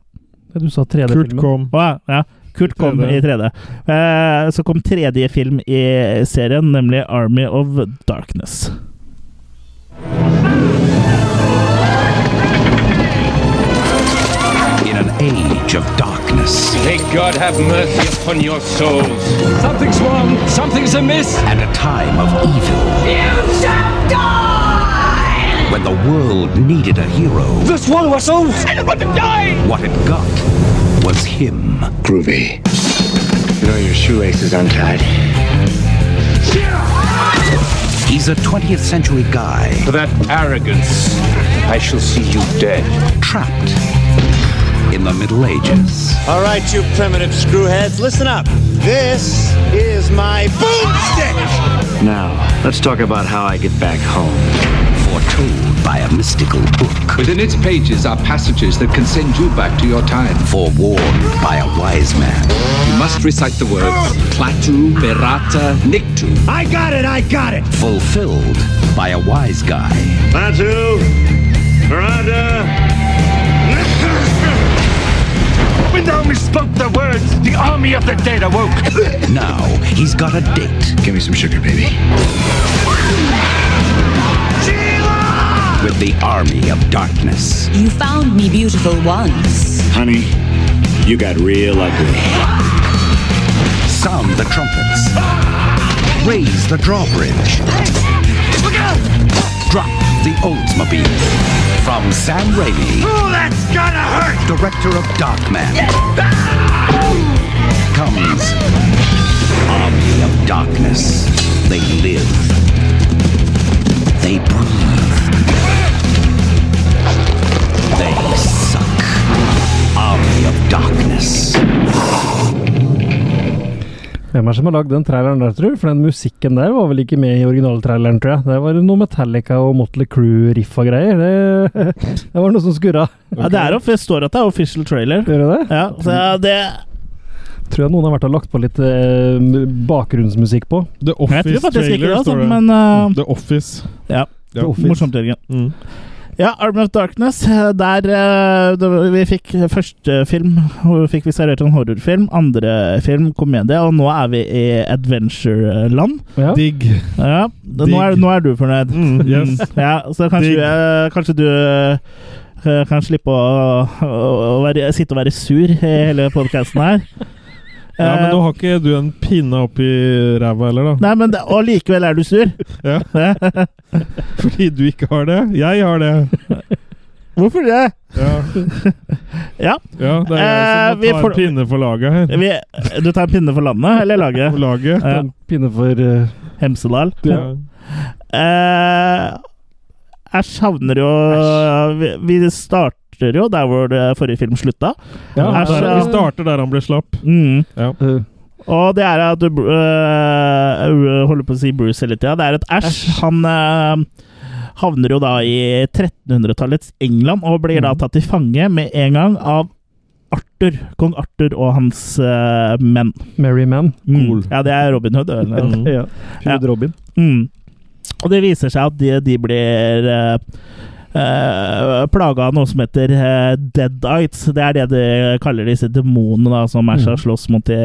Speaker 2: Ja, Du sa
Speaker 3: Kurt
Speaker 2: 3D-filmen.
Speaker 3: kom.
Speaker 1: Å, ja. ja. Kurt kom i 3D. Eh, så kom tredje film i serien, nemlig Army of Darkness.
Speaker 8: in an age of darkness
Speaker 9: May God have mercy upon your souls. Something's wrong. Something's amiss.
Speaker 8: and a time of evil
Speaker 5: You shall die!
Speaker 8: when the world needed a hero.
Speaker 9: Just one of us all.
Speaker 8: What it got was him.
Speaker 10: Groovy. You know your shoelace is untied.
Speaker 8: He's a 20th century guy
Speaker 9: For that arrogance, I shall see you dead.
Speaker 8: trapped in the Middle Ages.
Speaker 10: All right, you primitive screwheads, listen up. This is my boomstick. Now, let's talk about how I get back home.
Speaker 8: Foretold by a mystical book.
Speaker 9: Within its pages are passages that can send you back to your time.
Speaker 8: Forewarned by a wise man.
Speaker 9: You must recite the words Platu, Berata, Nictu.
Speaker 10: I got it, I got it.
Speaker 8: Fulfilled by a wise guy.
Speaker 10: Bantu, Miranda.
Speaker 9: When only spoke the words, the army of the dead awoke.
Speaker 8: Now he's got a date
Speaker 10: Give me some sugar, baby.
Speaker 8: with the army of darkness.
Speaker 11: You found me beautiful once.
Speaker 10: Honey, you got real ugly.
Speaker 8: Sound the trumpets. Raise the drawbridge. Drop the Oldsmobile. From Sam Raimi. Director of Darkman. Comes Army of Darkness. They live. They breathe. They suck. Army of Darkness.
Speaker 2: Hvem er det som har lagd den traileren der, tror du? For den musikken der var vel ikke med i originaltraileren, tror jeg. Der var det noe Metallica og Motley Crew-riff og greier. Det, det var noe som skurra.
Speaker 1: Ja, det er, off- det står at det er official trailer.
Speaker 2: Gjør det det?
Speaker 1: Ja, så ja, det
Speaker 2: Tror jeg noen har vært og lagt på litt eh, bakgrunnsmusikk på.
Speaker 3: The
Speaker 1: Jeg tror
Speaker 3: Office
Speaker 1: faktisk ikke det,
Speaker 3: trailer,
Speaker 1: altså,
Speaker 3: står det.
Speaker 1: men eh,
Speaker 3: The Office.
Speaker 1: ja.
Speaker 3: Ja.
Speaker 1: Morsomt, Jørgen.
Speaker 3: Mm.
Speaker 1: Ja, Arm of Darkness. Der eh, da vi fikk første film hvor fikk vi servert en horrorfilm. Andre film komedie, og nå er vi i adventure-land.
Speaker 2: Ja.
Speaker 3: Digg.
Speaker 1: Ja, nå er, nå er du fornøyd.
Speaker 3: Mm, yes.
Speaker 1: Ja, så kanskje,
Speaker 3: Digg.
Speaker 1: eh, kanskje du eh, kan slippe å, å, å være, sitte og være sur i hele podkasten her.
Speaker 3: Ja, men
Speaker 1: Eh,
Speaker 3: nå har ikke du en pinne oppi ræva heller, da.
Speaker 1: Nei, men det, Og likevel er du sur.
Speaker 3: Ja. Fordi du ikke har det. Jeg har det.
Speaker 1: Hvorfor det?
Speaker 3: Ja,
Speaker 1: Ja,
Speaker 3: ja
Speaker 1: Eh,
Speaker 3: det er jeg som
Speaker 1: vi
Speaker 3: må ta
Speaker 1: får-
Speaker 3: en pinne for laget her.
Speaker 1: vi, Du tar en pinne for landet, eller laget?
Speaker 3: For laget.
Speaker 1: Ja.
Speaker 2: En pinne for eh,
Speaker 1: Hemsedal.
Speaker 3: Ja.
Speaker 1: Eh, Æsj havner jo vi, vi starter jo der hvor det forrige film slutta.
Speaker 3: Ja,
Speaker 1: Æsj,
Speaker 3: der,
Speaker 1: ja.
Speaker 3: vi starter der han ble slapp.
Speaker 1: Mm.
Speaker 2: eh,
Speaker 1: Og det er at du eh, holder på å si Bruce hele tida. Det er at Æsj, han eh, havner jo da i 1300-tallets England og blir da tatt til fange med en gang av Arthur. Kong Arthur og hans eh, menn.
Speaker 2: Merry Man.
Speaker 1: Mm.
Speaker 3: Cool.
Speaker 1: Ja, det er Robin Hood. Eller?
Speaker 3: Mm.
Speaker 2: Ja.
Speaker 1: Ja.
Speaker 2: Hud Robin.
Speaker 1: Mm. Og det viser seg at de, de blir uh, plaga av noe som heter eh, deadites. Det er det de kaller disse demonene da, som er så slåss mot de,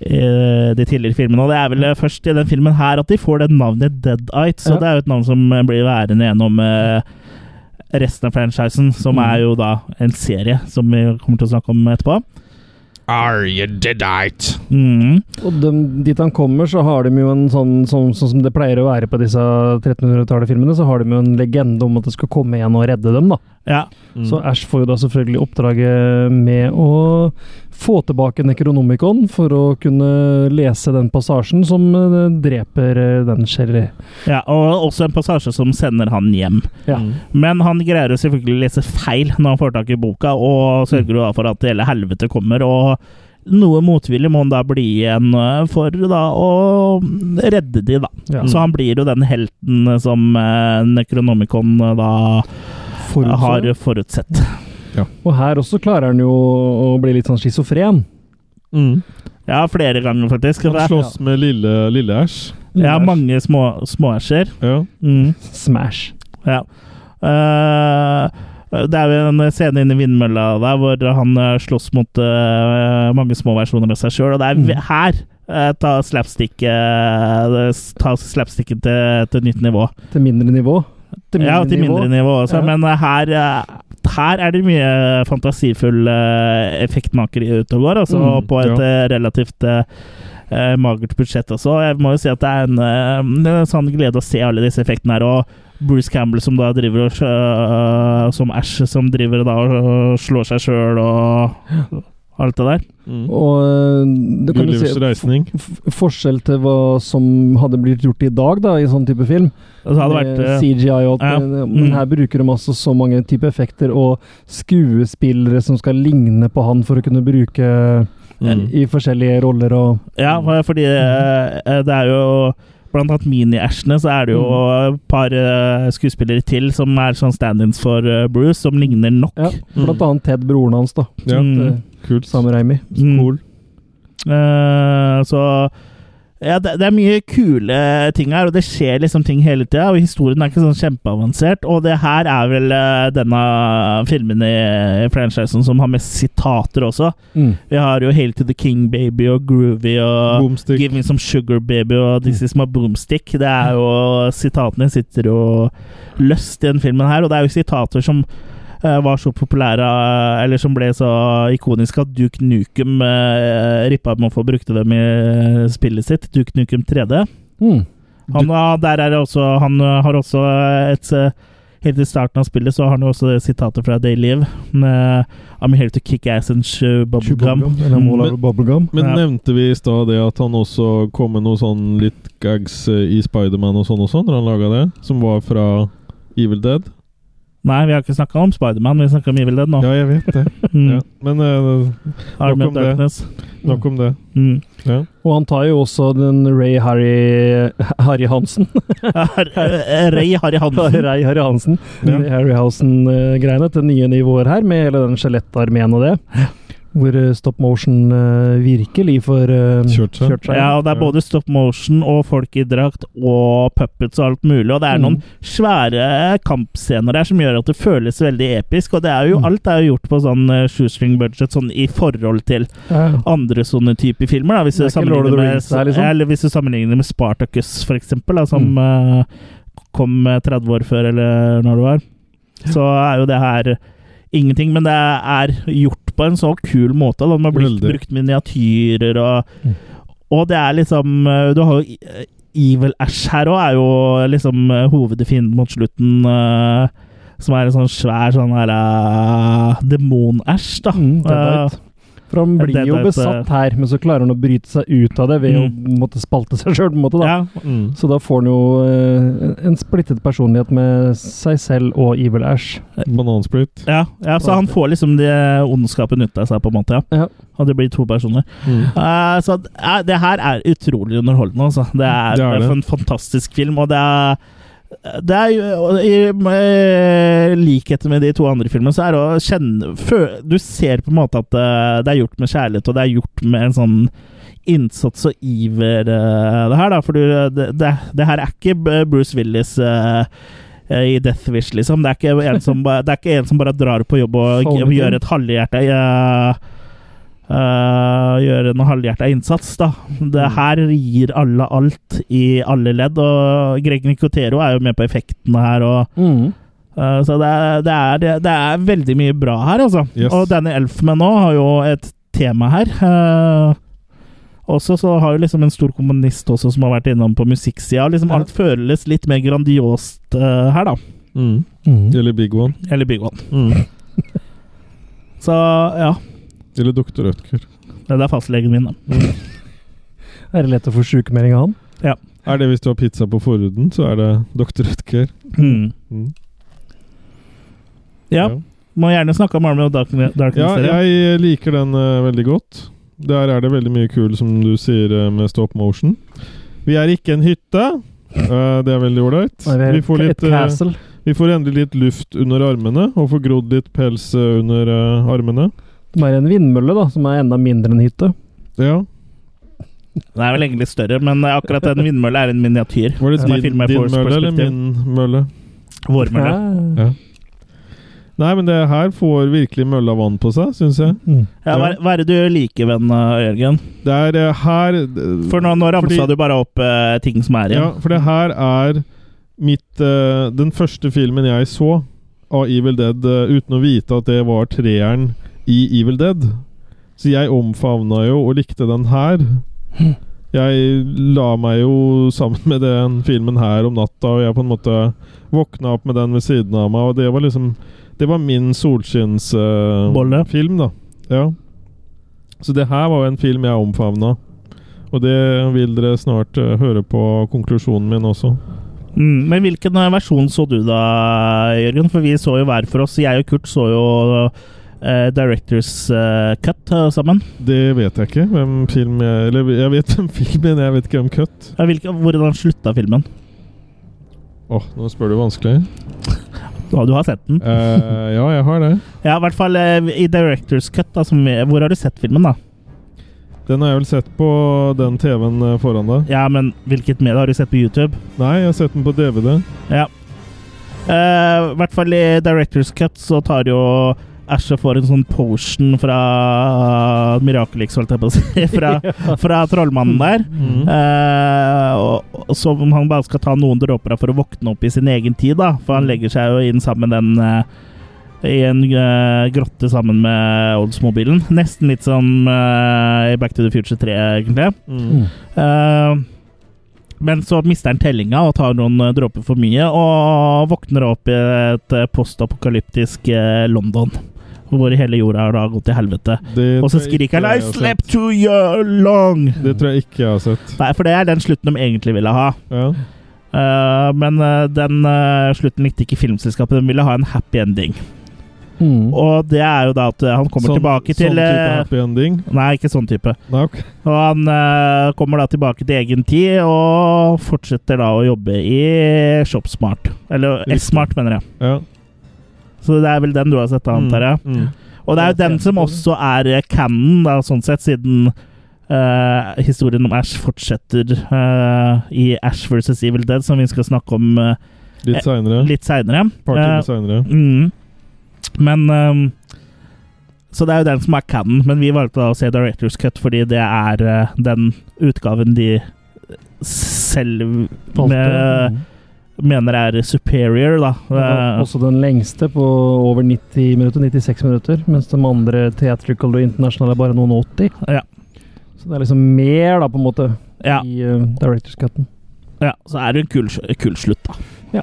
Speaker 1: eh, de tidligere filmene. Og det er vel eh, først i den filmen her at de får det navnet deadites.
Speaker 2: Ja.
Speaker 1: Og det er jo et navn som eh, blir værende gjennom eh, resten av franchisen, som er jo da en serie som vi kommer til å snakke om etterpå. Mm.
Speaker 3: Are you deadite?
Speaker 2: Og de, dit han kommer, så har de jo en sånn, sånn, sånn som det pleier å være på disse 1300-tallet-filmene, så har de jo en legende om at det skal komme igjen og redde dem, da.
Speaker 1: Mm.
Speaker 2: Så Ash får jo da selvfølgelig oppdraget med å få tilbake Necronomicon for å kunne lese den passasjen som eh, dreper eh, den Sherry.
Speaker 1: Ja, og også en passasje som sender han hjem.
Speaker 2: Ja.
Speaker 3: Mm.
Speaker 1: Men han greier jo selvfølgelig å lese feil når han får tak i boka, og sørger jo da for at hele helvete kommer. Og noe motvillig må han da bli igjen eh, for da å redde de, da.
Speaker 2: Ja.
Speaker 1: Så han blir jo den helten som eh, Necronomicon eh, da
Speaker 2: Forutså.
Speaker 1: har forutsett.
Speaker 2: Og her også klarer han jo å bli litt sånn schizofren.
Speaker 1: Mm. Ja, flere ganger faktisk.
Speaker 3: Han slåss med lille, lille Ash.
Speaker 1: Ja, mange små, småæsjer.
Speaker 3: Ja.
Speaker 1: Mm.
Speaker 2: Smash.
Speaker 1: Ja. Eh, det er jo en scene inne i vindmølla der hvor han eh, slåss mot eh, mange små versjoner av seg sjøl, og det er vi- her eh, ta slapstick, eh, s- ta slapsticken til, til nytt nivå.
Speaker 2: Til mindre nivå.
Speaker 1: ja, til mindre nivå også,
Speaker 2: Ja.
Speaker 1: men eh, her eh, her er det mye fantasifull eh, effektmakeri ute og går, altså
Speaker 2: Mm,
Speaker 1: på et
Speaker 2: ja.
Speaker 1: eh, relativt eh, eh, magert budsjett også. Jeg må jo si at det er en, eh, en sånn glede å se alle disse effektene her. Og Bruce Campbell som da driver og eh, Som Ash som driver da og slår seg sjøl og alt det der.
Speaker 3: Mm.
Speaker 2: Og eh, det kan du
Speaker 3: Gullivers
Speaker 2: si
Speaker 3: reisning.
Speaker 2: f- forskjell til hva som hadde blitt gjort i dag, da, i sånn type film.
Speaker 1: Altså, hadde
Speaker 2: Med
Speaker 1: vært, eh,
Speaker 2: CGI og alt,
Speaker 1: ja.
Speaker 2: men-
Speaker 1: Mm.
Speaker 2: men her bruker de altså så mange type effekter og skuespillere som skal ligne på han for å kunne bruke
Speaker 3: Mm.
Speaker 2: i forskjellige roller og
Speaker 1: Ja, for- fordi eh, eh, det er jo Blant annet mini-Ashene så er det jo et par eh, skuespillere til som er sånn stand-ins for eh, Bruce, som ligner nok.
Speaker 2: ja,
Speaker 1: Mm.
Speaker 2: Blant annet Ted, broren hans, da.
Speaker 1: Ja,
Speaker 2: Mm.
Speaker 3: Kult.
Speaker 2: Sam Raimi.
Speaker 3: Mm.
Speaker 1: Cool. Mm. Eh, så ja, det, det er mye kule ting her, og det skjer liksom ting hele tida. Og historien er ikke sånn kjempeavansert. Og det her er vel eh, denne filmen i, i franchisen som har mest sitater også.
Speaker 2: Mm.
Speaker 1: Vi har jo Hail to the King Baby og Groovy og
Speaker 3: Boomstick.
Speaker 1: Give me some sugar baby og This is my boomstick. Det er jo Sitatene sitter jo løst i den filmen her, og det er jo sitater som eh, var så populære, eh, eller som ble så ikoniske, at Duke Nukem uh, rippa med å få brukte dem i eh, spillet sitt. Duke Nukem 3D.
Speaker 2: Mm.
Speaker 1: Han, har- der er det også, han eh, har også et eh, Helt i starten av spillet så har han jo også det sitatet fra Day Live. eh, I'm here to kick ass and chew
Speaker 2: Chew
Speaker 1: bubblegum.
Speaker 2: bubblegum, eller
Speaker 1: Mm.
Speaker 2: Mola bubblegum.
Speaker 3: Men
Speaker 1: Ja.
Speaker 3: nevnte vi i stad det at han også kom med noe sånn litt gags eh, i Spiderman og sånn og sånn, når han laga det? Som var fra Evil Dead?
Speaker 1: Nei, vi har ikke snakka om Spiderman, vi snakker om Evil Dead nå.
Speaker 3: Ja, jeg vet det.
Speaker 1: Mm.
Speaker 3: Ja. Men eh,
Speaker 1: Arm of
Speaker 3: nok om det.
Speaker 1: Darkness.
Speaker 3: Nok om det.
Speaker 1: Mm.
Speaker 3: Ja.
Speaker 2: Og han tar jo også den Ray Harry, Harry Hansen.
Speaker 1: Ray Harry Hansen.
Speaker 2: Ray Harry Hansen.
Speaker 3: Ja.
Speaker 2: Ray Harryhausen-greiene til nye nivåer her, med hele den skjelettarmeen og det. Hvor eh, stop motion eh, virkelig får eh,
Speaker 3: Kjørt seg.
Speaker 1: Ja, og det er både stop motion og folk i drakt og puppets og alt mulig. Og det er
Speaker 3: Mm.
Speaker 1: noen svære kampscener der som gjør at det føles veldig episk. Og det er jo,
Speaker 3: Mm.
Speaker 1: alt er jo gjort på sånn eh, shoestring budget, sånn i forhold til
Speaker 2: Ja.
Speaker 1: andre sånne type filmer. Da, hvis,
Speaker 2: Det er
Speaker 1: du
Speaker 2: ikke Lord
Speaker 1: sammenligner
Speaker 2: of the
Speaker 1: med,
Speaker 2: Rings der, liksom?
Speaker 1: eller hvis du sammenligner med Spartacus, for eksempel, da, som
Speaker 2: Mm.
Speaker 1: eh, kom eh, 30 år før, eller når det var, så er jo det her ingenting. Men det er gjort på en så kul måte. Da. De har blitt,
Speaker 3: Veldig.
Speaker 1: brukt miniatyrer, og,
Speaker 2: Mm.
Speaker 1: og det er liksom eh, Du har jo i- Evil Ash her òg, er jo liksom eh, hovedfienden mot slutten. eh, som er en sånn svær sånn her uh, demon-æsj, da.
Speaker 2: Mm, Deadite. For han
Speaker 1: Eh,
Speaker 2: blir jo
Speaker 1: Deadite,
Speaker 2: besatt her, men så klarer han å bryte seg ut av det ved å måtte spalte seg sjøl.
Speaker 1: Ja,
Speaker 3: Mm.
Speaker 2: Så da får han jo eh, en- en splittet personlighet med seg selv og Evil Ash.
Speaker 3: Banansplit.
Speaker 1: Ja, ja, så han får liksom det ondskapen ut av seg, på en måte. ja.
Speaker 2: Ja.
Speaker 1: Og det blir to personer.
Speaker 3: Mm.
Speaker 1: Eh, så d- eh, det her er utrolig underholdende, altså. Det er,
Speaker 3: Det er det.
Speaker 1: en fantastisk film, og det er det er jo og I med likhet med de to andre filmene, så er det å kjenne fø- Du ser på en måte at eh, det er gjort med kjærlighet, og det er gjort med en sånn innsats og iver, eh, det her, da. For du, det, det, det her er ikke B- Bruce Willis eh, eh, i Death Wish, liksom. Det er ikke en som, ba- det er ikke en som bare drar på jobb og
Speaker 2: Faller
Speaker 1: g-
Speaker 2: til.
Speaker 1: gjør et halvhjerta eh, eh, Gjør en halvhjerta innsats, da. Det her gir alle alt i alle ledd, og Greg Nicotero er jo med på effektene her, og Eh, Så det er, det, er, det er veldig mye bra her, altså.
Speaker 3: Yes.
Speaker 1: Og Danny Elfman nå har jo et tema her. Eh, også så har jo liksom en stor komponist også som har vært innom på musikksida. og Liksom alt føles litt mer grandiost eh, her, da.
Speaker 3: Mm. Eller Big One.
Speaker 1: Eller Big One.
Speaker 3: Mm.
Speaker 1: Så ja.
Speaker 3: Eller Dr. Rødtger.
Speaker 1: Det er fastlegen min, da.
Speaker 2: Er det lett å få sykemelding av han?
Speaker 1: Ja.
Speaker 3: Er det hvis du har pizza på forhuden, så er det Dr. Rødtger?
Speaker 1: Mm.
Speaker 3: Mm.
Speaker 1: Ja. Må gjerne snakke om Army of Darkness.
Speaker 3: Ja,
Speaker 1: Darkness dere.
Speaker 3: jeg liker den eh, veldig godt. Der er det veldig mye kul, som du sier, eh, med stop motion. Vi er ikke en hytte. Eh, det er veldig ålreit.
Speaker 2: Nei, vi er
Speaker 3: Vi får
Speaker 2: et-
Speaker 3: litt
Speaker 2: et
Speaker 3: eh,
Speaker 2: castle.
Speaker 3: Vi får endelig litt luft under armene, og får grodd litt pels eh, under eh, armene.
Speaker 2: Det er en vindmølle, da, som er enda mindre enn hytte.
Speaker 3: Ja.
Speaker 1: Den er vel egentlig større, men akkurat den vindmølla er en miniatyr.
Speaker 3: Var det
Speaker 1: som er
Speaker 3: din,
Speaker 1: filmet i
Speaker 3: din
Speaker 1: vårt
Speaker 3: mølle eller
Speaker 1: perspektiv.
Speaker 3: min mølle?
Speaker 1: Vår mølle.
Speaker 3: Ja. Nei, men det her får virkelig mølla vann på seg, syns jeg.
Speaker 1: Ja, hva, hva er det du liker ved den, eh, Jørgen?
Speaker 3: Det er eh, her
Speaker 1: For nå, nå ramsa
Speaker 3: Fordi-
Speaker 1: du bare opp eh, ting som er
Speaker 3: Ja,
Speaker 1: igjen.
Speaker 3: for det her er mitt eh, Den første filmen jeg så av Evil Dead eh, uten å vite at det var treeren i Evil Dead. Så jeg omfavna jo og likte den her. Jeg la meg jo sammen med den filmen her om natta, og jeg på en måte våkna opp med den ved siden av meg, og det var liksom Det var min solskinnsfilm,
Speaker 1: Bolle.
Speaker 3: film da. Ja. Så det her var jo en film jeg omfavna. Og det vil dere snart eh, høre på konklusjonen min også.
Speaker 1: Mm, men hvilken eh, versjon så du da, Jørgen? For vi så jo hver for oss. Jeg og Kurt så jo eh, Directors eh, Cut eh, sammen.
Speaker 3: Det vet jeg ikke hvem film jeg Eller jeg vet hvem filmen, jeg vet ikke hvem Cut.
Speaker 1: Ja, hvilken- hvordan slutta filmen?
Speaker 3: Åh, nå spør du vanskelig.
Speaker 1: Ja, du har sett den?
Speaker 3: Eh, ja, jeg har det.
Speaker 1: Ja, i hvert fall eh, i Directors Cut. Da, som, vi- hvor har du sett filmen, da?
Speaker 3: Den har jeg vel sett på den TV-en eh, foran deg.
Speaker 1: Ja, men hvilket medie har du sett på YouTube?
Speaker 3: Nei, jeg har sett den på DVD.
Speaker 1: Ja. Eh, I hvert fall i Directors Cut så tar jo Asher får en sånn potion fra Miraculix, holdt jeg på å si. Fra, fra trollmannen der. Eh, og, og Som han bare skal ta noen dråper av for å våkne opp i sin egen tid, da. For han legger seg jo inn sammen med den eh, i en eh, grotte sammen med Oldsmobilen. Nesten litt som eh, i Back to the Future 3, egentlig.
Speaker 3: Mm.
Speaker 1: Eh, men så mister han tellinga og tar noen eh, dråper for mye, og våkner opp i et eh, postapokalyptisk eh, London. Hvor hele jorda har da gått til helvete.
Speaker 3: Det
Speaker 1: Og så
Speaker 3: tror jeg ikke
Speaker 1: skriker han
Speaker 3: jeg
Speaker 1: 'I
Speaker 3: har
Speaker 1: slept too yo- long'!
Speaker 3: Det tror jeg ikke jeg har sett.
Speaker 1: Nei, for det er den slutten de egentlig ville ha.
Speaker 3: Ja.
Speaker 1: Eh, men eh, den eh, slutten likte ikke filmselskapet. De ville ha en happy ending. Og det er jo da at eh, han Mm. kommer
Speaker 3: Sånn-
Speaker 1: tilbake til
Speaker 3: Sånn type
Speaker 1: eh,
Speaker 3: happy ending.
Speaker 1: Nei, ikke sånn type.
Speaker 3: Nei, ok.
Speaker 1: Og han eh, kommer da tilbake til egen tid og fortsetter da å jobbe i ShopSmart. Eller
Speaker 3: Riktig.
Speaker 1: S-Smart, mener jeg.
Speaker 3: Ja.
Speaker 1: Så det er vel den du har sett, da, antar jeg.
Speaker 3: Mm.
Speaker 1: Og det er jo den som også er eh, canon, da, sånn sett, siden eh, historien om Ash fortsetter eh, i Ash versus Evil Dead, som vi skal snakke om eh,
Speaker 3: Litt seinere.
Speaker 1: litt seinere.
Speaker 3: Et par timer seinere.
Speaker 1: Mm. Men ehm, Så det er jo den som er canon, men vi valgte da å se Directors Cut fordi det er eh, den utgaven de selv med, mener er superior, da. Eh,
Speaker 2: Mm. Også den lengste, på over 90 minutter, 96 minutter. Mens de andre theatrical og international er bare noen 80.
Speaker 1: Ja.
Speaker 2: Så det er liksom mer, da, på en måte,
Speaker 1: Ja.
Speaker 2: i eh, Directors Cutten.
Speaker 1: ja, så er det en kul, kul slutt, da.
Speaker 2: Ja.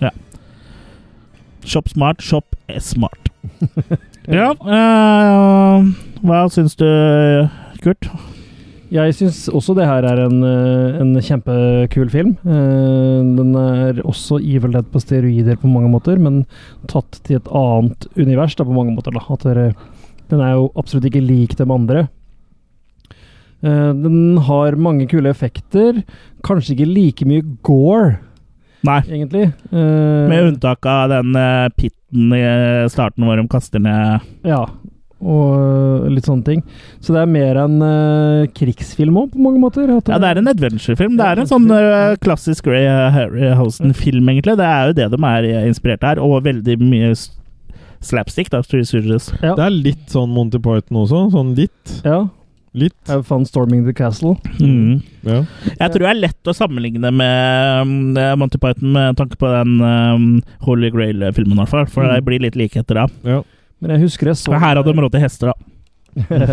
Speaker 1: ja. Shop smart, shop er smart. ja, eh, hva syns du, Kurt?
Speaker 2: Jeg syns også det her er en, eh, en kjempekul film. Eh, Den er også Evil Dead på steroider på mange måter, men tatt til et annet univers da, på mange måter. Da. At dere- den er jo absolutt ikke lik de andre. Eh, Den har mange kule effekter. Kanskje ikke like mye gore,
Speaker 1: Nei.
Speaker 2: egentlig. Eh,
Speaker 1: Med unntak av den eh, pitten i starten hvor de kaster ned
Speaker 2: Ja, og eh, litt sånne ting. Så det er mer en eh, krigsfilm òg, på mange måter. At
Speaker 1: Ja, det er en adventure-film. Det er en sånn eh, klassisk Ray Harryhausen-film, egentlig. Det er jo det de er eh, inspirert av, og veldig mye s- slapstick. da, Three Stooges.
Speaker 2: Ja.
Speaker 3: Det er litt sånn Monty Python også. Sånn litt.
Speaker 2: Ja.
Speaker 3: Litt.
Speaker 2: Have fun storming the castle.
Speaker 1: Mm.
Speaker 3: Ja.
Speaker 1: Jeg tror det er lett å sammenligne med um, eh, Monty Python med tanke på den um, Holy Grail-filmen, i hvert fall. For det blir litt likheter da.
Speaker 3: Mm. ja.
Speaker 2: Men jeg husker jeg så
Speaker 1: Men her hadde de råd til hester, da.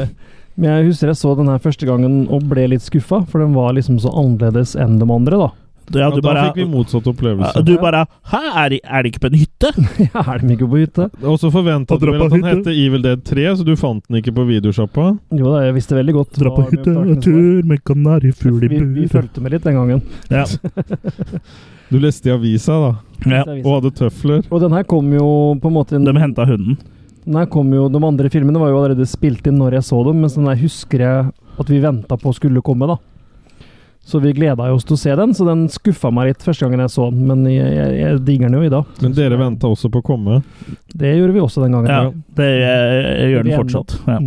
Speaker 2: Men jeg husker jeg så den her første gangen og ble litt skuffa, for den var liksom så annerledes enn de andre, da.
Speaker 3: Ja, da fikk vi motsatt opplevelse.
Speaker 1: Ja, Du bare Hæ, er de, er de ikke på en hytte?
Speaker 2: ja, er de ikke på hytte?
Speaker 3: Og så forventa
Speaker 1: Og
Speaker 3: du
Speaker 1: dra
Speaker 3: vel
Speaker 1: på
Speaker 3: at han
Speaker 1: hytte.
Speaker 3: hette Evil Dead 3, så du fant den ikke på videosjappa.
Speaker 2: Jo da, jeg visste veldig godt.
Speaker 1: Dra på
Speaker 2: hva
Speaker 1: hytte,
Speaker 2: opptakene var.
Speaker 1: tur med kanarifugl i
Speaker 2: Vi, vi
Speaker 1: bur.
Speaker 2: fulgte med litt den gangen.
Speaker 1: Ja.
Speaker 3: Du leste i avisa, da.
Speaker 1: Ja.
Speaker 2: Avisa.
Speaker 3: Og hadde tøfler.
Speaker 2: Og den her kom jo på en måte inn-
Speaker 1: De henta hunden.
Speaker 2: den her kom jo, De andre filmene var jo allerede spilt inn når jeg så dem, mens den her husker jeg at vi venta på skulle komme, da. Så vi gleda oss til å se den, så den skuffa meg litt første gangen jeg så den. Men jeg, jeg, jeg digger den jo i dag.
Speaker 3: Men dere venta også på å komme.
Speaker 2: Det gjorde vi også den gangen.
Speaker 1: Ja, det eh, gjør den fortsatt. Ja.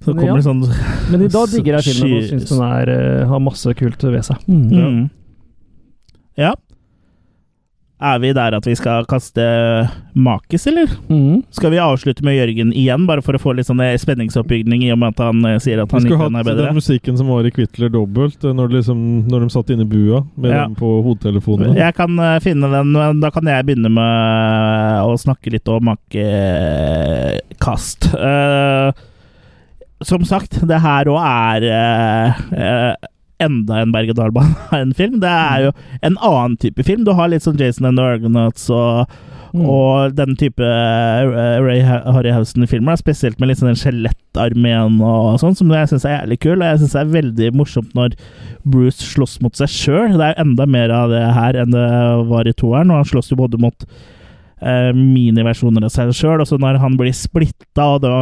Speaker 1: Så
Speaker 2: Men ja.
Speaker 1: kommer det sånn
Speaker 2: Men i dag digger jeg filmen og
Speaker 1: Sky-
Speaker 2: syns den er, eh, har masse kult ved seg.
Speaker 1: Mm. Ja. Er vi der at vi skal kaste makis, eller?
Speaker 2: Mhm.
Speaker 1: Skal vi avslutte med Jørgen igjen, bare for å få litt sånn eh, spenningsoppbygning, i og med at han eh, sier at
Speaker 3: Vi
Speaker 1: han
Speaker 3: skulle
Speaker 1: ikke er
Speaker 3: hatt
Speaker 1: bedre?
Speaker 3: den musikken som var i Quitler dobbelt, eh, når, det liksom, når de satt inne i bua med
Speaker 1: Ja.
Speaker 3: dem på hodetelefonene.
Speaker 1: Jeg kan eh, finne den, men da kan jeg begynne med å snakke litt om makekast. Eh, som sagt, det her òg er eh, eh, enda en berg-og-dal-bane-film. Det er jo en annen type film. Du har litt sånn Jason and the Argonauts og, og den type eh, Ray Ha- Harryhausen-filmer, da, spesielt med litt sånn den skjelettarmeen og sånn, som jeg syns er jævlig kul. Og jeg syns det er veldig morsomt når Bruce slåss mot seg sjøl. Det er jo enda mer av det her enn det var i toeren, og han slåss jo både mot eh, miniversjoner av seg sjøl. Og så når han blir splitta, og da,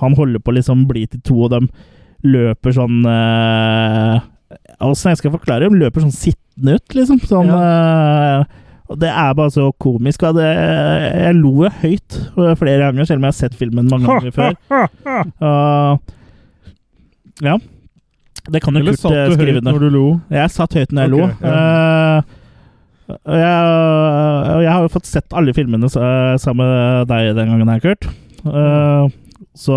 Speaker 1: han holder på å liksom bli til to, og de løper sånn eh, Åssen jeg skal forklare det? De løper sånn sittende ut, liksom. Sånn eh, og Det er bare så komisk. Og det, jeg lo jo høyt eh, flere ganger, selv om jeg har sett filmen mange ganger før. Og- ja. Det kan jo
Speaker 3: Eller
Speaker 1: Kurt
Speaker 3: satt
Speaker 1: eh,
Speaker 3: du
Speaker 1: skrive
Speaker 3: høyt
Speaker 1: under.
Speaker 3: når du lo?
Speaker 1: Jeg satt høyt når jeg
Speaker 3: Ok,
Speaker 1: lo. Eh, og jeg, og jeg har jo fått sett alle filmene eh, sammen med deg den gangen her, Kurt. Eh, så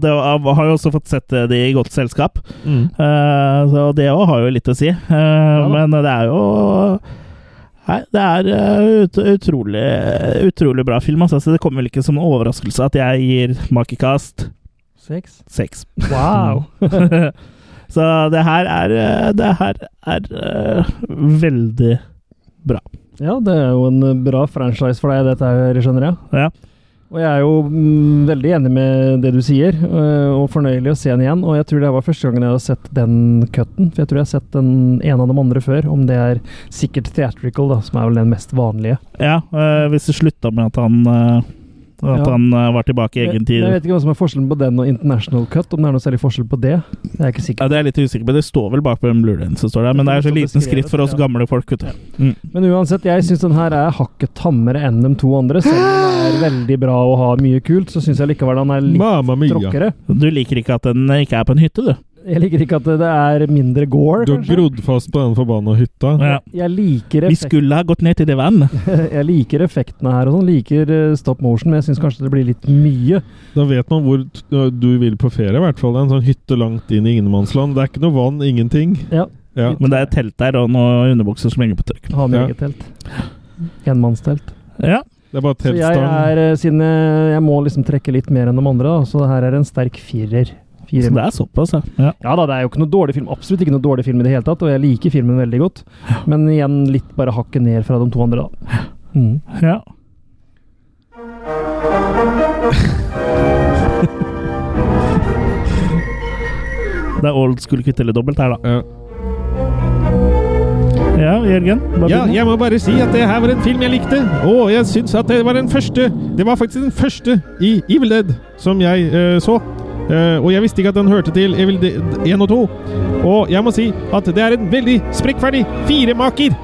Speaker 1: det jeg har jo også fått sett eh, de i godt selskap.
Speaker 3: Mm.
Speaker 1: Eh, så det òg har jo litt å si. Eh, Men det er jo Nei, det er eh, ut, utrolig, utrolig bra film. Altså. Så det kommer vel ikke som en overraskelse at jeg gir Makikast
Speaker 2: Seks.
Speaker 1: seks.
Speaker 2: Wow!
Speaker 1: Så det her er eh, Det her er eh, veldig bra.
Speaker 2: Ja, det er jo en eh, bra franchise for deg, dette her, skjønner jeg.
Speaker 1: Ja.
Speaker 2: Og jeg er jo mm, veldig enig med det du sier, øh, og fornøyelig å se den igjen. Og jeg tror det var første gangen jeg har sett den cutten. For jeg tror jeg har sett den en av de andre før, om det er sikkert theatrical, da, som er vel den mest vanlige.
Speaker 1: Ja, eh, hvis det slutta med at han eh, At
Speaker 2: Ja.
Speaker 1: han eh, var tilbake i
Speaker 2: Jeg,
Speaker 1: egen
Speaker 2: jeg
Speaker 1: tid.
Speaker 2: vet ikke hva som er forskjellen på den og international cut, om det er noe særlig forskjell på det. Jeg er ikke sikker.
Speaker 1: Ja, det er jeg litt usikker på. Det står vel bak på den Blu-rayen som står der, men det er så liten skritt for oss gamle folk. Vet du. Mm.
Speaker 2: Men uansett, jeg syns den her er hakket tammere enn de to andre. Selv om den er veldig bra og har mye kult, så syns jeg likevel den er litt
Speaker 3: Mamma mia!
Speaker 2: tråkkere.
Speaker 1: Du liker ikke at den ikke er på en hytte, du?
Speaker 2: Jeg liker ikke at det er mindre gore,
Speaker 3: Du har
Speaker 2: kanskje.
Speaker 3: grodd fast på den forbanna hytta.
Speaker 1: Ja.
Speaker 2: Jeg liker
Speaker 1: Vi
Speaker 2: effekten.
Speaker 1: skulle ha gått ned til det vannet.
Speaker 2: Jeg liker effektene her og sånn. Liker eh, stop motion, men jeg syns kanskje det blir litt mye.
Speaker 3: Da vet man hvor t- eh, du vil på ferie, i hvert fall. En sånn hytte langt inn i ingenmannsland. Det er ikke noe vann, ingenting.
Speaker 2: Ja.
Speaker 3: Ja.
Speaker 1: Men det er et telt der og noen underbukser som henger på tørk.
Speaker 2: Har med eget telt. Enmannstelt.
Speaker 1: Ja.
Speaker 3: Det er bare
Speaker 2: Så jeg
Speaker 3: teltstang.
Speaker 2: er eh, siden jeg, jeg må liksom trekke litt mer enn de andre, da, så det her er en sterk firer.
Speaker 1: Så
Speaker 2: Firer.
Speaker 1: det er såpass, ja. ja.
Speaker 2: Ja da, det er jo ikke noe dårlig film. Absolutt ikke noe dårlig film i det hele tatt, og jeg liker filmen veldig godt. Men igjen litt bare hakket ned fra de to andre, da. Mm.
Speaker 1: ja. Det er old school kvitt eller dobbelt her, da.
Speaker 3: Ja.
Speaker 1: Ja, Jørgen? bare
Speaker 3: Ja,
Speaker 1: begynn.
Speaker 3: jeg må bare si at det her var en film jeg likte. Og jeg syns at det var den første Det var faktisk den første i Evil Dead som jeg eh, så. Eh, og jeg visste ikke at den hørte til Evil Dead 1 og 2. Og jeg må si at det er en veldig sprekkferdig firemaker.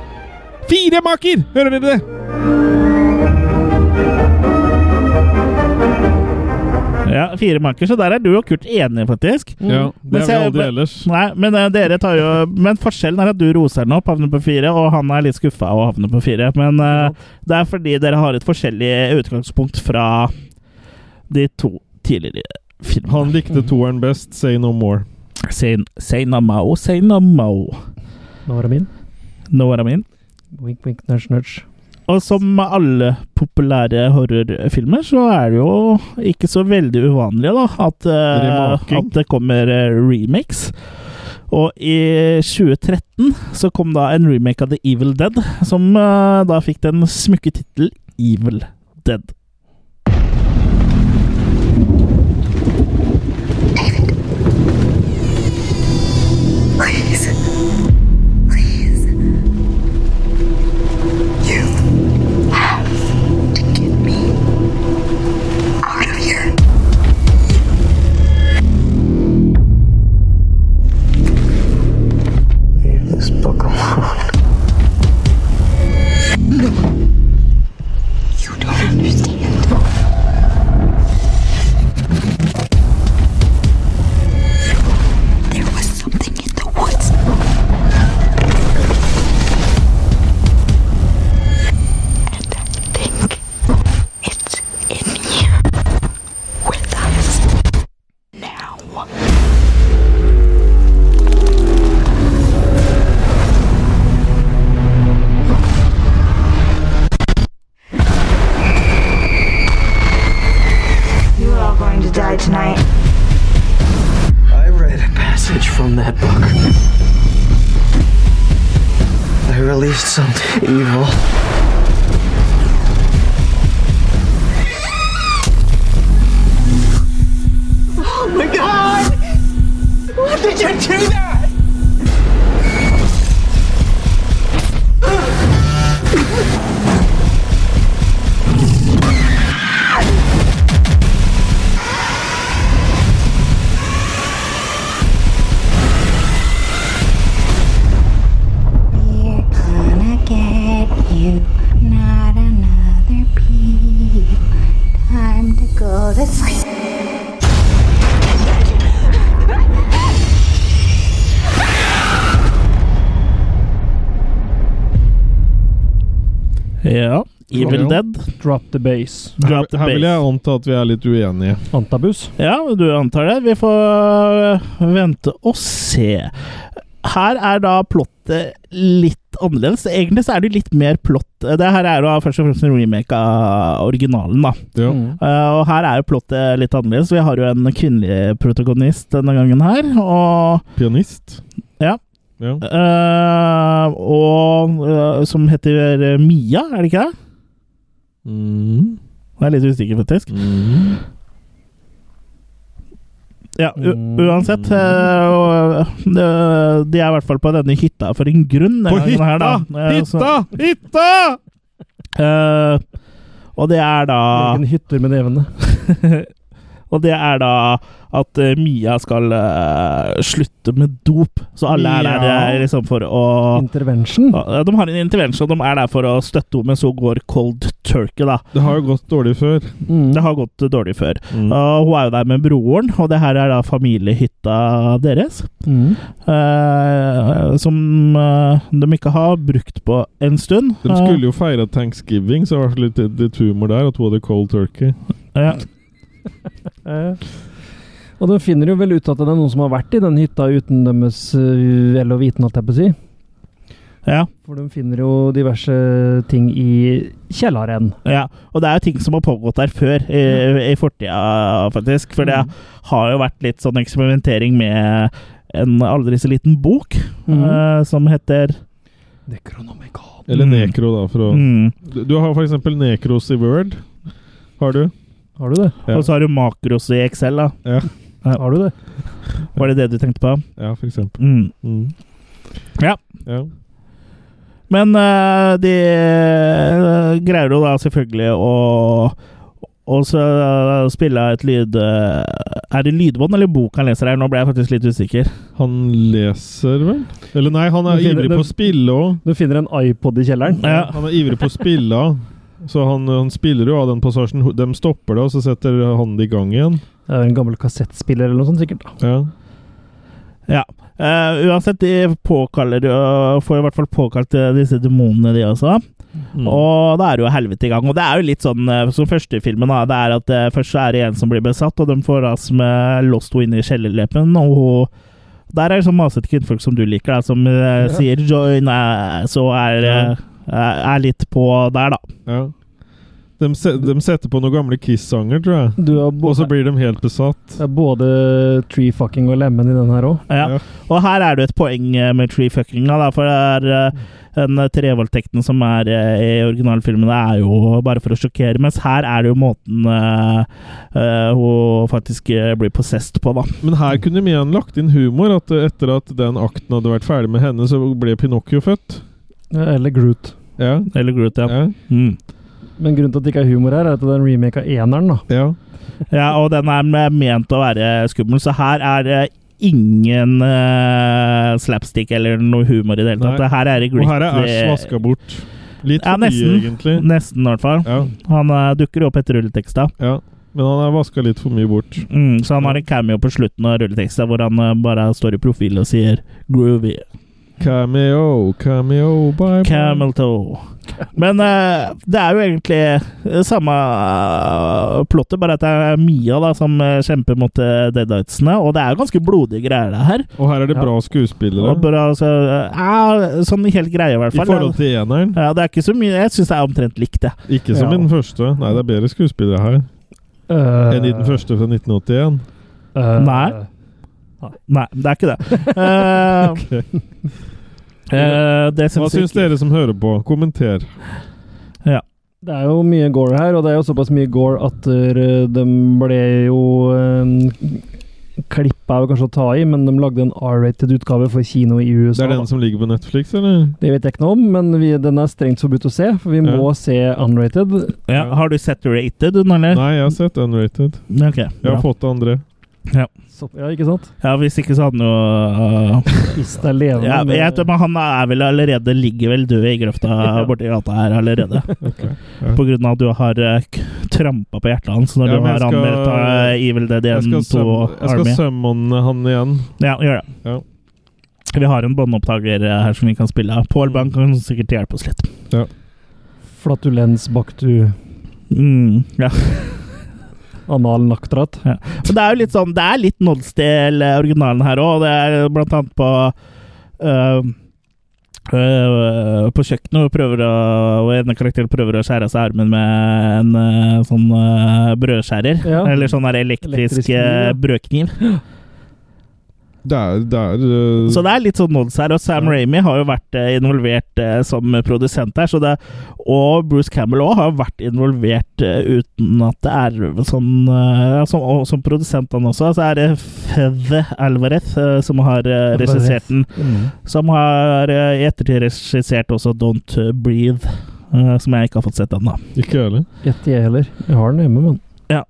Speaker 3: Firemaker! Hører dere det?
Speaker 1: Ja, fire marker, så der er du og Kurt enige, faktisk. Mm. Men
Speaker 3: Det er vi
Speaker 1: se-
Speaker 3: aldri ellers.
Speaker 1: Nei, men eh, dere tar jo Men forskjellen er at du roser den opp, havner på fire, og han er litt skuffa og havner på fire. Men eh, det er fordi dere har et forskjellig utgangspunkt fra de to tidligere filmene.
Speaker 3: Han likte toeren best, Say No More.
Speaker 1: Say, say no mo, say no mo.
Speaker 2: Nå var det min.
Speaker 1: Know what I mean?
Speaker 2: Wink, wink, nudge, nudge.
Speaker 1: Og som alle populære horrorfilmer, så er det jo ikke så veldig uvanlig da, at, eh,
Speaker 3: Remaking.
Speaker 1: at det kommer eh, remakes. Og i 2013 så kom da en remake av The Evil Dead, som eh, da fikk den smukke tittel Evil Dead.
Speaker 5: Please. There was something in the woods. You're all going to die tonight.
Speaker 12: I read a passage from that book. I released something evil.
Speaker 5: Oh my god! Why did you do that? We're gonna get you, not another pee. Time to go to sleep.
Speaker 1: Ja. Evil
Speaker 3: Drop-
Speaker 1: Dead.
Speaker 2: Drop the base.
Speaker 3: Her,
Speaker 1: Drop the
Speaker 3: her vil
Speaker 1: base.
Speaker 3: jeg anta at vi er litt uenige.
Speaker 2: Antabus.
Speaker 1: Ja, du antar det. Vi får øh, vente og se. Her er da plottet litt annerledes. Egentlig så er det jo litt mer plott. Eh, Det her er jo først og fremst en remake av originalen, da.
Speaker 3: Mm.
Speaker 1: Eh, og her er jo plottet litt annerledes. Vi har jo en kvinnelig protagonist denne gangen her, og
Speaker 3: Pianist.
Speaker 1: Ja.
Speaker 3: Ja.
Speaker 1: Eh, og eh, som heter eh, Mia, er det ikke det?
Speaker 3: Mm.
Speaker 1: Jeg er litt usikker, faktisk. Ja, u
Speaker 3: Mm.
Speaker 1: uansett eh, og, eh, De er i hvert fall på denne hytta for en grunn. denne
Speaker 3: På
Speaker 1: gangen her, da.
Speaker 3: hytta!
Speaker 1: Eh, så-
Speaker 3: Hytta! Hytta!
Speaker 1: Eh, og det er da
Speaker 2: Egen hytter med nevene.
Speaker 1: Og det er da at eh, Mia skal eh, slutte med dop. Så alle er der
Speaker 2: Ja.
Speaker 1: eh, liksom for å
Speaker 2: Intervention.
Speaker 1: Ja, De har en intervensjon, de er der for å støtte henne, men så går cold turkey, da.
Speaker 3: Det har jo gått dårlig før.
Speaker 2: Mm.
Speaker 1: Det har gått eh, dårlig før.
Speaker 3: Mm.
Speaker 1: Og hun er jo der med broren, og det her er da familiehytta deres.
Speaker 2: Mm.
Speaker 1: eh, som eh, de ikke har brukt på en stund.
Speaker 3: De skulle jo feire thanksgiving, så det var litt, litt humor der at hun hadde cold turkey.
Speaker 1: Eh, ja.
Speaker 2: Eh. Og de finner jo vel ut at det er noen som har vært i den hytta uten deres eh, vel og viten, holdt jeg på å si.
Speaker 1: Ja,
Speaker 2: For de finner jo diverse ting i kjelleren.
Speaker 1: ja. Og det er jo ting som har pågått der før, i, i fortida, faktisk. For
Speaker 3: Mm.
Speaker 1: det har jo vært litt sånn eksperimentering med en aldri så liten bok
Speaker 3: Mm.
Speaker 2: Mhm.
Speaker 1: eh, som heter
Speaker 3: Eller
Speaker 1: Mm.
Speaker 3: nekro, da. For å,
Speaker 1: Mm.
Speaker 3: Du- Du har f.eks. nekros i Word. Har du?
Speaker 2: Har du det?
Speaker 3: Ja.
Speaker 1: Og så har du makros i Excel, da.
Speaker 3: Ja,
Speaker 2: Har du det?
Speaker 1: Var det det du tenkte på?
Speaker 3: ja for eksempel.
Speaker 1: Mm.
Speaker 3: Mm.
Speaker 1: Ja.
Speaker 3: Ja.
Speaker 1: Men eh, de eh, greier jo da selvfølgelig å å så spille et lyd... eh, Er det lydbånd eller bok han leser her? Nå ble jeg faktisk litt usikker.
Speaker 3: Han leser vel? Eller nei, han er
Speaker 2: Du finner-
Speaker 3: ivrig på å spille òg.
Speaker 2: Du finner en iPod i kjelleren.
Speaker 1: Ja.
Speaker 3: Han er ivrig på å spille. Så han, han spiller jo av den passasjen. Ho- De stopper det, og så setter han det i gang igjen.
Speaker 2: Det er jo en gammel kassettspiller eller noe sånt, sikkert. da.
Speaker 3: Ja.
Speaker 1: Ja. Eh, uansett, de påkaller jo Får i hvert fall påkalt eh, disse demonene, de også.
Speaker 3: Mm.
Speaker 1: Og da er det jo helvete i gang. Og det er jo litt sånn eh, som første filmen. Da, det er at eh, Først så er det en som blir besatt, og de får ras med Lost Henne inn i kjellerleppen. Og hun- der er det sånn masete kvinnfolk som du liker, da, som eh, sier 'join us' og er eh, eh, er litt på der, da.
Speaker 3: Ja. De, se, de setter på noen gamle Kiss-sanger, tror jeg. Og så blir de helt besatt.
Speaker 2: Det er både tree fucking og lemon i den her òg.
Speaker 1: Ja. Og her er det et poeng eh, med treefuckinga, da, for det er eh, den eh, trevoldtekten som er eh, i originalfilmen, det er jo bare for å sjokkere, mens her er det jo måten eh, eh, hun faktisk eh, blir possessed på, da.
Speaker 3: Men her kunne de igjen lagt inn humor. At eh, etter at den akten hadde vært ferdig med henne, så ble Pinocchio født.
Speaker 2: Eller Groot.
Speaker 3: Ja.
Speaker 1: Eller Groot, ja.
Speaker 3: Ja.
Speaker 1: Mm.
Speaker 2: Men grunnen til at det ikke er humor her, er at det er en remake av eneren, da.
Speaker 3: ja.
Speaker 1: Ja, og den er me- ment å være skummel, så her er det ingen eh, slapstick eller noe humor i det hele tatt.
Speaker 3: Nei.
Speaker 1: Det Her er det
Speaker 3: Og her er Ash
Speaker 1: glittery-
Speaker 3: vaska bort. Litt
Speaker 1: Ja,
Speaker 3: for mye,
Speaker 1: nesten.
Speaker 3: egentlig.
Speaker 1: Nesten, i hvert fall.
Speaker 3: Ja.
Speaker 1: Han eh, dukker jo opp etter rulleteksta.
Speaker 3: Ja. Men han er vaska litt for mye bort.
Speaker 1: Mm, så han har en cameo på slutten av rulleteksta hvor han eh, bare står i profil og sier 'groovy'.
Speaker 3: Cameo, cameo, bye bye.
Speaker 1: Camel toe. Men eh, det er jo egentlig eh, samme eh, plottet, bare at det er Mia da som eh, kjemper mot eh, deadlightsene. Og det er jo ganske blodige greier, det her.
Speaker 3: Og her er det
Speaker 1: Ja.
Speaker 3: bra skuespillere.
Speaker 1: Og bra, altså, eh, ja, sånn helt greie, i hvert
Speaker 3: I
Speaker 1: fall.
Speaker 3: forhold til eneren.
Speaker 1: ja, det er ikke så mye Jeg syns det er omtrent likt, det.
Speaker 3: Ikke som
Speaker 1: Ja.
Speaker 3: i den første. Nei, det er bedre skuespillere her
Speaker 2: Eh,
Speaker 3: enn i den første fra 1981.
Speaker 1: Nei. Nei, det er ikke det. Eh, eh, det
Speaker 3: Hva
Speaker 1: syns jeg
Speaker 3: syns
Speaker 1: ikke.
Speaker 3: dere som hører på? Kommenter.
Speaker 1: Ja.
Speaker 2: Det er jo mye gore her, og det er jo såpass mye gore at eh, de ble jo Klippa er jo kanskje å ta i, men de lagde en R-rated utgave for kino i
Speaker 3: Det
Speaker 2: USA.
Speaker 3: er
Speaker 2: da.
Speaker 3: den som ligger på Netflix, eller?
Speaker 1: Eh.
Speaker 2: Det vet jeg ikke noe om, men vi, den er strengt forbudt å se, for vi må
Speaker 3: Ja.
Speaker 2: se unrated.
Speaker 1: Ja, har du sett rated, eller?
Speaker 3: Nei, jeg har sett Unrated.
Speaker 1: Ok,
Speaker 3: Jeg har
Speaker 1: bra.
Speaker 3: fått det andre.
Speaker 1: Ja.
Speaker 2: Så, ja, ikke sant?
Speaker 1: ja, hvis ikke så hadde han jo eh,
Speaker 2: Hvis det er levende.
Speaker 1: Ja, men jeg
Speaker 2: med-
Speaker 1: tror men han er vel allerede ligger vel død i grøfta borti gata her allerede. På grunn av at du har eh, k- trampa på hjertet hans når
Speaker 3: Ja,
Speaker 1: du
Speaker 3: men
Speaker 1: har
Speaker 3: jeg skal-
Speaker 1: anmeldt eh, Evil Dead
Speaker 3: Jeg
Speaker 1: 1 2
Speaker 3: skal, søm, jeg skal
Speaker 1: Army.
Speaker 3: summone han igjen.
Speaker 1: Ja, gjør det.
Speaker 3: Ja.
Speaker 1: Vi har en båndopptaker eh, her som vi kan spille av. Pål Bang kan sikkert hjelpe oss litt.
Speaker 2: Flatulens baktu
Speaker 1: Mm, ja.
Speaker 2: anal naktrat.
Speaker 1: Ja. Men det er jo litt sånn Det er litt nods til eh, originalen her òg. Det er blant annet på øh, øh, På kjøkkenet hvor prøver å, og en karakter prøver å skjære av seg armen med en øh, sånn øh, brødskjærer.
Speaker 2: Ja.
Speaker 1: Eller sånn der elektrisk,
Speaker 2: Elektrisk kniv, ja.
Speaker 1: øh, brødkniv.
Speaker 3: Det er, det er øh,
Speaker 1: Så det er litt sånn nods her. Og Sam Ramy har jo vært eh, involvert eh, som produsent her. Så det, og Bruce Campbell òg har vært involvert eh, uten at det er sånn eh, som, og, som produsent, han også. Så er det Fede Alvarez eh, som har eh, regissert den.
Speaker 2: Mm.
Speaker 1: Som har eh, i ettertid regissert også Don't Breathe, eh, som jeg ikke har fått sett ennå.
Speaker 3: Ikke jeg heller.
Speaker 2: Gjett jeg heller. Jeg har den hjemme, men
Speaker 1: Ja.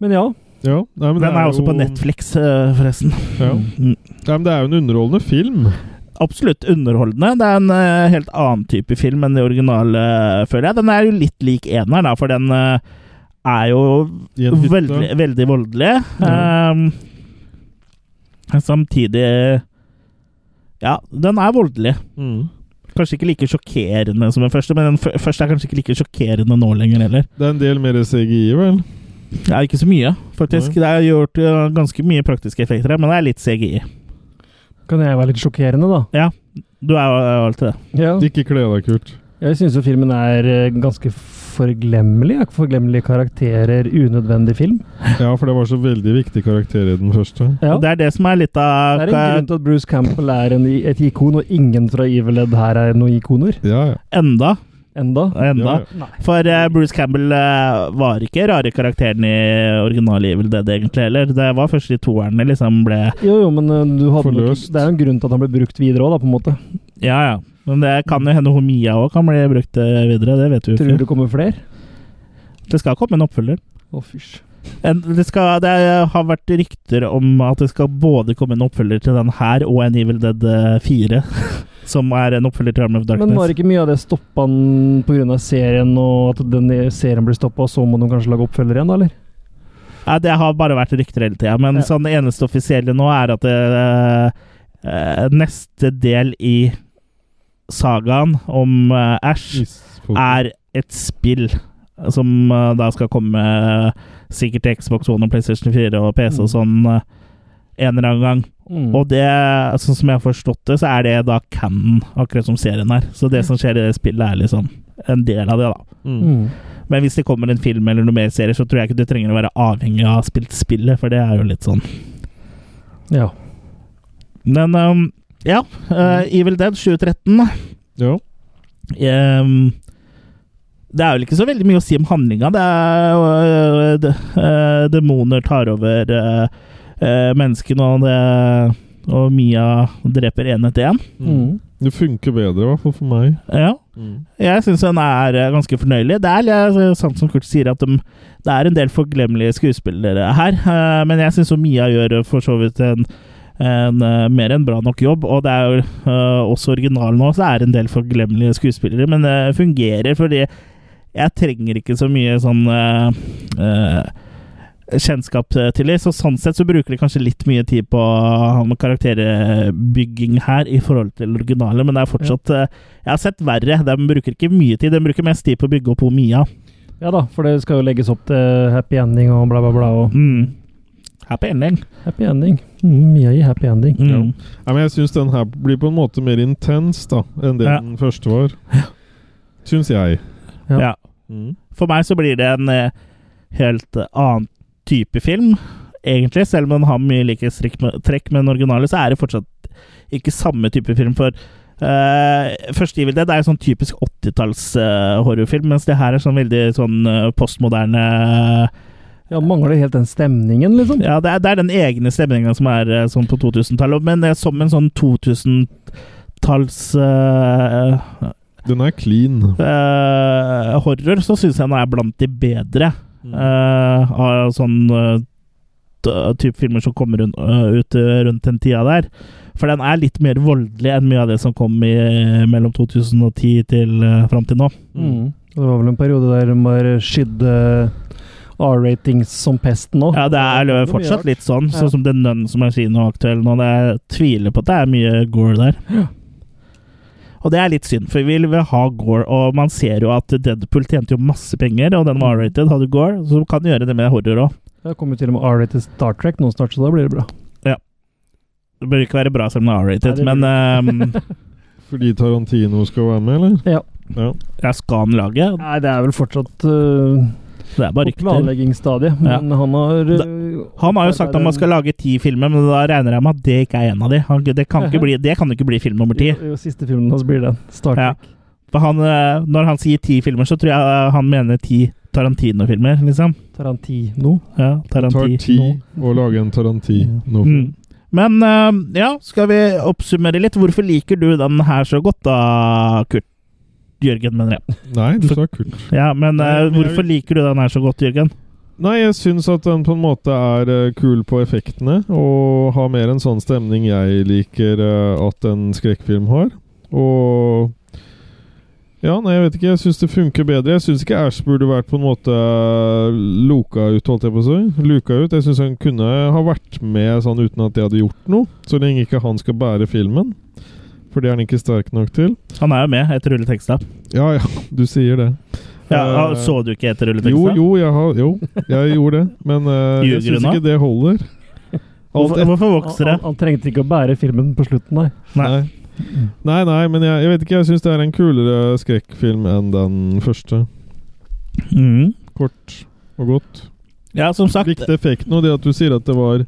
Speaker 2: Men ja.
Speaker 3: Ja. Nei, men
Speaker 1: Den
Speaker 3: det
Speaker 1: er også
Speaker 3: jo-
Speaker 1: på Netflix, eh, forresten.
Speaker 3: Ja.
Speaker 1: Mm.
Speaker 3: Nei, men det er jo en underholdende film.
Speaker 1: absolutt underholdende. Det er en eh, helt annen type film enn det originale, eh, føler jeg. Den er jo litt lik eneren, da, for den eh, er jo
Speaker 3: I en hytte.
Speaker 1: veldig, veldig voldelig.
Speaker 3: Ja.
Speaker 1: Ehm, samtidig Ja, den er voldelig.
Speaker 3: Mm.
Speaker 1: Kanskje ikke like sjokkerende som den første, men den f første er kanskje ikke like sjokkerende nå lenger heller.
Speaker 3: Det er en del mer CGI, vel?
Speaker 1: Det er ikke så mye, faktisk. Det er gjort eh, ganske mye praktiske effekter her, men det er litt CGI.
Speaker 2: Kan jeg være litt sjokkerende, da?
Speaker 1: Ja, du er jo er jo alltid det.
Speaker 2: Ja.
Speaker 3: Ikke kle deg kult.
Speaker 2: Jeg syns jo filmen er eh, ganske forglemmelig. Er Forglemmelige karakterer, unødvendig film.
Speaker 3: Ja, for det var så veldig viktig karakter i den første.
Speaker 2: Ja.
Speaker 1: Og Det er det som er litt
Speaker 2: Det
Speaker 1: av
Speaker 2: er en grunn til at Bruce Campbell er en, i- et ikon, og ingen fra Evil Dead her er noen ikoner.
Speaker 3: Ja, ja.
Speaker 1: Enda.
Speaker 2: Enda.
Speaker 1: Enda.
Speaker 3: Ja,
Speaker 1: For eh, Bruce Campbell eh, var ikke rare karakteren i originale Evil Dead egentlig heller. Det var først i toeren det liksom ble
Speaker 2: Jo, jo, men eh, du hadde nok,
Speaker 3: Forløst.
Speaker 2: det er jo en grunn til at han ble brukt videre òg, da, på en måte.
Speaker 1: Ja, ja. Men det kan jo hende Homia òg kan bli brukt eh, videre. Det vet vi jo
Speaker 2: Tror du
Speaker 1: ikke.
Speaker 2: det kommer flere?
Speaker 1: Det skal komme en oppfølger.
Speaker 2: Å, fysj.
Speaker 1: En, det, skal, det har vært rykter om at det skal både komme en oppfølger til den her og en Evil Dead eh, 4. Som er en oppfølger til Arm of Darkness.
Speaker 2: Men var ikke mye av det stoppa han pga. serien, og at den serien blir stoppa, og så må de kanskje lage oppfølger igjen, da, eller?
Speaker 1: Ja, det har bare vært rykter hele tida, men
Speaker 2: Ja.
Speaker 1: sånn, det eneste offisielle nå er at eh, eh, neste del i sagaen om eh, Ash
Speaker 2: Mm.
Speaker 3: Isfolket.
Speaker 1: er et spill som eh, da skal komme eh, sikkert til Xbox One og PlayStation 4 og PC og sånn eh, en eller annen gang.
Speaker 2: Mm.
Speaker 1: Og det, sånn som jeg har forstått det, så er det da canon, akkurat som serien her. Så det som skjer i det spillet, er liksom en del av det, da.
Speaker 2: Mm.
Speaker 1: Men hvis det kommer en film eller noe mer serier, så tror jeg ikke du trenger å være avhengig av å ha spilt spillet, for det er jo litt sånn
Speaker 2: Ja.
Speaker 1: Men um, ja, eh, Evil Dead 2013, da.
Speaker 3: Jo.
Speaker 1: Ehm, det er vel ikke så veldig mye å si om handlinga. Det er jo, øh, de- øh, Demoner tar over øh, øh, menneskene, og, det, og Mia dreper én etter én.
Speaker 2: Mm.
Speaker 3: Det funker bedre, i hvert fall for meg.
Speaker 1: Ja. Jeg syns den er eh, ganske fornøyelig. Det er litt sant som Kurt sier, at de, det er en del forglemmelige skuespillere her. eh, Men jeg syns Mia gjør eh, for så vidt en, en eh, mer enn bra nok jobb. Og det er jo eh, også originalen nå, så er det en del forglemmelige skuespillere. Men det fungerer, fordi jeg trenger ikke så mye sånn eh, eh, kjennskap til dem. Så sånn sett så bruker de kanskje litt mye tid på eh, karakterbygging her i forhold til originalen, men det er fortsatt eh, Jeg har sett verre. De bruker ikke mye tid, de bruker mest tid på å bygge opp hun Mia.
Speaker 2: Ja da, for det skal jo legges opp til happy ending og bla, bla, bla. Og
Speaker 1: Mm. Happy ending.
Speaker 2: happy ending. Mm, Mia gir happy ending.
Speaker 1: Mm.
Speaker 3: Nei, men jeg syns den her blir på en måte mer intens da enn det
Speaker 1: Ja.
Speaker 3: den første var. Syns jeg.
Speaker 1: Ja.
Speaker 2: Ja.
Speaker 3: Mm.
Speaker 1: For meg så blir det en eh, helt eh, annen type film, egentlig. Selv om den har mye like strekk med, trekk med den originale, så er det fortsatt ikke samme type film. For eh, Første Evil Dead er jo sånn typisk 80-talls eh, horrorfilm, mens det her er sånn veldig sånn eh, postmoderne
Speaker 2: Ja, mangler helt den stemningen, liksom.
Speaker 1: Ja, det er, det er den egne stemninga som er eh, sånn på 2000-tallet, men eh, som en sånn 2000-talls eh,
Speaker 3: Den er clean.
Speaker 1: eh, horror, så syns jeg den er blant de bedre eh, av sånn eh, t- type filmer som kommer rund- eh, ut eh, rundt den tida der. For den er litt mer voldelig enn mye av det som kom i, mellom 2010 til uh, fram til nå.
Speaker 2: Mm. Det var vel en periode der de bare skydde R-ratings som pesten òg.
Speaker 1: Ja, det er jo
Speaker 2: mye
Speaker 1: fortsatt
Speaker 2: rart.
Speaker 1: litt sånn,
Speaker 2: Ja.
Speaker 1: sånn som den Nun som er kinoaktuell nå. Det er, tviler på at det er mye gore der. Og det er litt synd, for vi vil ha gore, og man ser jo at Deadpool tjente jo masse penger, og den var
Speaker 2: Mm.
Speaker 1: R-rated, hadde gore, så kan du gjøre det med horror òg.
Speaker 2: Det kommer jo til og med R-rated Star Trek nå snart, så da blir det bra.
Speaker 1: Det bør ikke være bra selv om det er R-rated,
Speaker 2: Nei, det
Speaker 1: men ehm,
Speaker 3: Fordi Tarantino skal være med, eller?
Speaker 2: Ja.
Speaker 3: Ja.
Speaker 1: jeg skal han lage.
Speaker 2: Nei, det er vel fortsatt øh,
Speaker 1: Det er bare
Speaker 2: på
Speaker 1: rykter.
Speaker 2: planleggingsstadiet, men han har øh,
Speaker 1: Han har jo sagt at man skal lage ti filmer, men da regner jeg med at det ikke er en av de. Han, det kan ikke bli, det kan ikke bli film nummer ti.
Speaker 2: jo, jo, Siste filmen hans blir den. Star
Speaker 1: Ja.
Speaker 2: Trek.
Speaker 1: For han, eh, når han sier ti filmer, så tror jeg eh, han mener ti Tarantino-filmer, liksom.
Speaker 2: Tarantino.
Speaker 1: Ja,
Speaker 3: Det tar
Speaker 1: Tarantino.
Speaker 3: ti å lage en Tarantino.
Speaker 1: Mm. Men eh, ja, skal vi oppsummere litt? Hvorfor liker du den her så godt, da, Kurt? Jørgen, mener jeg.
Speaker 3: Nei, du sa Kurt.
Speaker 1: Ja, men eh,
Speaker 3: Nei, men jeg-
Speaker 1: hvorfor liker du den her så godt, Jørgen?
Speaker 3: Nei, jeg syns at den på en måte er eh, kul på effektene, og har mer en sånn stemning jeg liker eh, at en skrekkfilm har. Og Ja, nei, jeg vet ikke. Jeg syns det funker bedre. Jeg syns ikke Ash burde vært på en måte eh, loka ut, holdt jeg på å si. Luka ut. Jeg syns han kunne ha vært med sånn uten at det hadde gjort noe. Så lenge ikke han skal bære filmen. For det er han ikke sterk nok til.
Speaker 1: Han er jo med etter rulleteksta.
Speaker 3: Ja ja, du sier det.
Speaker 1: Ja, ah,
Speaker 3: Eh,
Speaker 1: så du ikke etter
Speaker 3: jo,
Speaker 1: rulleteksta?
Speaker 3: jo, jeg, har, jo, jeg gjorde det. Men eh, jeg
Speaker 1: Ljuger du
Speaker 3: syns
Speaker 1: nå?
Speaker 3: ikke det holder. Alt
Speaker 1: Hvorfor,
Speaker 3: et-
Speaker 1: hvorfor
Speaker 2: Han,
Speaker 1: vokser det?
Speaker 2: han, han trengte ikke å bære filmen på slutten, nei.
Speaker 1: Nei.
Speaker 3: nei. nei, nei, men jeg, jeg vet ikke. Jeg syns det er en kulere skrekkfilm enn den første.
Speaker 1: Mhm.
Speaker 3: Kort og godt.
Speaker 1: Ja, som sagt.
Speaker 3: Likte effekten, og det at du sier at det var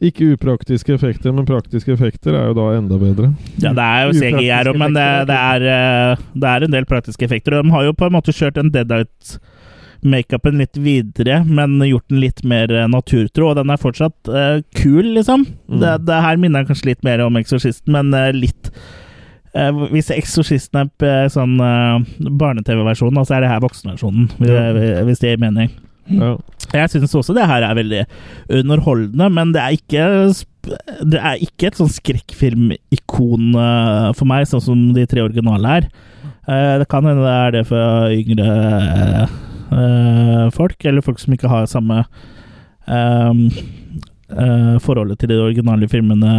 Speaker 3: ikke upraktiske effekter, men praktiske effekter, er jo da enda bedre.
Speaker 1: Ja, det er jo CGI her òg, men det, det, er, eh, det er en del praktiske effekter. Og de har jo på en måte kjørt den dead out-makeupen litt videre, men gjort den litt mer eh, naturtro, og den er fortsatt eh, kul, liksom.
Speaker 3: Mm.
Speaker 1: Det, det her minner kanskje litt mer om Eksorsisten, men eh, litt eh, Hvis Eksorsisten er eh, sånn eh, barne-TV-versjonen, så er det her voksenversjonen, hvis, hvis det gir mening.
Speaker 3: Ja.
Speaker 1: Jeg syns også det her er veldig underholdende, men det er ikke sp- Det er ikke et sånn skrekkfilmikon eh, for meg, sånn som de tre originale er. Eh, Det kan hende det er det for yngre eh, folk, eller folk som ikke har samme ehm, eh, forholdet til de originale filmene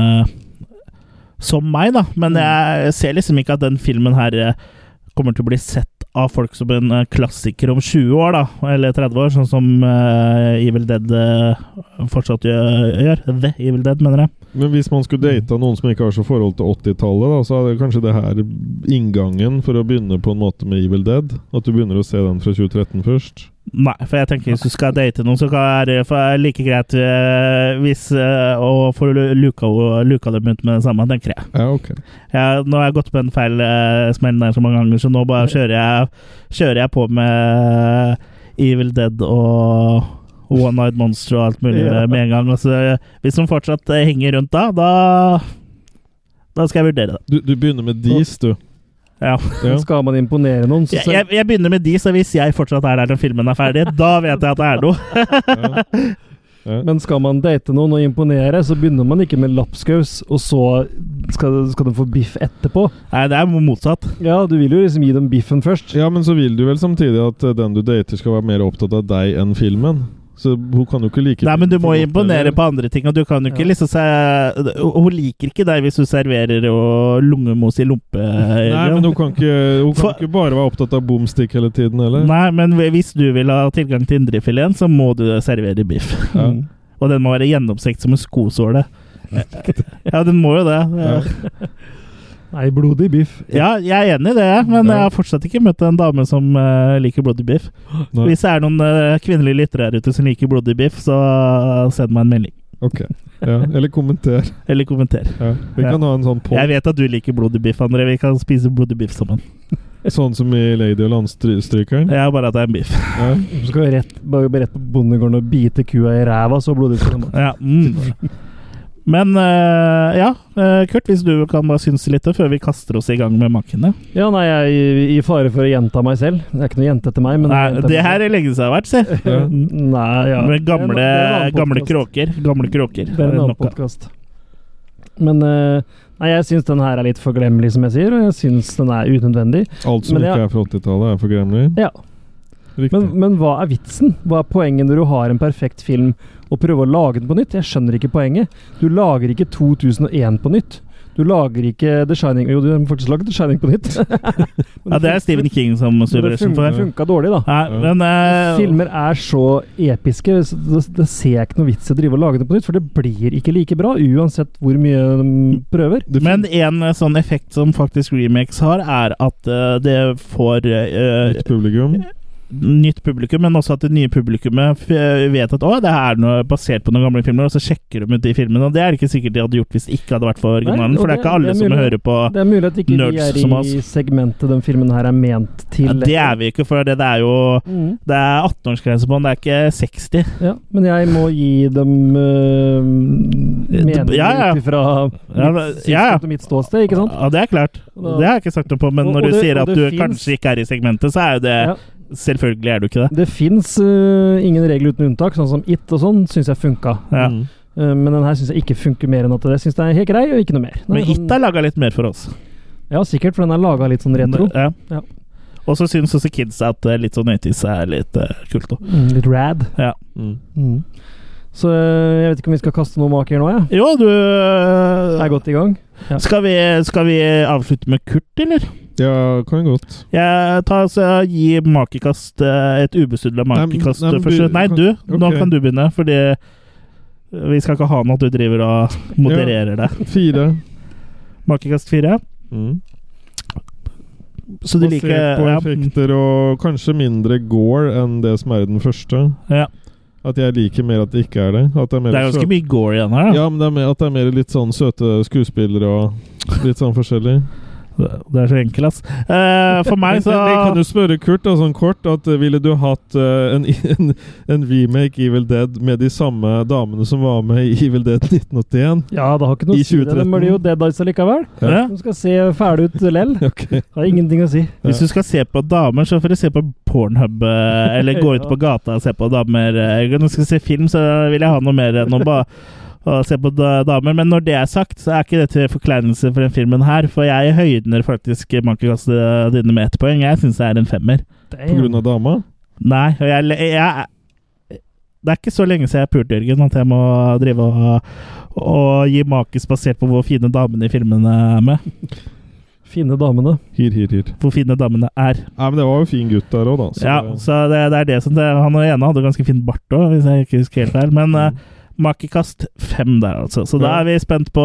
Speaker 1: som meg, da. Men jeg ser liksom ikke at den filmen her eh, kommer til å bli sett av folk som en eh, klassiker om 20 år, da, eller 30 år, sånn som eh, Evil Dead eh, fortsatt gjø- gjør. The Evil Dead, mener jeg.
Speaker 3: Men hvis man skulle data noen som ikke har så forhold til 80-tallet, da, så er det kanskje det her inngangen for å begynne på en måte med Evil Dead? At du begynner å se den fra 2013 først?
Speaker 1: Nei, for jeg tenker hvis du skal date noen, så kan det være like greit eh, hvis eh, å få lu- luka, luka dem ut med det samme, tenker jeg.
Speaker 3: Ja, ok.
Speaker 1: Ja, nå har jeg gått på en feil eh, smell der så mange ganger, så nå bare kjører jeg, kjører jeg på med Evil Dead og One Night Monster og alt mulig
Speaker 2: Ja.
Speaker 1: med en gang. Og så, hvis de fortsatt eh, henger rundt da, da, da skal jeg vurdere det.
Speaker 3: Du, du begynner med Dis, du.
Speaker 1: Ja.
Speaker 3: Ja.
Speaker 2: Skal man imponere noen, så
Speaker 1: Jeg, jeg, jeg begynner med de, så hvis jeg fortsatt er der når filmen er ferdig, da vet jeg at det er noe.
Speaker 2: Men skal man date noen og imponere, så begynner man ikke med lapskaus, og så skal, skal de få biff etterpå.
Speaker 1: Nei, det er motsatt.
Speaker 2: Ja, du vil jo liksom gi dem biffen først.
Speaker 3: Ja, men så vil du vel samtidig at eh, den du dater skal være mer opptatt av deg enn filmen? Så hun kan jo ikke like
Speaker 1: Nei, men du må
Speaker 3: filmen godt,
Speaker 1: imponere
Speaker 3: eller?
Speaker 1: på andre ting, og du kan jo ikke liksom se Hun liker ikke deg hvis du serverer og lungemos i lompe.
Speaker 3: Nei, men hun kan ikke, hun kan
Speaker 1: For-
Speaker 3: ikke bare være opptatt av bomstick hele tiden, eller?
Speaker 1: Nei, men hvis du vil ha tilgang til indrefileten, så må du servere biff.
Speaker 3: Ja.
Speaker 1: Og den må være gjennomstekt som en skosåle. Ja, den må jo det.
Speaker 2: Nei, blodig biff.
Speaker 1: Ja, jeg er enig i det, men jeg har fortsatt ikke møtt en dame som eh, liker blodig biff.
Speaker 3: Nei.
Speaker 1: Hvis det er noen eh, kvinnelige lyttere her ute som liker blodig biff, så eh, send meg en melding.
Speaker 3: Ok. Ja. Eller kommenter.
Speaker 1: Eller kommenter.
Speaker 3: Ja. Vi
Speaker 1: Ja.
Speaker 3: kan ha en sånn poll.
Speaker 1: Jeg vet at du liker blodig biff, André. Vi kan spise blodig biff sammen.
Speaker 3: Sånn som i Lady og Landstrykeren?
Speaker 1: Ja, bare at det er en biff.
Speaker 3: Ja.
Speaker 2: Så skal vi rett, bare rett på bondegården og bite kua i ræva, så blodig skal den være.
Speaker 1: Ja, mm. Men eh, ja, eh, Kurt, hvis du kan bare synse litt før vi kaster oss i gang med makene.
Speaker 2: Ja, nei, jeg er i- i fare for å gjenta meg selv. Det er ikke noe jente etter meg, men
Speaker 1: Nei, det her er lenge siden det har vært, se.
Speaker 3: Ja.
Speaker 2: Nei, ja.
Speaker 1: Med
Speaker 2: Det
Speaker 1: gamle,
Speaker 2: er en annen
Speaker 1: gamle
Speaker 2: podcast.
Speaker 1: kråker. Gamle kråker.
Speaker 2: Det er en annen
Speaker 1: Nok av.
Speaker 2: podkast. Men eh, nei, jeg syns den her er litt forglemmelig, som jeg sier, og jeg syns den er unødvendig.
Speaker 3: Alt som
Speaker 2: Men jeg-
Speaker 3: ikke er fra 80-tallet, er forgremmelig?
Speaker 2: Ja.
Speaker 3: Riktig.
Speaker 2: Men, men hva er vitsen? Hva er poenget når du har en perfekt film og prøver å lage den på nytt? Jeg skjønner ikke poenget. Du lager ikke 2001 på nytt. Du lager ikke The Shining Jo, du har faktisk laget The Shining på nytt.
Speaker 1: Ja, det er Stephen King som
Speaker 2: Men
Speaker 1: styrer
Speaker 2: det fun-
Speaker 1: for.
Speaker 2: funka dårlig, da.
Speaker 1: Nei, men eh,
Speaker 2: Filmer er så episke. så Det, det ser jeg ikke noe vits i å drive og lage det på nytt, for det blir ikke like bra uansett hvor mye de prøver.
Speaker 1: men en eh, sånn effekt som faktisk remakes har, er at eh, det får eh,
Speaker 3: Nytt publikum.
Speaker 1: nytt publikum, men også at det nye publikummet f- eh, vet at å, det er noe basert på noen gamle filmer, og så sjekker de ut de filmene. Og det er det ikke sikkert de hadde gjort hvis det ikke hadde vært for originalen,
Speaker 2: Nei, og
Speaker 1: for det er ikke alle
Speaker 2: det er
Speaker 1: som
Speaker 2: mulig-
Speaker 1: hører på
Speaker 2: Det er mulig at ikke
Speaker 1: nerds
Speaker 2: vi
Speaker 1: som
Speaker 2: er i
Speaker 1: oss.
Speaker 2: segmentet den filmen her er ment til.
Speaker 1: ja, Det er vi ikke, for det, det er jo
Speaker 2: Mhm.
Speaker 1: Det er 18-årsgrense på den, det er ikke 60.
Speaker 2: Ja, men jeg må gi dem øh, mening
Speaker 1: Eh, Ja, ja.
Speaker 2: ut ifra
Speaker 1: Ja, men-
Speaker 2: mitt,
Speaker 1: ja, ja.
Speaker 2: synspunkt og mitt ståsted, ikke sant?
Speaker 1: Ja, det er klart.
Speaker 2: Da-
Speaker 1: Det har jeg ikke sagt noe på, men
Speaker 2: Og-
Speaker 1: når
Speaker 2: og
Speaker 1: du
Speaker 2: det-
Speaker 1: sier
Speaker 2: og
Speaker 1: at
Speaker 2: det
Speaker 1: du
Speaker 2: finnes-
Speaker 1: kanskje ikke er i segmentet, så er jo det
Speaker 2: Ja.
Speaker 1: Selvfølgelig er du ikke det.
Speaker 2: Det fins ingen regel uten unntak, sånn som It og sånn syns jeg funka.
Speaker 1: Ja.
Speaker 3: Mm.
Speaker 2: Eh, men den her syns jeg ikke funker mer enn at jeg syns det er helt grei, og ikke noe mer. Den
Speaker 1: Men
Speaker 2: er
Speaker 1: It
Speaker 2: sånn,
Speaker 1: er laga litt mer for oss.
Speaker 2: ja, sikkert, for den er laga litt sånn retro.
Speaker 1: Ja.
Speaker 2: Ja.
Speaker 1: Og så syns også kids at eh, litt sånn 80s er litt eh, kult òg.
Speaker 2: Mm, litt rad.
Speaker 1: Ja.
Speaker 3: Mm.
Speaker 2: Mm. Så øh, jeg vet ikke om vi skal kaste noen maker nå, jeg.
Speaker 1: Jo, du eh,
Speaker 2: Ja. Er godt i gang. Ja.
Speaker 1: Skal vi, skal vi avslutte med Kurt, eller?
Speaker 3: Ja, kan godt.
Speaker 1: Jeg tar, så jeg gir makekast eh, et ubestudla makekast eh,
Speaker 3: Nei, men- nei, men
Speaker 1: først.
Speaker 3: du-
Speaker 1: Nei,
Speaker 3: kan-
Speaker 1: du. Nå
Speaker 3: ok.
Speaker 1: kan du begynne, fordi eh, vi skal ikke ha noe at du driver og modererer deg.
Speaker 3: Fire.
Speaker 1: Makekast fire.
Speaker 3: Mm.
Speaker 1: Så du liker
Speaker 3: Basert på
Speaker 1: ja,
Speaker 3: effekter og kanskje mindre gore enn det som er i den første.
Speaker 1: ja.
Speaker 3: At jeg liker mer at det ikke er det. At det er, mer
Speaker 1: Det er ganske
Speaker 3: søt-
Speaker 1: mye gore igjen her, da.
Speaker 3: Ja, men det er mer, at det er mer litt sånn søte skuespillere og litt sånn forskjellig.
Speaker 1: Det er så enkelt, ass. Eh, for meg så
Speaker 3: Men Jeg kan jo spørre Kurt da, sånn kort, at eh, ville du hatt eh, en, en, en remake Evil Dead med de samme damene som var med i Evil Dead 1981?
Speaker 2: Ja, det har ikke noe
Speaker 3: I
Speaker 2: å si. det. De
Speaker 3: 2013.
Speaker 2: blir jo dead eyes allikevel.
Speaker 1: ja.
Speaker 2: De skal se fæle ut lell.
Speaker 3: Ok.
Speaker 2: Har ingenting å si.
Speaker 1: Hvis du skal se på damer, så får du se på pornhub, eh, eller gå ut
Speaker 2: Ja.
Speaker 1: på gata og se på damer. eh. Når du skal se film, så vil jeg ha noe mer enn å bare å se på da- damer. Men når det er sagt, så er ikke det til forkleinelse for den filmen her, for jeg høydener faktisk mankekastet dine med ett poeng. Jeg syns det er en femmer.
Speaker 3: På grunn av dama?
Speaker 1: Nei, og jeg, jeg Det er ikke så lenge siden jeg pulte, Jørgen, at jeg må drive og, og gi makis basert på hvor fine damene i filmene er med.
Speaker 2: Finne damene.
Speaker 3: Hir, hir, hir.
Speaker 1: Hvor fine damene er.
Speaker 3: Nei, men det var jo fin gutt der òg, da. Så
Speaker 1: ja,
Speaker 3: det-
Speaker 1: så det, det er det som det, Han og ene hadde ganske fin bart òg, hvis jeg ikke husker helt feil.
Speaker 2: Mm.
Speaker 1: Men eh, makekast fem der, altså. Så da
Speaker 3: Ja.
Speaker 1: er vi spent på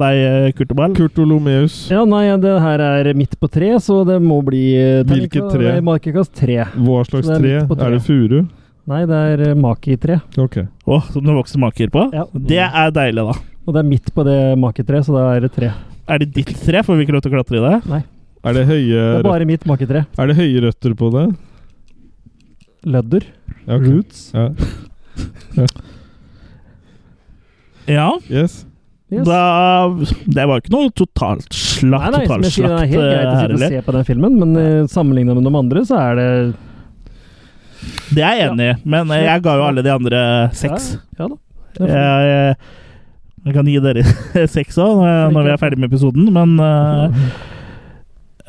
Speaker 1: deg, eh, Kurt Obal.
Speaker 3: Kurt Olomeus.
Speaker 2: Ja, nei, det her er midt på tre, så det må bli eh, terning-
Speaker 3: Hvilket tre?
Speaker 2: Det er Markekast tre.
Speaker 3: Hva slags
Speaker 2: Så det
Speaker 3: tre?
Speaker 2: er midt på tre.
Speaker 3: Er det furu?
Speaker 2: Nei, det er eh, Maki-tre.
Speaker 3: Ok.
Speaker 1: Å, som det vokser maker på? Det er deilig, da.
Speaker 2: Og det er midt på det Maki-treet, så da er det tre.
Speaker 1: Er det ditt tre? Får vi ikke lov til å klatre i det?
Speaker 2: Nei.
Speaker 3: Er det høye
Speaker 2: Det er
Speaker 3: røtter?
Speaker 2: bare mitt Maki-tre.
Speaker 3: Er det høye røtter på det?
Speaker 2: Lødder.
Speaker 3: Ja, ok.
Speaker 2: Roots.
Speaker 3: Ja. Ja.
Speaker 1: Ja.
Speaker 3: Yes.
Speaker 2: Yes.
Speaker 1: Da, det var ikke noe totalt slakt.
Speaker 2: Nei, nei, som jeg sier, det er helt greit å sitte og se
Speaker 1: herlig.
Speaker 2: på den filmen, men eh, sammenlignet med de andre, så er det
Speaker 1: Det er jeg enig i, men eh, jeg ga jo alle de andre seks.
Speaker 2: Ja, ja da. Det er fint.
Speaker 1: Jeg, jeg, jeg kan gi dere seks òg når, når vi er ferdig med episoden, men eh,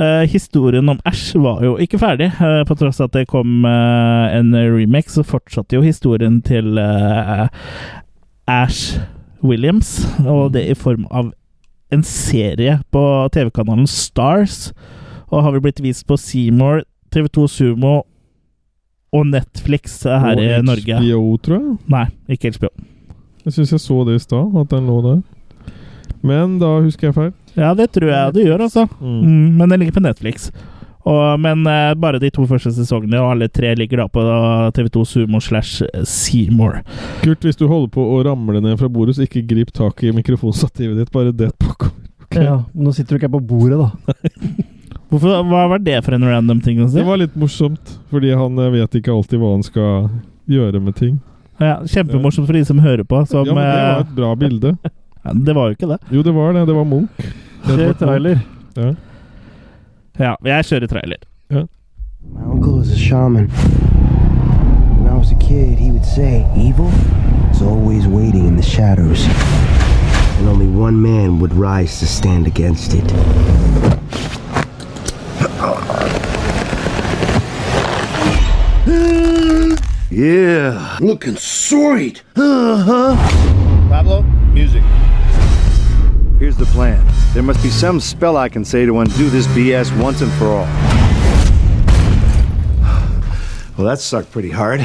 Speaker 1: eh, historien om Æsj var jo ikke ferdig. eh, på tross av at det kom eh, en remake, så fortsatte jo historien til eh, Ash Williams, og det i form av en serie på TV-kanalen Stars, og har vel blitt vist på Seymour, TV2 Sumo og Netflix her i
Speaker 3: Og
Speaker 1: Norge.
Speaker 3: HBO, tror jeg.
Speaker 1: Nei, ikke HBO.
Speaker 3: Jeg syns jeg så det i stad, at den lå der. Men da husker jeg feil.
Speaker 1: Ja, det tror jeg det gjør, altså.
Speaker 3: Mm.
Speaker 1: Mm, men den ligger på Netflix. Og, men eh, bare de to første sesongene, og alle tre ligger da på TV2 Sumo slash eh, Seymour.
Speaker 3: Kurt, hvis du holder på å ramle ned fra bordet, så ikke grip tak i mikrofonstativet ditt. Bare det bakover. Ok.
Speaker 2: Ja, men nå sitter du ikke her på bordet, da.
Speaker 1: Hvorfor, hva var det for en random ting å si?
Speaker 3: Det var litt morsomt, fordi han eh, vet ikke alltid hva han skal gjøre med ting.
Speaker 1: Ja, kjempemorsomt for de som hører på. Som,
Speaker 3: ja, men Det var
Speaker 1: eh,
Speaker 3: et bra bilde.
Speaker 1: ja, det var jo ikke det.
Speaker 3: Jo, det var det. Det var Munch. Det
Speaker 2: Kjør
Speaker 3: var
Speaker 2: trailer.
Speaker 3: Ja.
Speaker 1: Ja, jeg kjører trailer.
Speaker 13: My uncle was a shaman. When I was a kid, he would say, Evil is always waiting in the shadows. And only one man would rise to stand against it.
Speaker 8: Yeah. Looking sweet. Uh huh.
Speaker 10: Pablo, music.
Speaker 8: Here's the plan. There must be some spell I can say to undo this BS once and for all. Well, that sucked pretty hard.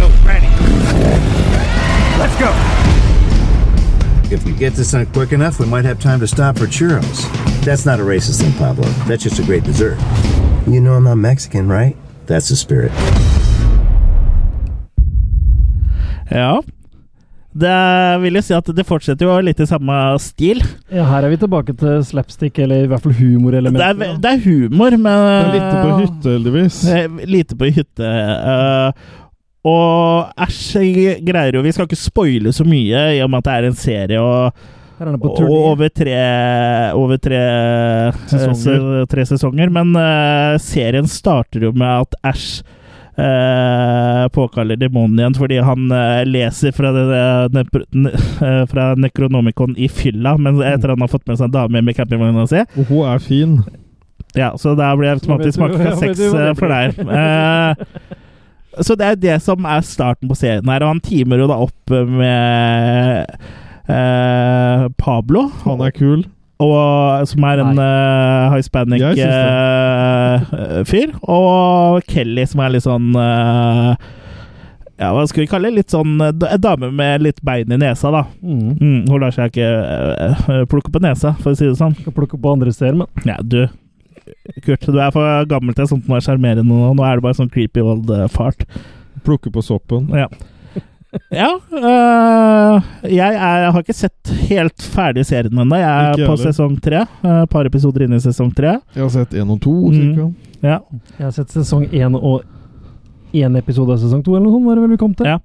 Speaker 10: Yo, Randy. Let's go.
Speaker 8: If we get this on quick enough, we might have time to stop for churros.
Speaker 13: That's not a racist thing, Pablo. That's just a great dessert. You know I'm not Mexican, right? That's the spirit.
Speaker 1: Ja. Det vil jo si at det fortsetter jo litt i samme stil.
Speaker 2: Ja, her er vi tilbake til slapstick, eller i hvert fall
Speaker 1: Det er,
Speaker 2: humorelementer.
Speaker 1: ve- det er humor, men
Speaker 3: Det er lite på hytte, heldigvis.
Speaker 1: Eh, Lite på hytte. eh, og æsj jeg greier jo Vi skal ikke spoile så mye, i og med at det er en serie og,
Speaker 2: Her er den på
Speaker 1: og
Speaker 2: turné.
Speaker 1: over tre, over tre, eh,
Speaker 2: Sesonger.
Speaker 1: se- tre sesonger. Men eh, serien starter jo med at Æsj eh, påkaller demonen igjen fordi han eh, leser fra, det, det- nepro, ne, eh, fra Necronomicon i fylla, men etter han har fått med seg en dame med campingvogna si.
Speaker 3: Og hun er fin.
Speaker 1: Ja, så da blir det automatisk
Speaker 2: Ja, vet du-
Speaker 1: makekast
Speaker 2: ja, vet
Speaker 1: seks
Speaker 2: du hva
Speaker 1: eh,
Speaker 2: det
Speaker 1: for deg. Eh, så det er det som er starten på serien her, og han teamer jo da opp eh, med eh, Pablo,
Speaker 3: Han er kul.
Speaker 1: og, som er en eh,
Speaker 3: Jeg
Speaker 1: hispanic
Speaker 3: syns
Speaker 1: eh, fyr, og Kelly, som er litt sånn eh, ja, hva skal vi kalle det? Litt sånn eh, da- En dame med litt bein i nesa, da.
Speaker 2: Mm.
Speaker 1: Mm, hun lar seg ikke eh, plukke på nesa, for å si det sånn.
Speaker 2: Skal plukke på andre steder, men
Speaker 1: Ja, du Kurt, du er for gammel til sånt å være sjarmerende nå. Nå er du bare sånn creepy old eh, fart.
Speaker 3: Plukke på soppen.
Speaker 1: Ja. Ja øh, jeg, er, har ikke sett helt ferdig serien ennå. Jeg
Speaker 3: Ikke
Speaker 1: er på
Speaker 3: heller.
Speaker 1: sesong tre. eh, Et par episoder inn i sesong tre.
Speaker 3: Jeg har sett én og to,
Speaker 1: Mm.
Speaker 3: cirka.
Speaker 1: Ja.
Speaker 2: Jeg har sett sesong én og én episode av sesong to, eller noe sånt, var det vel vi kom til?
Speaker 1: Ja.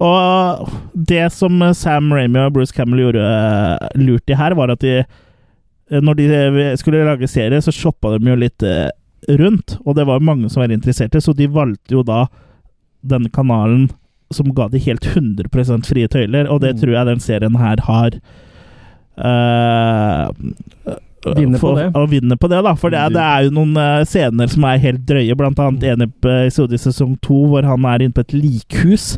Speaker 1: Og det som Sam Ramy og Bruce Campbell gjorde eh, lurt i her, var at de eh, Når de skulle lage serie, så shoppa de jo litt eh, rundt, og det var mange som var interesserte, så de valgte jo da denne kanalen som ga de helt 100 frie
Speaker 2: Mm.
Speaker 1: tøyler, og det tror jeg den serien her har. Eh,
Speaker 2: Vinne på
Speaker 1: for,
Speaker 2: det. Mm.
Speaker 1: å vinne på det, da. For det, er- det er jo noen eh, scener som er helt drøye, blant annet en episode i sesong to hvor han er inne på et likhus,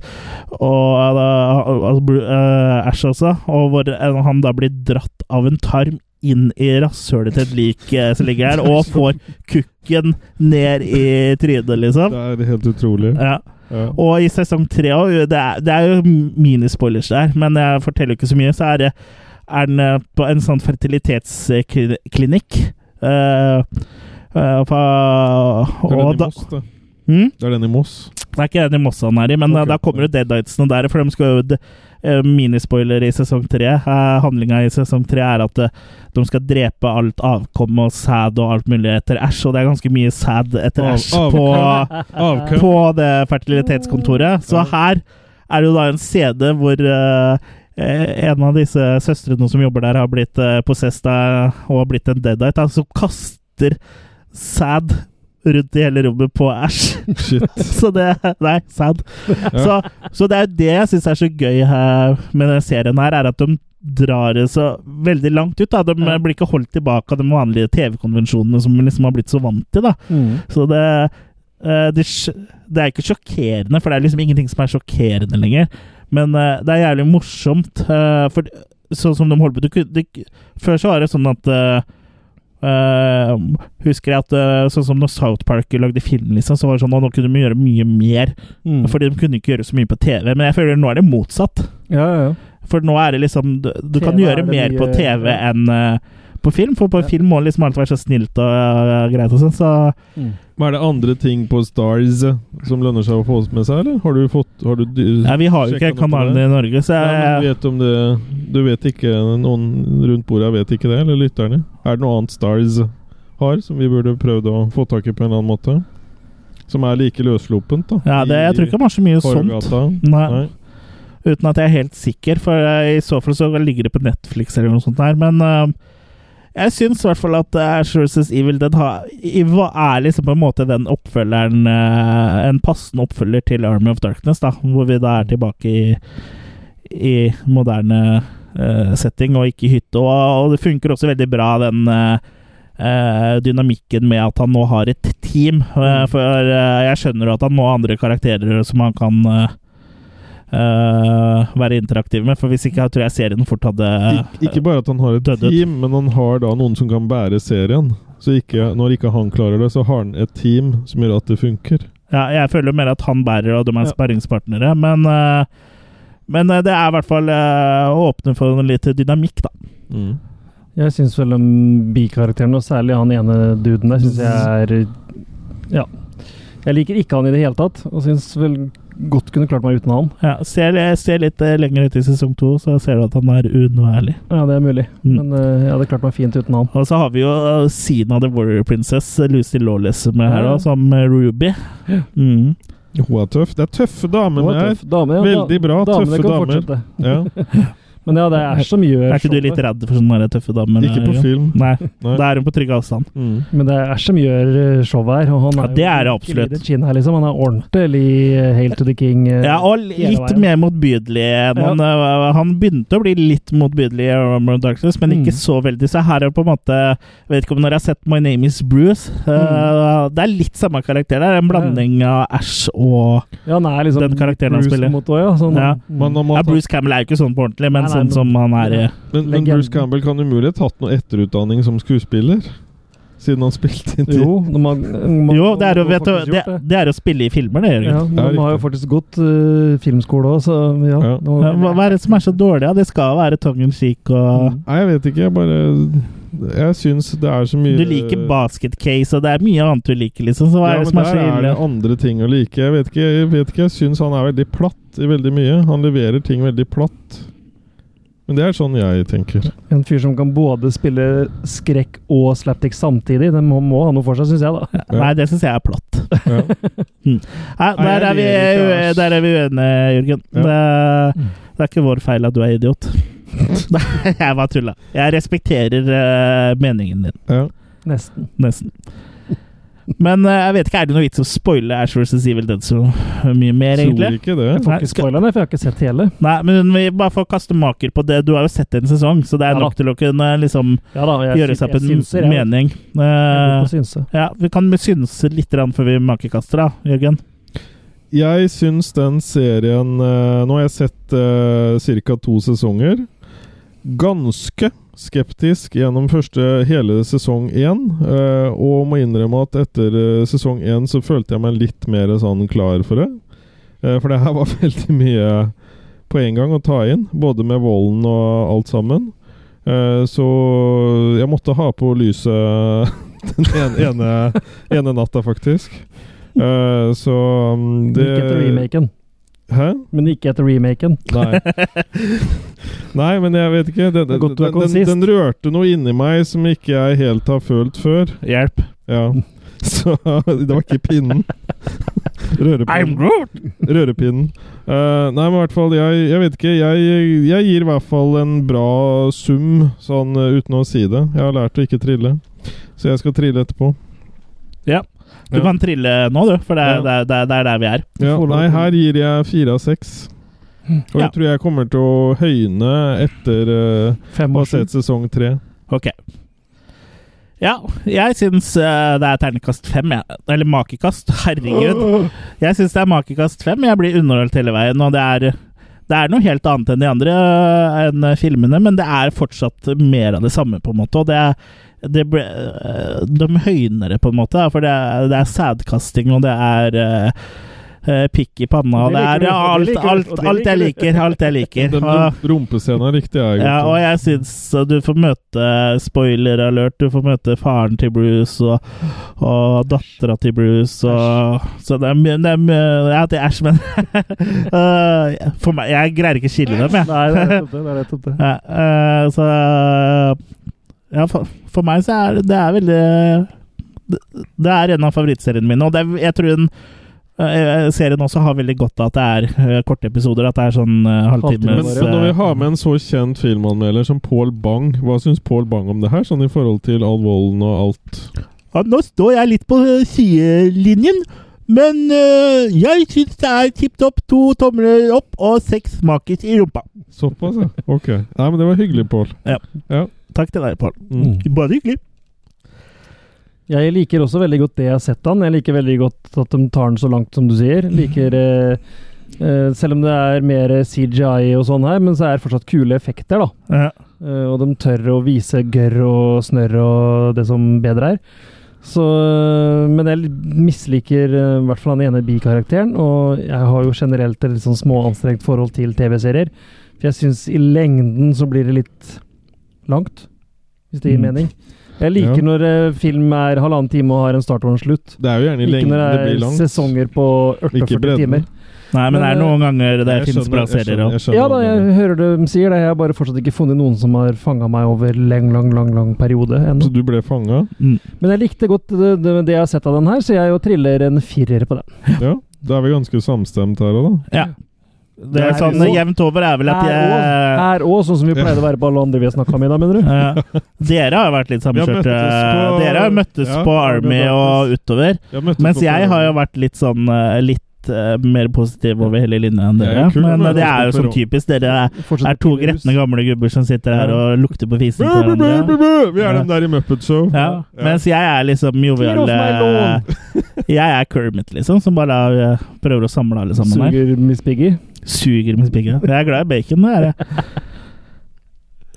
Speaker 1: og eh, altså, Bru- eh, Ash altså, og hvor eh, han da blir dratt av en tarm inn i rasshølet til et lik eh, som ligger der, og får kukken ned i trynet, liksom.
Speaker 3: Det er helt utrolig.
Speaker 1: Ja. Eh, Og i sesong tre òg, det, er- det er jo minispoilers der, men jeg forteller jo ikke så mye, så er det er den eh, på en sånn fertilitetsklinikk. eh, eh, på,
Speaker 3: Det er
Speaker 1: og
Speaker 3: den i
Speaker 1: da,
Speaker 3: Moss, det.
Speaker 1: Mm?
Speaker 3: Det er den i Moss.
Speaker 1: det er ikke den i Moss han er i, men eh, da kommer jo deadlightsene der, for de skal jo d- eh, Minispoiler i sesong tre. Eh, Handlinga i sesong tre er at eh, de skal drepe alt avkom og sæd og alt mulig etter Æsj, og det er ganske mye sæd etter
Speaker 3: Av-
Speaker 1: Æsj på,
Speaker 3: avkom.
Speaker 1: Eh,
Speaker 3: Avkom.
Speaker 1: på det fertilitetskontoret. Så her er det jo da en CD hvor eh, eh, en av disse søstrene som jobber der, har blitt eh, possessed av, og har blitt en deadite, da, som kaster sæd rundt i hele rommet på Æsj. så det Nei, sad. Så, så det er jo det jeg syns er så gøy her med denne serien her, er at de drar det så veldig langt ut. da. De eh, blir ikke holdt tilbake av de vanlige TV-konvensjonene som vi liksom har blitt så vant til. da.
Speaker 2: Mm.
Speaker 1: Så det, eh, det sj- Det er ikke sjokkerende, for det er liksom ingenting som er sjokkerende lenger. Men eh, det er jævlig morsomt. eh, for sånn som de holder på du, kunne- du, Før så var det sånn at eh, eh, husker jeg at eh, sånn som når South Park lagde film, liksom, så var det sånn at nå kunne de gjøre mye mer.
Speaker 2: Mm.
Speaker 1: Fordi de kunne ikke gjøre så mye på TV. Men jeg føler nå er det motsatt. For nå er det liksom Du, du kan
Speaker 2: TV er
Speaker 1: gjøre
Speaker 2: det
Speaker 1: mer
Speaker 2: mye-
Speaker 1: på TV enn eh, på film. For på film må det liksom alt være så snilt og eh, greit og sånn, så
Speaker 3: Men er det andre ting på Stars som lønner seg å få med seg, eller? Har du fått har du,
Speaker 1: Nei, vi har jo ikke kanalen i Norge, så jeg-
Speaker 3: Nei, men du vet om det Du vet ikke Noen rundt bordet vet ikke det, eller lytterne? Er det noe annet Stars har som vi burde prøvd å få tak i på en eller annen måte? Som er like løssluppent, da?
Speaker 1: Ja, det, jeg tror ikke de har så mye sånt.
Speaker 3: Torvgata.
Speaker 1: Nei. Uten at jeg er helt sikker, for eh, i så fall så ligger det på Netflix eller noe sånt der. Men eh, jeg syns i hvert fall at uh, Versus Evil Dead har, i- hva er liksom på en måte den oppfølgeren eh, En passende oppfølger til Army of Darkness, da, hvor vi da er tilbake i, i moderne eh, setting og ikke i hytte. Og, og det funker også veldig bra, den eh, eh, dynamikken med at han nå har et team. Eh,
Speaker 3: Mm.
Speaker 1: for eh, jeg skjønner jo at han nå har andre karakterer som han kan eh, eh, være interaktiv med, for hvis ikke jeg tror jeg serien fort hadde
Speaker 3: Ik ikke bare at han har et team, men han har da noen som kan bære serien. Så ikke, når ikke han klarer det, så har han et team som gjør at det funker.
Speaker 1: Ja, jeg føler mer at han bærer, og de er
Speaker 3: Ja.
Speaker 1: sparringspartnere, men eh, men eh, det er i hvert fall eh, å åpne for litt dynamikk, da. Mm.
Speaker 2: Jeg syns vel om bikarakterene, og særlig han ene duden der, syns jeg er Ja. Jeg liker ikke han i det hele tatt, og syns vel godt kunne klart meg uten han.
Speaker 1: Ja, se, se litt eh, lenger ut i sesong to, så ser du at han er unnværlig.
Speaker 2: Ja, det er mulig, men eh, jeg hadde klart meg fint uten han.
Speaker 1: Og så har vi jo eh, siden av The Warrior Princess, eh, Lucy Lawless, som er her
Speaker 2: Ja.
Speaker 1: da, som eh, Ruby. Mm.
Speaker 3: Hun er tøff. Det er tøffe damer
Speaker 2: Hun er
Speaker 3: med her.
Speaker 2: tøff dame, ja.
Speaker 3: Veldig bra,
Speaker 2: Damene
Speaker 3: tøffe
Speaker 2: kan
Speaker 3: damer.
Speaker 2: fortsette.
Speaker 3: Ja.
Speaker 2: Men ja, det er så mye
Speaker 1: Er ikke du
Speaker 2: showet.
Speaker 1: litt redd for sånne der tøffe damer?
Speaker 3: sånn Ikke på
Speaker 1: Jørgen?
Speaker 3: film. Mm.
Speaker 1: Nei.
Speaker 3: Nei.
Speaker 1: Da er hun på trygg avstand.
Speaker 2: Men det er så mye eh, show her, og han
Speaker 1: Ja,
Speaker 2: er
Speaker 1: det er det
Speaker 2: jo virkelig
Speaker 1: absolutt.
Speaker 2: litt skinn her, liksom. Han er ordentlig eh, Hail to the King. eh,
Speaker 1: Ja, og
Speaker 2: hele
Speaker 1: litt
Speaker 2: veien.
Speaker 1: mer motbydelig. enn Han, øh, han begynte å bli litt motbydelig i Armor of Darkness, men
Speaker 2: Mm.
Speaker 1: ikke så veldig. Så her er det på en måte jeg Vet ikke om dere har sett My Name Is Bruce.
Speaker 2: Mm.
Speaker 1: Øh, det er litt samme karakter. Det er en blanding av Ash og den karakteren han
Speaker 2: liksom Bruce
Speaker 1: spiller.
Speaker 2: mot også, ja, sånn-
Speaker 1: ja.
Speaker 3: Men om han
Speaker 1: ja,
Speaker 3: tar-
Speaker 1: Bruce Campbell er jo ikke sånn på ordentlig, men
Speaker 2: Nei, nei,
Speaker 1: sånn
Speaker 2: men-
Speaker 1: som han er i
Speaker 3: Men, men Bruce Campbell kan umulig ha tatt noe etterutdanning som skuespiller? Siden han spilte inn
Speaker 2: Mm. Jo, de har,
Speaker 1: Jo, det er, å,
Speaker 2: de har
Speaker 1: vet du,
Speaker 2: faktisk
Speaker 1: det,
Speaker 2: gjort det.
Speaker 1: det er å spille i filmer, det.
Speaker 2: Ja,
Speaker 1: Jørgen.
Speaker 2: de har jo faktisk gått eh, filmskole òg, så ja. nå-
Speaker 1: Ja, Hva hva er det som er så dårlig? Ja, det skal være tongue in cheek og
Speaker 2: Mm.
Speaker 3: Nei, jeg vet ikke. Jeg bare Jeg syns det er så mye
Speaker 1: Du liker basket-case, og det er mye annet du liker, liksom. Så hva
Speaker 3: ja,
Speaker 1: er det
Speaker 3: men
Speaker 1: som er
Speaker 3: der
Speaker 1: så
Speaker 3: er det
Speaker 1: ille?
Speaker 3: andre ting å like. Jeg vet ikke, jeg, vet ikke, jeg syns han er veldig platt i veldig mye. Han leverer ting veldig platt. Men det er sånn jeg tenker.
Speaker 2: En fyr som kan både spille skrekk og slapstick samtidig, den må, må ha noe for seg, syns jeg, da.
Speaker 1: Nei, det syns jeg er platt. Mm. Nei,
Speaker 2: Nei,
Speaker 1: der,
Speaker 2: jeg
Speaker 1: er vi,
Speaker 2: liker Ash.
Speaker 1: der er vi uenige, Jørgen. Det, det er ikke vår feil at du er idiot. Nei, jeg bare tulla. Jeg respekterer eh, meningen din.
Speaker 2: Nesten.
Speaker 1: Nesten. Men eh, jeg vet ikke, er det noe vits å spoile Ash vs. Evil Dead? Så? mye mer,
Speaker 3: Tror
Speaker 1: egentlig.
Speaker 3: ikke det. Jeg får ikke
Speaker 1: spoila det, for jeg har ikke sett hele. Nei, men vi bare får kaste maker på det. Du har jo sett en sesong, så det er
Speaker 2: Ja da.
Speaker 1: nok til å kunne liksom
Speaker 2: Ja da, jeg
Speaker 1: gjøre
Speaker 2: sy-
Speaker 1: seg
Speaker 2: jeg
Speaker 1: opp en
Speaker 2: synser, jeg.
Speaker 1: mening.
Speaker 2: god på
Speaker 1: Eh, ja, vi kan synse litt grann før vi makekaster, da, Jørgen.
Speaker 3: Jeg syns den serien eh, Nå har jeg sett uh, ca. to sesonger. Ganske skeptisk gjennom første hele sesong én. eh, og må innrømme at etter eh, sesong én så følte jeg meg litt mer sånn klar for det. Eh, for det her var veldig mye på en gang å ta inn. Både med volden og alt sammen. Eh, så jeg måtte ha på lyset den ene, ene, ene natta, faktisk. Eh, så mm, det
Speaker 2: Men ikke etter remaken.
Speaker 3: Hæ?
Speaker 2: Men ikke etter remaken.
Speaker 3: Nei. Nei, men jeg vet ikke. Den, den,
Speaker 2: Godt du er
Speaker 3: den, den,
Speaker 2: konsist.
Speaker 3: rørte noe inni meg som ikke jeg helt har følt før.
Speaker 1: Hjelp.
Speaker 3: Ja.
Speaker 2: Mm.
Speaker 3: Så det var ikke pinnen.
Speaker 1: I'm
Speaker 3: Rørepinnen.
Speaker 1: Groot!
Speaker 3: Rørepinnen. Eh, nei, men i hvert fall jeg, jeg vet ikke. Jeg, jeg gir i hvert fall en bra sum, sånn eh, uten å si det. Jeg har lært å ikke trille, så jeg skal trille etterpå.
Speaker 1: Ja. Du
Speaker 3: Ja.
Speaker 1: kan trille nå, du, for det er,
Speaker 3: Ja.
Speaker 1: det er, det er, det er der vi er.
Speaker 3: Ja, nei, her gir jeg fire av seks.
Speaker 2: Mm.
Speaker 3: Og
Speaker 1: Ja.
Speaker 3: jeg tror jeg kommer til å høyne etter uh, å ha sett sesong tre.
Speaker 1: Ok. Ja, jeg syns eh, det er ternekast fem, jeg. Eller makekast. Herregud. Jeg syns det er makekast fem. Jeg blir underholdt hele veien, og det er det er noe helt annet enn de andre eh, enn filmene, men det er fortsatt mer av det samme, på en måte. Og det er, det ble, eh, de høyner det, på en måte. da, For det er, det er sædkasting, og det er eh, eh, pikk i panna, og
Speaker 2: Det
Speaker 1: det er
Speaker 2: liker du,
Speaker 1: ja,
Speaker 2: og det
Speaker 1: alt,
Speaker 2: liker du,
Speaker 1: alt,
Speaker 2: og det
Speaker 1: alt jeg
Speaker 2: liker du.
Speaker 1: liker. Alt jeg liker.
Speaker 3: Den
Speaker 1: Og-
Speaker 3: rum- rumpescenen likte jeg
Speaker 1: ja, og jeg syns du får møte spoiler alert, du får møte faren til Bruce og, og dattera til Bruce og Så det er mye det er mye- Ja, til Æsj, men Eh, For meg Jeg greier ikke å skille dem, jeg.
Speaker 2: Nei, det er nettopp det, det er nettopp det.
Speaker 1: Ja, eh, så Ja, for, for meg så er det, det er veldig det, det er en av favorittseriene mine, og det, er- jeg tror den eh, serien også har veldig godt av at det er eh, korte episoder, at det er sånn eh,
Speaker 3: Men
Speaker 1: halvtimes
Speaker 3: når vi
Speaker 1: eh,
Speaker 3: har med en så kjent filmanmelder som Pål Bang, hva syns Pål Bang om det her, sånn i forhold til all volden og alt?
Speaker 1: Ja, nå står jeg litt på eh, sidelinjen, men eh, jeg syns det er tipp topp. To tomler opp og seks makis i rumpa.
Speaker 3: Såpass, ja. Ok. Nei, men det var hyggelig, Pål.
Speaker 1: Ja. Takk til deg, Pål.
Speaker 3: Mm.
Speaker 1: Bare hyggelig.
Speaker 2: Jeg liker også veldig godt det jeg har sett han. Jeg liker veldig godt at de tar den så langt som du sier. Liker eh, eh, Selv om det er mer CGI og sånn her, men så er det fortsatt kule effekter, da.
Speaker 1: Ja.
Speaker 2: Eh, og de tør å vise gørr og snørr og det som bedre er. Så, eh, men jeg misliker eh, i hvert fall han ene bikarakteren, og jeg har jo generelt et litt sånn småanstrengt forhold til TV-serier. For jeg syns i lengden så blir det litt langt, hvis det gir
Speaker 3: Mm.
Speaker 2: mening. Jeg liker
Speaker 3: Ja.
Speaker 2: når eh, film er halvannen time og har en start og en slutt.
Speaker 3: Det er jo gjerne i
Speaker 2: Ikke
Speaker 3: lengden
Speaker 2: når
Speaker 3: det
Speaker 2: det
Speaker 3: blir
Speaker 2: er
Speaker 3: langt.
Speaker 2: sesonger på 48
Speaker 3: Ikke bredden.
Speaker 2: timer.
Speaker 1: Nei, men, øh,
Speaker 2: Men,
Speaker 1: det er
Speaker 2: eh,
Speaker 1: noen ganger det
Speaker 3: jeg
Speaker 1: finnes
Speaker 3: skjønner-
Speaker 1: bra
Speaker 3: jeg
Speaker 1: serier
Speaker 3: skjønner-
Speaker 1: òg.
Speaker 3: jeg skjønner
Speaker 2: Ja
Speaker 3: hva
Speaker 2: da,
Speaker 3: du
Speaker 2: jeg hører det de sier det. Jeg har bare fortsatt ikke funnet noen som har fanga meg over lang, lang, lang, lang periode ennå.
Speaker 3: Så du ble fanga?
Speaker 2: Men jeg likte godt det, det, det jeg har sett av den her, så jeg jo triller en firer på den.
Speaker 3: Ja. Da er vi ganske samstemt her òg, da.
Speaker 1: Ja. Det er
Speaker 2: Nei,
Speaker 1: sånn
Speaker 2: så-
Speaker 1: jevnt over er vel at
Speaker 2: Her også-
Speaker 1: jeg øh,
Speaker 2: Her òg, sånn som vi pleide å være på alle andre vi har snakka med i dag, mener du?
Speaker 1: Ja. Dere har vært litt
Speaker 2: Vi har
Speaker 1: samkjørte.
Speaker 2: møttes på-
Speaker 1: Dere har møttes
Speaker 2: Ja,
Speaker 1: på
Speaker 2: vi har
Speaker 1: Army og
Speaker 2: møttes.
Speaker 1: utover.
Speaker 3: Vi har møttes
Speaker 1: Mens
Speaker 3: på
Speaker 1: jeg
Speaker 3: Army.
Speaker 1: har jo vært litt sånn eh, litt eh, mer positiv over hele linja enn
Speaker 3: Jeg er
Speaker 1: dere.
Speaker 3: kul,
Speaker 1: Men
Speaker 3: men
Speaker 1: eh, det
Speaker 3: jeg
Speaker 1: er jo
Speaker 3: forstår
Speaker 1: som typisk. Dere er,
Speaker 2: Fortsatt
Speaker 1: er to
Speaker 2: ikke rus.
Speaker 1: gretne gamle gubber som sitter her
Speaker 2: Ja.
Speaker 1: og lukter på fisen til
Speaker 3: Bæ, bæ, bæ,
Speaker 1: hverandre.
Speaker 3: bæ, bæ! Vi er dem der i Muppet Show.
Speaker 1: Ja. Mens jeg er liksom jovial
Speaker 2: Get off
Speaker 1: eh, Jeg er Kermit, liksom, som bare eh, prøver å samle alle sammen her.
Speaker 2: Suger Miss Piggy.
Speaker 1: Suger med spikka. Jeg er glad i bacon, det er jeg.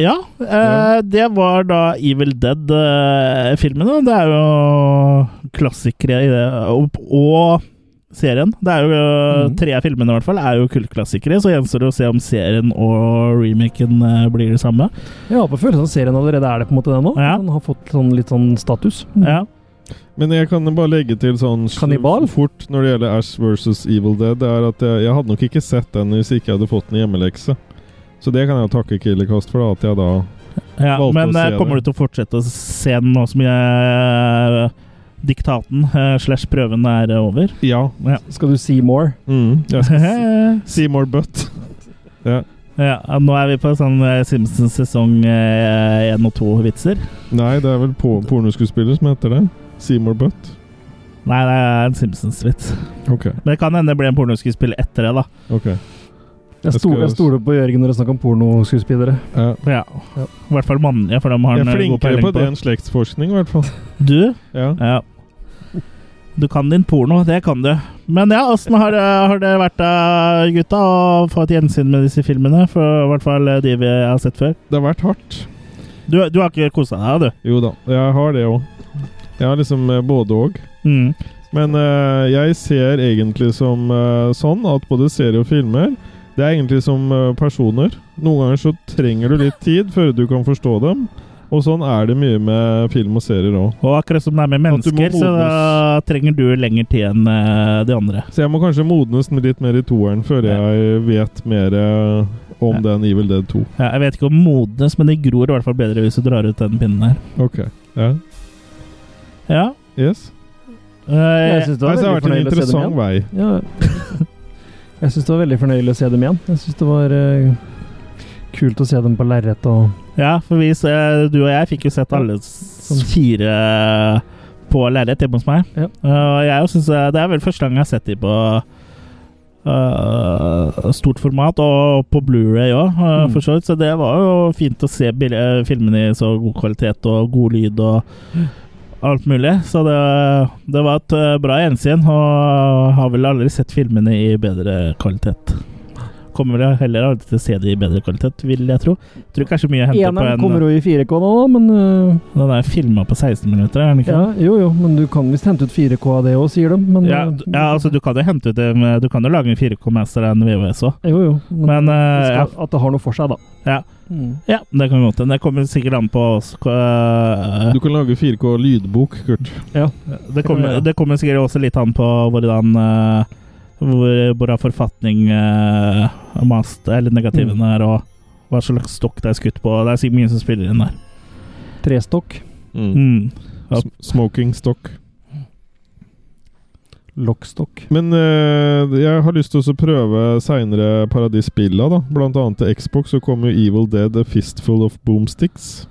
Speaker 1: Ja, eh, det var da Evil Dead-filmen. det er jo klassikere i det, og, og serien. Det er jo eh, Tre av filmene i hvert fall er jo kultklassikere, så gjenstår det å se om serien og remaken eh, blir det samme.
Speaker 2: Jeg har på følelsen at serien allerede er det på en måte, den òg. Den har fått sånn, litt sånn status.
Speaker 3: Mm.
Speaker 1: Ja.
Speaker 3: Men jeg kan bare legge til sånn s-
Speaker 2: Kannibal?
Speaker 3: fort når det gjelder Ash versus Evil Dead, det er at jeg, jeg hadde nok ikke sett den hvis ikke jeg hadde fått den i hjemmelekse. Så det kan jeg takke Killerkast for, da, at jeg da
Speaker 1: Ja,
Speaker 3: valgte
Speaker 1: men
Speaker 3: å
Speaker 1: eh,
Speaker 3: se
Speaker 1: kommer du til å fortsette å se den nå som eh, diktaten eh, slash prøven er eh, over?
Speaker 3: Ja.
Speaker 1: Ja.
Speaker 2: Skal du see more?
Speaker 3: Mm, jeg skal s- see more butt. Ja.
Speaker 1: Ja, nå er vi på sånn eh, Simpsons sesong eh, 1 og 2-vitser.
Speaker 3: Nei, det er vel på, pornoskuespiller som heter det. Seymour Butt.
Speaker 1: Nei, det er en Simpsons-vits.
Speaker 3: Ok.
Speaker 1: Men det kan hende det ble en pornoskuespiller etter det, da.
Speaker 3: ok. Eh,
Speaker 2: Jeg
Speaker 3: skal-
Speaker 2: stoler stole på Jørgen når det er snakk om pornoskuespillere.
Speaker 3: Ja.
Speaker 1: Ja. I hvert fall mannlige, for dem har
Speaker 3: Jeg
Speaker 1: han eh,
Speaker 3: er
Speaker 1: god
Speaker 3: flinkere
Speaker 1: peiling
Speaker 3: på
Speaker 1: på.
Speaker 3: det enn slektsforskning, i hvert fall.
Speaker 1: Du?
Speaker 3: Ja.
Speaker 1: Ja. Du kan din porno, det kan du. Men ja, åssen har, det- har det vært, eh, gutta, å få et gjensyn med disse filmene? For i hvert fall eh, de vi har sett før.
Speaker 3: Det har vært hardt.
Speaker 1: Du, du har ikke kosa deg, du?
Speaker 3: Jo da, jeg har det òg. Jeg har liksom eh, både òg.
Speaker 1: Mm.
Speaker 3: Men eh, jeg ser egentlig som eh, sånn at både serier og filmer Det er egentlig som eh, personer. Noen ganger så trenger du litt tid før du kan forstå dem. Og sånn er det mye med film og serier òg.
Speaker 1: Og akkurat som det er med
Speaker 3: At du må
Speaker 1: mennesker, så da trenger du lengre tid enn eh, de andre.
Speaker 3: Så jeg må kanskje modnes litt mer i toeren før jeg vet mer eh, om den Evil Dead 2.
Speaker 1: Ja, jeg vet ikke om modnes, men de gror i hvert fall bedre hvis du drar ut den pinnen her.
Speaker 3: Ok. Ja.
Speaker 1: Ja.
Speaker 3: Yes.
Speaker 1: Eh,
Speaker 2: Jeg syns det var
Speaker 3: Nei,
Speaker 2: veldig
Speaker 3: så har det vært en
Speaker 2: fornøyelig å se dem igjen.
Speaker 3: interessant vei.
Speaker 2: Ja. Jeg syns det var veldig fornøyelig å se dem igjen. Jeg syns det var eh, kult å se dem på lerret og
Speaker 1: ja, for vi, se- du og jeg fikk jo sett alle s- sånn fire på lerret hjemme hos meg. Eh, og jeg synes eh, Det er vel første gang jeg har sett de på eh, stort format, og på Blu-ray òg, eh,
Speaker 2: Mm.
Speaker 1: for så vidt. Så det var jo fint å se bil- eh, filmene i så god kvalitet og god lyd og alt mulig. Så det, det var et eh, bra gjensyn, og har vel aldri sett filmene i bedre kvalitet. Kommer vel heller aldri til å se de i bedre kvalitet, vil jeg tro. Tror kanskje mye er hentet på
Speaker 2: Eneren
Speaker 1: en
Speaker 2: kommer jo i 4K nå, da, men eh,
Speaker 1: Den er filma på 16 minutter, er den ikke?
Speaker 2: ja, Jo jo, men du kan visst hente ut 4K av det òg, sier de. Men
Speaker 1: Ja,
Speaker 2: eh,
Speaker 1: d- ja, altså du kan jo hente ut en, Du kan jo lage en 4K-mester enn VHS òg.
Speaker 2: Jo jo.
Speaker 1: Men eh,
Speaker 2: det
Speaker 1: ja,
Speaker 2: skal, At det har noe for seg, da. Mm.
Speaker 1: ja. ja, det kan godt hende. Det kommer sikkert an på oss. eh,
Speaker 3: Du kan lage 4K lydbok, Kurt.
Speaker 2: Ja.
Speaker 1: det, kommer, det kommer sikkert også litt an på hvordan eh, hvor, hvor av forfatning eh, mast, eller negativen
Speaker 2: Mm.
Speaker 1: er, og hva slags stokk det er skutt på. Det er sikkert mye som spiller inn der.
Speaker 2: Trestokk.
Speaker 1: Mm.
Speaker 3: S- Smoking stock.
Speaker 2: Lockstock.
Speaker 3: Men eh, jeg har lyst til å prøve seinere Paradis-spilla, da. Blant annet til Xbox så kom jo Evil Dead A Fistful of Boomsticks.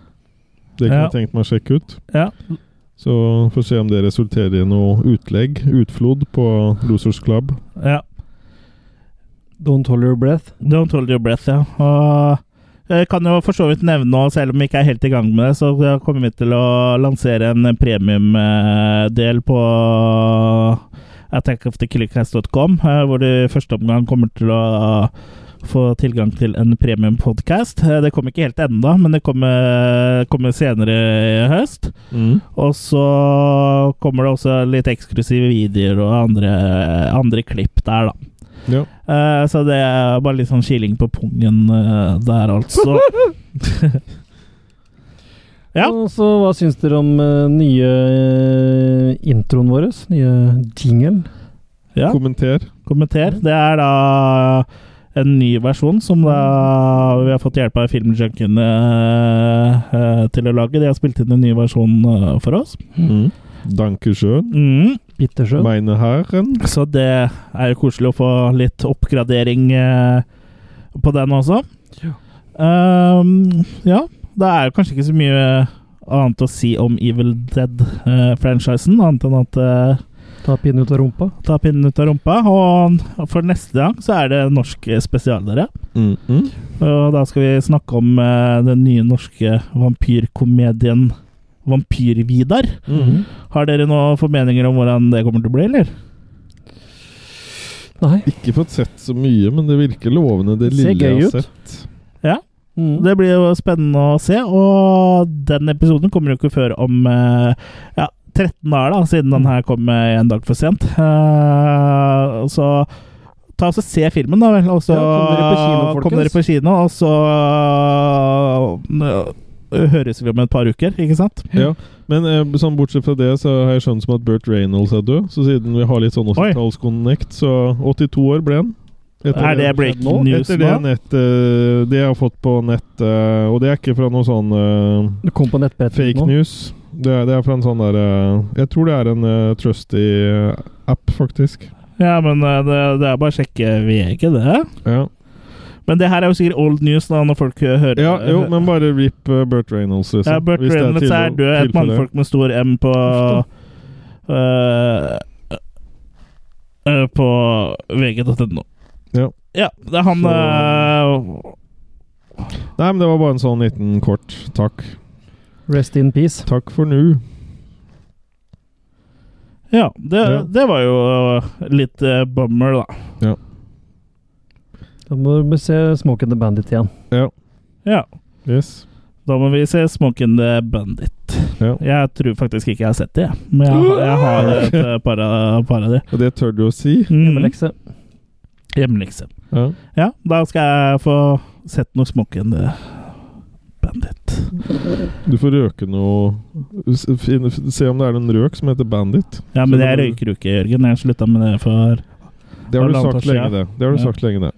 Speaker 3: Det kunne
Speaker 1: Ja.
Speaker 3: jeg tenkt meg å sjekke ut.
Speaker 1: Ja.
Speaker 3: Så får se om det resulterer i noe utlegg, utflod, på Losers Club.
Speaker 1: Ja.
Speaker 2: Don't hold your breath.
Speaker 1: Don't hold your breath, ja. Og jeg kan jo for så vidt nevne, og selv om vi ikke er helt i gang med det, så kommer vi til å lansere en premiumdel på attackofthekillercast.com, eh, hvor du i første omgang kommer til å få tilgang til en premiumpodkast. Det kommer ikke helt ennå, men det kommer, kommer senere i høst. Og så kommer det også litt eksklusive videoer og andre, andre klipp der, da.
Speaker 3: Ja.
Speaker 1: Eh, så det er bare litt sånn kiling på pungen eh, der, altså.
Speaker 2: Og så hva syns dere om eh, nye eh, introen vår? Nye jingle?
Speaker 1: Ja.
Speaker 3: Kommenter.
Speaker 1: Kommenter. Det er da en ny versjon som da vi har fått hjelp av filmjunkiene eh, eh, til å lage. De har spilt inn en ny versjon eh, for oss.
Speaker 3: Mm. Dankeschön.
Speaker 1: Mm.
Speaker 2: Bittersøt.
Speaker 3: Meine Herren.
Speaker 1: Så det er jo koselig å få litt oppgradering eh, på den også.
Speaker 2: Ja.
Speaker 1: Ehm, ja. Det er jo kanskje ikke så mye annet å si om Evil Dead-franchisen, annet enn at eh,
Speaker 2: Ta pinnen ut av rumpa?
Speaker 1: ta pinnen ut av rumpa. Og for neste gang så er det norsk spesial, dere.
Speaker 3: Mm -mm.
Speaker 1: Og da skal vi snakke om eh, den nye norske vampyrkomedien Vampyr-Vidar.
Speaker 3: Mhm.
Speaker 1: Har dere noen formeninger om hvordan det kommer til å bli, eller?
Speaker 2: Nei.
Speaker 3: Ikke fått sett så mye, men det virker lovende, det
Speaker 1: Ser
Speaker 3: lille jeg
Speaker 1: gøy
Speaker 3: har
Speaker 1: ut.
Speaker 3: sett.
Speaker 1: Ja. Det blir jo spennende å se, og den episoden kommer jo ikke før om eh, ja, 13 dager, da, siden den her kom eh, en dag for sent. Eh, så ta og så se filmen, da vel. Og så
Speaker 2: Ja, kom dere på kino, folkens.
Speaker 1: kom dere på kino, og så eh, høres vi om et par uker, ikke sant?
Speaker 3: Ja, men eh, sånn bortsett fra det, så har jeg skjønt som at Burt Reynolds er død. Så siden vi har litt sånn 80-tallsconnect, så 82 år ble han.
Speaker 1: Er det breaking
Speaker 3: nå?
Speaker 1: news
Speaker 3: Etter det,
Speaker 1: nå?
Speaker 3: nett, eh, det jeg har fått på nett, eh, og det er ikke fra noe sånn eh,
Speaker 2: Det kom på nettbrettet
Speaker 3: fake
Speaker 2: nå.
Speaker 3: news. Det er, det er fra en sånn der eh, Jeg tror det er en eh, trusty eh, app, faktisk.
Speaker 1: Ja, men eh, det, det er bare å sjekke VG, det.
Speaker 3: Ja.
Speaker 1: Men det her er jo sikkert old news da, når folk eh, hører
Speaker 3: ja, jo, men bare rip eh, Burt Reynolds, liksom.
Speaker 1: Ja, Burt
Speaker 3: Hvis det
Speaker 1: Reynolds er
Speaker 3: tilfelle-
Speaker 1: død. Et
Speaker 3: tilfelle.
Speaker 1: mannfolk med stor M på eh, på vg.no.
Speaker 3: Ja.
Speaker 1: Ja, det er han eh,
Speaker 3: Nei, men det var bare en sånn liten kort takk.
Speaker 2: Rest in peace.
Speaker 3: Takk for nå.
Speaker 1: Ja, det,
Speaker 3: Ja.
Speaker 1: det var jo eh, litt eh, bummer, da.
Speaker 2: Da må vi se Smoke and the Bandit igjen.
Speaker 3: Ja.
Speaker 1: Ja.
Speaker 3: Yes.
Speaker 1: Da må vi se Smokin' the Bandit.
Speaker 3: Ja.
Speaker 1: Jeg tror faktisk ikke jeg har sett det, jeg. men jeg, har- jeg har et eh, par av par av de.
Speaker 3: Og det tør du å si.
Speaker 1: Mm.
Speaker 2: Lekse.
Speaker 1: Hjemmelekse.
Speaker 3: Ja.
Speaker 1: Ja, da skal jeg få sett noe Smokin' the Bandit.
Speaker 3: Du får røke noe s- finne- Se om det er en røk som heter Bandit.
Speaker 1: Ja, men
Speaker 3: Se
Speaker 1: jeg
Speaker 3: om det-
Speaker 1: røyker jo ikke, Jørgen. Jeg slutta med det for
Speaker 3: Det har du
Speaker 1: halvannet
Speaker 3: sagt
Speaker 1: år
Speaker 3: lenge,
Speaker 1: siden.
Speaker 3: det. Det har du
Speaker 1: Ja.
Speaker 3: sagt lenge, det.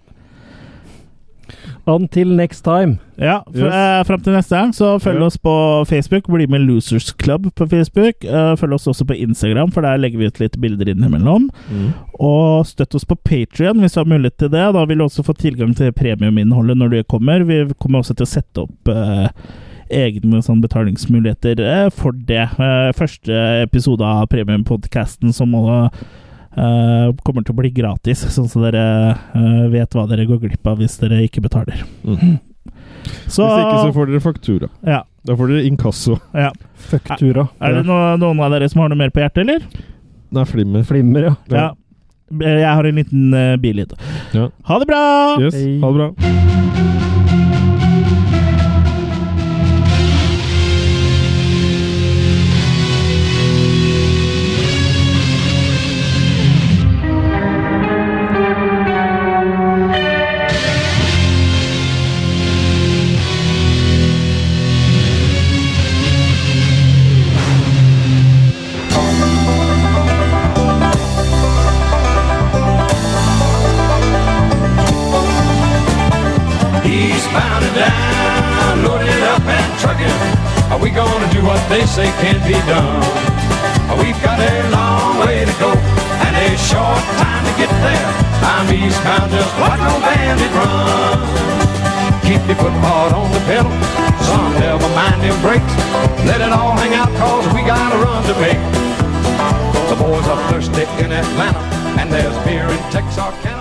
Speaker 2: Until next time.
Speaker 1: Ja, for,
Speaker 2: Yes.
Speaker 1: eh, fram til neste gang, så følg
Speaker 2: Ja.
Speaker 1: oss på Facebook. Bli med i Losers Club på Facebook. Eh, følg oss også på Instagram, for der legger vi ut litt bilder innimellom.
Speaker 3: Mm.
Speaker 1: Og støtt oss på Patrion hvis du har mulighet til det. Da vil du også få tilgang til premiuminnholdet når du kommer. Vi kommer også til å sette opp eh, egne sånn, betalingsmuligheter eh, for det. Eh, første episode av premiumpodkasten som må, eh, kommer til å bli gratis, sånn at dere eh, vet hva dere går glipp av hvis dere ikke betaler. Så-
Speaker 3: Mm. Hvis ikke, så får dere faktura.
Speaker 1: Ja.
Speaker 3: Da får dere inkasso.
Speaker 1: Ja.
Speaker 2: Faktura.
Speaker 1: Er det noe, noen av dere som har noe mer på hjertet, eller?
Speaker 3: Nei, flimmer.
Speaker 2: Flimmer, ja.
Speaker 1: Ja. Eh, Jeg har en liten uh, bilyd.
Speaker 3: Ja.
Speaker 1: Ha det bra!
Speaker 3: Yes. Ha det bra.
Speaker 9: He's bound and down, loaded up and trucking. Are we gonna do what they say can't be done? We've got a long way to go and a short time to get there. I'm eastbound, just like no bandit run. Keep your foot hard on the pedal. Some never mind them brakes. Let it all hang out, cause we got a run to make. The boys are thirsty in Atlanta, and there's beer in Texarkana.